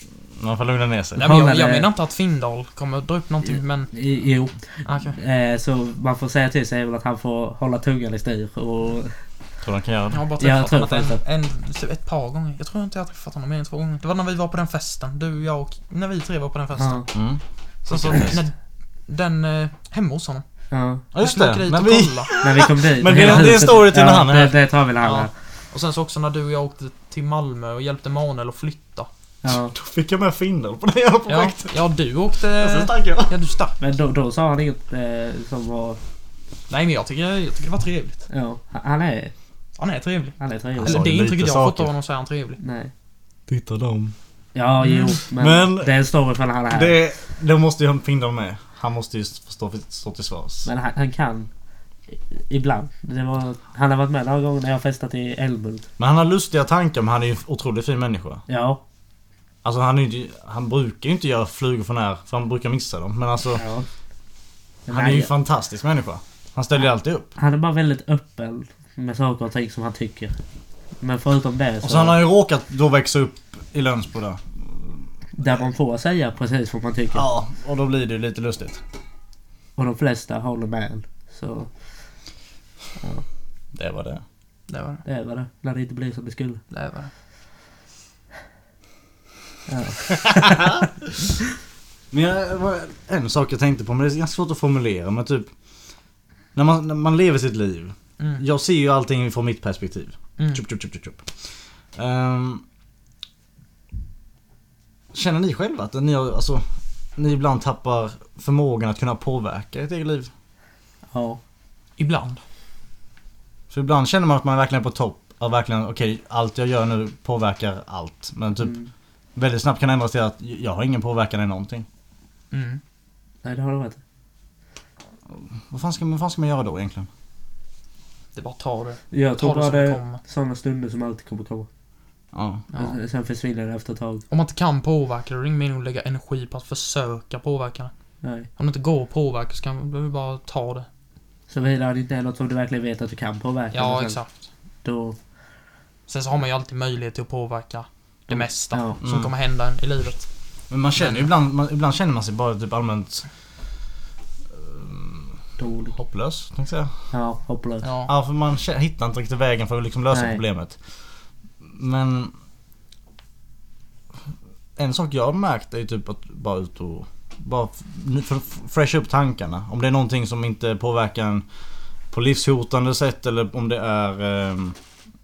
S5: Man får lugna ner sig.
S4: Nej, men jag,
S3: Håller
S4: jag
S3: det.
S4: menar inte att Findal kommer att dra upp någonting men...
S3: i- Jo.
S4: Ah, okej.
S3: Eh, så man får säga till Simon att han får hålla tungan i styr och...
S5: Tror han kan göra
S4: Jag
S5: det.
S4: har bara
S3: Ja, jag
S4: träffat
S3: tror
S4: honom en, en, typ ett par gånger. Jag tror inte jag har träffat honom mer än två gånger. Det var när vi var på den festen. Du, jag och... När vi tre var på den festen.
S3: Ja.
S5: Mm.
S4: Sen så... När, den... Eh, hemma hos honom.
S3: ja.
S5: Ja just
S4: Vi åker
S5: det,
S4: dit
S5: när
S4: och
S5: vi...
S4: kollar.
S3: När vi kom dit.
S5: Men
S3: hela
S5: det- det är en
S3: huset-
S5: story till när han är
S3: det,
S5: här.
S3: det tar vi när han är
S4: Ja.
S3: här.
S4: Och sen så också när du och jag åkte till Malmö och hjälpte Manuel att flytta.
S3: Ja.
S2: [LAUGHS] Då fick jag med Findel på det jävla
S4: Ja,
S2: projektet.
S4: ja du
S2: Sen
S4: åkte...
S2: stack jag.
S4: Ja, du stack.
S3: Men då, då sa han inget eh, som var...
S4: Nej, men jag tycker, jag tycker det var trevligt.
S3: Ja. Han är,
S4: Han är trevlig.
S3: han är trevlig.
S5: Han sa
S4: Eller det
S5: ju lite
S4: intrycket jag har fått
S5: saker.
S4: av honom så är han trevlig.
S3: Nej.
S2: Titta dem.
S3: Ja, jo. Men,
S2: Men-
S3: det är en story för när han är här.
S2: Det, det måste ju Findel med. Han måste ju stå, stå till svars.
S3: Men han, han kan. i- Ibland. Det var, han har varit med några gånger när jag har festat i Älmhult.
S2: Men han har lustiga tankar men han är ju en otroligt fin människa.
S3: Ja.
S2: Alltså han, är ju, inte- han brukar ju inte göra flugor för när för han brukar missa dem. Men alltså
S3: ja. Men
S2: han är ju en
S3: han,
S2: fantastisk människa. Han ställer ju alltid upp.
S3: han är bara väldigt öppen med saker och ting som han tycker. Men förutom det så...
S2: Och så han har ju råkat då växa upp i Lönsbo där.
S3: Där man får säga precis vad man tycker.
S2: Ja, och då blir det ju lite lustigt.
S3: Och de flesta håller med en. Så
S2: Det var det.
S4: Det var det.
S3: det är vad det När det inte blir som det skulle.
S4: Det var det.
S3: Ja.
S2: Men jag, var- en sak jag tänkte på, men det är ganska svårt att formulera men typ när man, när man lever sitt liv.
S4: Mm.
S2: Jag ser ju allting från mitt perspektiv.
S4: Mm.
S2: Tjup, tjup, tjup, tjup, tjup. Ehm, känner ni själva att ni, har, alltså, ni ibland tappar förmågan att kunna påverka ert eget liv?
S3: Ja.
S4: Ibland.
S2: För ibland känner man att man verkligen är på topp. Att verkligen, okej, allt jag gör nu påverkar allt. Men typ
S3: Mm.
S2: väldigt snabbt kan det ändras till att jag har ingen påverkan i någonting.
S4: Mm.
S3: Nej, det har du rätt i.
S2: Vad fan ska, vad fan ska man göra då egentligen?
S4: Det är bara att ta det.
S3: Jag tror
S4: Ta det
S3: bara
S4: som
S3: det
S4: det
S3: är
S4: kommer.
S3: sådana stunder som alltid kommer komma.
S2: Ja.
S4: Ja.
S3: Men Sen försvinner det efter ett tag.
S4: Om man inte kan påverka det, då är det ingen mening att lägga energi på att försöka påverka det.
S3: Nej.
S4: Om det inte går att påverka så kan du bara ta det.
S3: Såvida det inte är något som du verkligen vet att du kan påverka.
S4: Ja,
S3: Sen-
S4: exakt.
S3: Då,
S4: Sen så har man ju alltid möjlighet till att påverka det mesta
S3: ja.
S4: som
S2: Mm.
S4: kommer hända en i livet.
S2: Men man känner ju ibland, man, ibland känner man sig bara typ allmänt
S3: Dålig.
S2: hopplös. Tänkte jag. säga.
S3: Ja, hopplös.
S4: Ja.
S2: Ja, för man kä- hittar inte riktigt vägen för att liksom lösa
S3: Nej.
S2: problemet. Men... En sak jag har märkt är ju typ att bara ut och... Bara f- f- f- fresha upp tankarna. Om det är någonting som inte påverkar en på livshotande sätt eller om det är eh,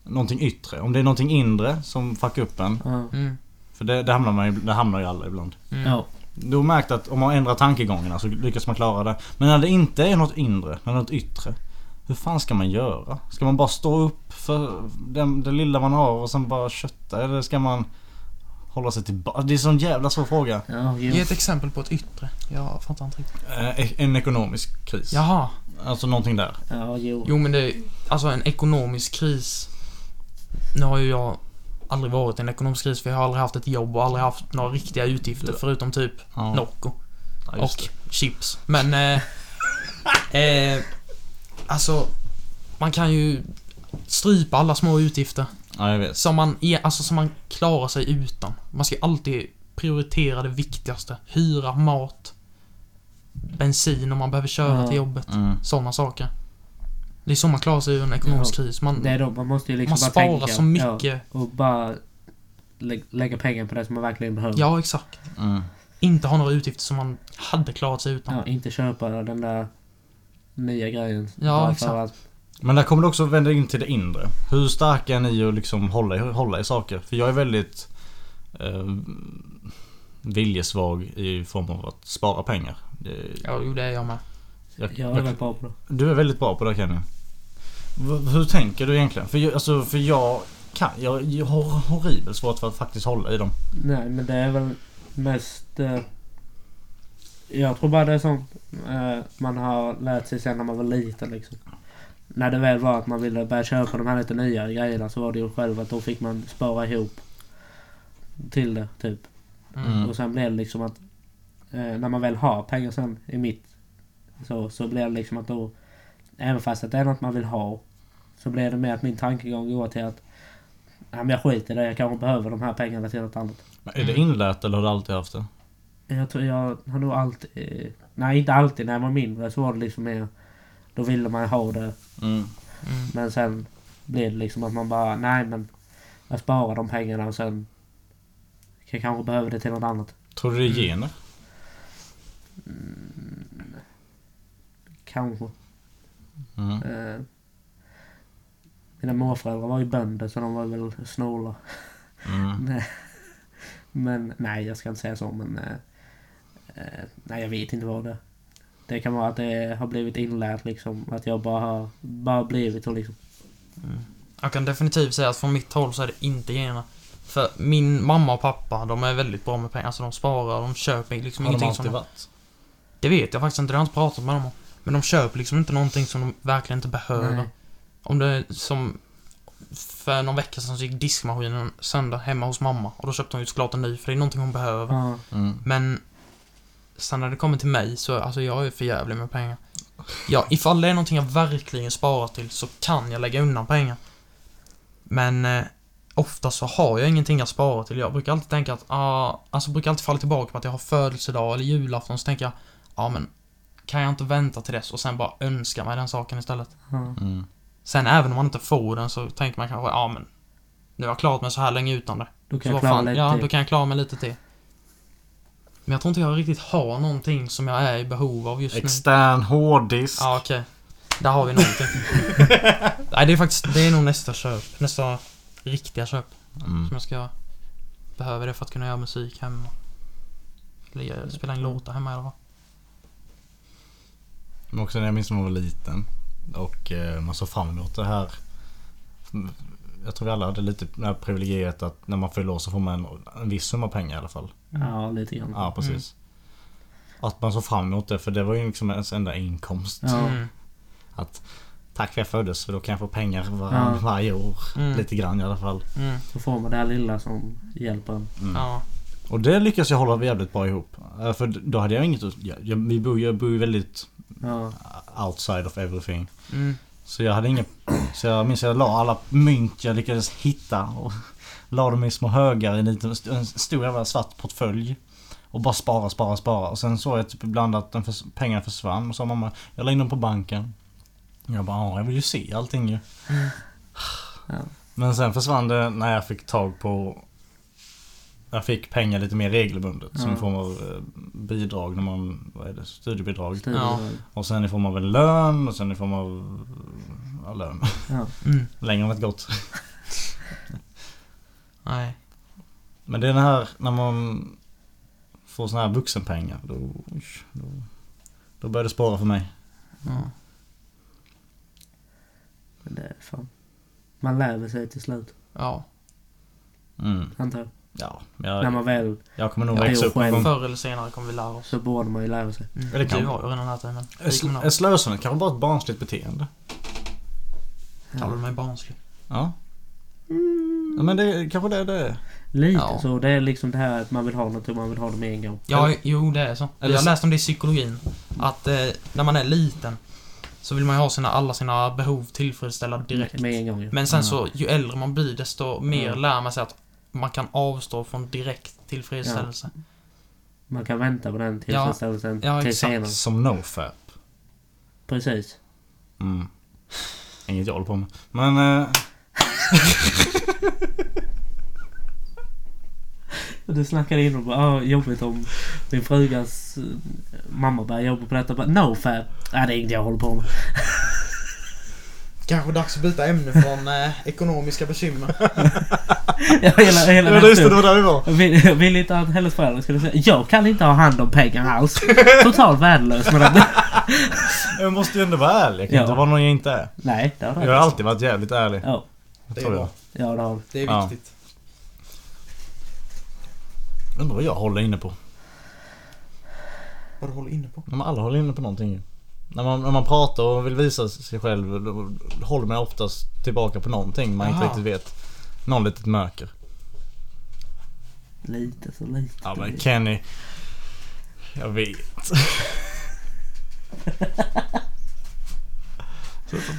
S2: någonting yttre. Om det är någonting inre som fuckar upp en.
S3: Ja.
S4: Mm.
S2: För det, det, hamnar man, ju- det hamnar ju alla ibland.
S4: Mm.
S3: Ja.
S2: Du har märkt att om man ändrar tankegångarna så lyckas man klara det. Men när det inte är något inre, när det är något yttre. Hur fan ska man göra? Ska man bara stå upp för det, det lilla man har och sen bara kötta? Eller ska man hålla sig tillbaka? Det är en sån jävla svår fråga.
S3: Ja,
S4: Ge
S3: jo.
S4: ett exempel på ett yttre. Jag fattar inte riktigt.
S2: Eh, En ekonomisk kris.
S4: Jaha.
S2: Alltså någonting där.
S3: Ja, jo.
S4: Jo men det är alltså en ekonomisk kris. Nu har ju jag aldrig varit i en ekonomisk kris för jag har aldrig haft ett jobb och aldrig haft några riktiga utgifter förutom typ
S2: Ja,
S4: Nocco
S2: ja,
S4: och
S2: just det.
S4: chips. Men eh, eh, alltså man kan ju strypa alla små utgifter
S2: ja, jag vet.
S4: som man, är- alltså, som man klarar sig utan. Man ska ju alltid prioritera det viktigaste. Hyra, mat, bensin om man behöver köra
S3: Ja.
S4: till jobbet.
S2: Mm.
S4: Sådana saker. Det är så man klarar sig ur en ekonomisk
S3: Ja.
S4: kris. Man,
S3: Det är då, man måste ju liksom
S4: man
S3: bara
S4: sparar
S3: tänka.
S4: så mycket.
S3: Ja,
S4: Ja.
S3: och bara lä lägga pengar på det som man verkligen behöver.
S4: exakt.
S2: Mm.
S4: Inte ha några utgifter som man hade klarat sig utan.
S3: Ja, inte köpa den där nya grejen.
S4: Ja,
S3: Bara för
S4: exakt.
S3: Att,
S2: Men där kommer det också vända in till det inre. Hur starka är ni att liksom hålla, i- hålla i saker? För jag är väldigt eh, viljesvag i form av att spara pengar. Det-
S4: Ja, jo, det är jag med.
S2: Jag,
S3: jag är
S2: jag,
S3: väldigt bra på det.
S2: du är väldigt bra på det Kenny. V- hur tänker du egentligen? För jag, alltså, för jag kan, jag, jag har horribelt svårt för att faktiskt hålla i dem.
S3: Nej, men det är väl mest... Eh, jag tror bara det är sånt eh, man har lärt sig sen när man var liten liksom. När det väl var att man ville börja köpa de här lite nya grejerna så var det ju själv att då fick man spara ihop till det typ.
S4: Mm.
S2: Mm.
S3: Och sen blev det liksom att eh, när man väl har pengar sen i mitt så, så blev det liksom att då Även fast att det är något man vill ha. Så blir det mer att min tankegång går till att... Nej men jag skiter i det. Jag kanske behöver de här pengarna till något annat.
S2: Men
S4: Mm.
S2: är det inlärt eller har du alltid haft det?
S3: Jag tror jag har nog alltid... eh, Nej inte alltid. När jag var mindre så var det liksom mer... Då ville man ha det.
S2: Mm.
S4: Mm.
S3: Men sen blir det liksom att man bara... Nej men... Jag sparar de pengarna och sen... Jag kanske behöver det till något annat.
S2: Tror du det
S4: Mm.
S2: är gener?
S3: Kanske.
S2: Mm.
S3: Eh, mina morföräldrar var ju bönder så de var väl snåla.
S2: Mm.
S3: [LAUGHS] Nej. men nej, jag ska inte säga så men... eh, eh, nej, jag vet inte vad det Det kan vara att det har blivit inlärt liksom. Att jag bara har bara blivit så liksom.
S4: Jag kan definitivt säga att från mitt håll så är det inte generna. För min mamma och pappa, de är väldigt bra med pengar. Alltså de sparar, de köper liksom
S6: Har de
S4: ingenting som
S6: alltid
S4: de...
S6: varit?
S4: Det vet jag faktiskt inte, det har jag inte pratat med dem om. Men de köper liksom inte någonting som de verkligen inte behöver.
S3: Nej.
S4: Om det är som... För någon vecka sedan så gick diskmaskinen sönder hemma hos mamma. Och då köpte hon ju såklart en ny, för det är någonting hon behöver.
S3: Ja.
S2: Mm.
S4: Men sen när det kommer till mig så, alltså jag är för jävlig med pengar. Ja, ifall det är någonting jag verkligen sparar till så kan jag lägga undan pengar. Men eh, ofta så har jag ingenting jag sparar till. Jag brukar alltid tänka att, ah, alltså brukar alltid falla tillbaka på att jag har födelsedag eller julafton så tänker jag, ja ah, men kan jag inte vänta till dess och sen bara önska mig den saken istället.
S3: ja.
S2: Mm.
S4: Sen även om man inte får den så tänker man kanske, ja ah, men nu har jag klarat mig så här länge utan det.
S3: Då kan
S4: Så
S3: jag
S4: vad
S3: klara
S4: fan,
S3: lite.
S4: Ja, då kan jag klara mig lite till. Men jag tror inte jag riktigt har någonting som jag är i behov av just nu.
S2: Extern hårddisk.
S4: Ja, okej. Där har
S2: [LAUGHS]
S4: vi någonting. Nej, det är faktiskt, det är nog nästa köp. Nästa riktiga köp
S2: Mm.
S4: som jag ska behöva det för att kunna göra musik hemma. Eller göra- spela in låtar hemma eller vad.
S2: Men också när jag minns när man var liten och eh, man såg fram emot det här. Jag tror vi alla hade lite det här privilegiet att när man fyller år så får man en, en viss summa pengar i alla fall.
S3: ja, lite grann.
S2: Ja, precis. Att man såg fram emot det för det var ju liksom ens enda inkomst.
S3: Ja.
S4: Mm.
S2: Att tack för att jag föddes för då kan jag få pengar var,
S3: Ja.
S2: varje år.
S4: Mm.
S2: Lite grann i alla fall.
S4: Mm.
S3: Så får man det här lilla som hjälper en.
S2: Mm.
S4: Ja.
S2: Och det lyckas jag hålla jävligt bra ihop. Eh, För då hade jag inget... att- Jag, jag, vi bor, jag bor ju väldigt
S3: Ja.
S2: outside of everything.
S4: Mm.
S2: Så jag hade inget... Så jag minns jag la alla mynt jag lyckades hitta och la dem i små högar i en, liten, en stor jävla svart portfölj. Och bara spara, spara, spara. Och sen såg jag typ ibland att den förs, pengarna försvann. Och sa mamma, jag la in dem på banken. Jag bara, ja jag vill ju se allting ju.
S3: Ja.
S2: Men sen försvann det när jag fick tag på... Jag fick pengar lite mer regelbundet. Som
S3: Ja.
S2: i form av eh, bidrag när man... Vad är det? Studiebidrag.
S3: Studiebidrag.
S2: Och sen i form av en lön och sen i form av... Ja, lön.
S3: Ja.
S4: Mm.
S2: Längre har det inte gått.
S4: Nej.
S2: Men det är den här när man får såna här vuxenpengar. Då, oj, då, då börjar det spara för mig.
S4: Ja.
S3: Men det är fan. Man lär väl sig till slut,
S4: ja.
S2: Mm.
S3: antar jag.
S2: Ja,
S3: När
S2: jag,
S3: man väl
S2: jag kommer nog
S3: Ja,
S2: växa
S3: jo,
S2: upp någon gång.
S4: Förr eller senare kommer vi lära oss.
S3: så borde man ju lära sig.
S4: Mm.
S2: Ja, det kan
S4: Du
S2: vi.
S4: har ju redan lärt dig men...
S2: Är
S4: vi kommer
S2: sl-
S4: nog-
S2: Är slösandet kanske bara ett barnsligt beteende?
S4: Kallar du mig barnslig?
S2: Ja.
S3: Mm.
S2: ja men det är- kanske det är det.
S3: Lite
S4: Ja.
S3: så. Det är liksom det här att man vill ha något och man vill ha det med en gång.
S4: Ja, jo det är så.
S2: Eller
S4: jag
S2: så-
S4: läste om det i psykologin. Att eh, när man är liten så vill man ju ha sina, alla sina behov tillfredsställda direkt.
S3: Med en gång ja.
S4: Men sen så, ju äldre man blir desto mer
S3: Mm.
S4: lär man sig att man kan avstå från direkt tillfredsställelse.
S3: Man kan vänta på den tillfredsställelsen
S4: Ja,
S3: till
S4: exakt.
S3: senare.
S2: Som nofap.
S3: Precis.
S2: Mm. Inget jag håller på med. Men... Eh,
S3: Du snackade in och bara ah, jobbigt om min frugas eh, mamma börjar jobba på detta. Bara, no fab. Nej det är inget jag håller på med. [LAUGHS]
S4: Kanske dags att byta ämne från eh, ekonomiska bekymmer.
S3: Jag hela, hela
S2: ja, just
S3: den
S2: det, det
S3: stunden.
S2: var där vi var.
S3: Jag vill, jag vill inte att hennes föräldrar skulle säga jag kan inte ha hand om pengar alls. [LAUGHS] Totalt värdelös med den.
S2: Jag måste ju ändå vara ärlig. Jag kan
S3: Ja.
S2: inte vara någon jag inte är.
S3: [LAUGHS] Nej det har du
S2: Jag har
S3: rätt.
S2: alltid varit jävligt ärlig.
S3: Ja,
S2: tror jag.
S3: ja det har du.
S4: Det
S2: är viktigt. Undrar vad jag håller inne på.
S4: Vad du håller inne på.
S2: När man alla håller inne på någonting ju. När man, när man pratar och vill visa sig själv då håller man oftast tillbaka på någonting man inte
S4: Aha.
S2: riktigt vet. Någon litet mörker.
S3: Lite så lite.
S2: Ja men Kenny.
S4: [LAUGHS]
S2: Jag vet.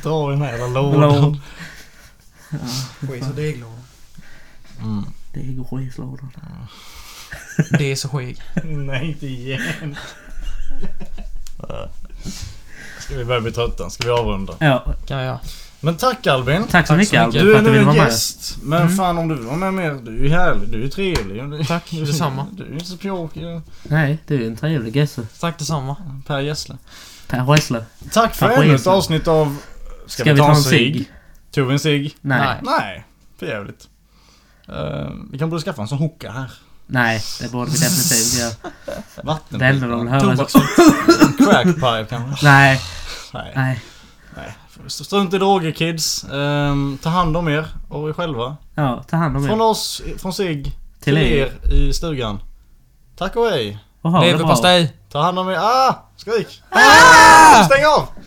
S2: dra i den här jävla lådan.
S3: Lån.
S7: Skit och deglåda.
S5: Mm.
S3: Det är gojslådan.
S4: Det är så skeg.
S2: Nej, inte igen. [LAUGHS] Ska vi börja bli trötta? Ska vi avrunda?
S3: Ja,
S4: Kan jag göra.
S2: Men tack Albin.
S3: tack så mycket Albin
S2: Du
S3: för
S2: är
S3: att du
S2: nu
S3: ville
S2: en
S3: vara med.
S2: gäst. Men
S4: Mm.
S2: fan om du vill vara med mer. Du är ju härlig. Du är ju trevlig. Du,
S4: Tack
S2: du,
S4: detsamma.
S2: [LAUGHS] Du är inte så pjåkig.
S3: Nej, du är en trevlig gässe.
S4: Tack detsamma.
S2: Per Gessle.
S3: Per Ressle.
S2: Tack för
S3: Tack,
S2: ännu ett
S3: Gessle.
S2: avsnitt av... Ska, vi, ta en cigg? Tog vi en cigg?
S3: Nej.
S4: Nej.
S2: Nej, för jävligt. Eh, vi kan borde skaffa en sån hookah här.
S3: Nej, det borde vi definitivt göra.
S2: Vatten.
S3: Det enda de vill höra är
S2: Tobaks-
S3: så...
S2: [LAUGHS] Crackpipe kanske?
S3: Nej,
S2: Nej.
S3: nej.
S2: Strunt i droger kids. Ehm, ta hand om er och er själva.
S3: Ja, ta hand om
S2: Från
S3: er.
S2: oss, från sig
S3: Till
S2: till
S3: er.
S2: er i stugan. Tack och hej.
S3: Och ha det bra.
S4: Leverpastej!
S2: Ta hand om er. Ah! Skrik! Stäng av!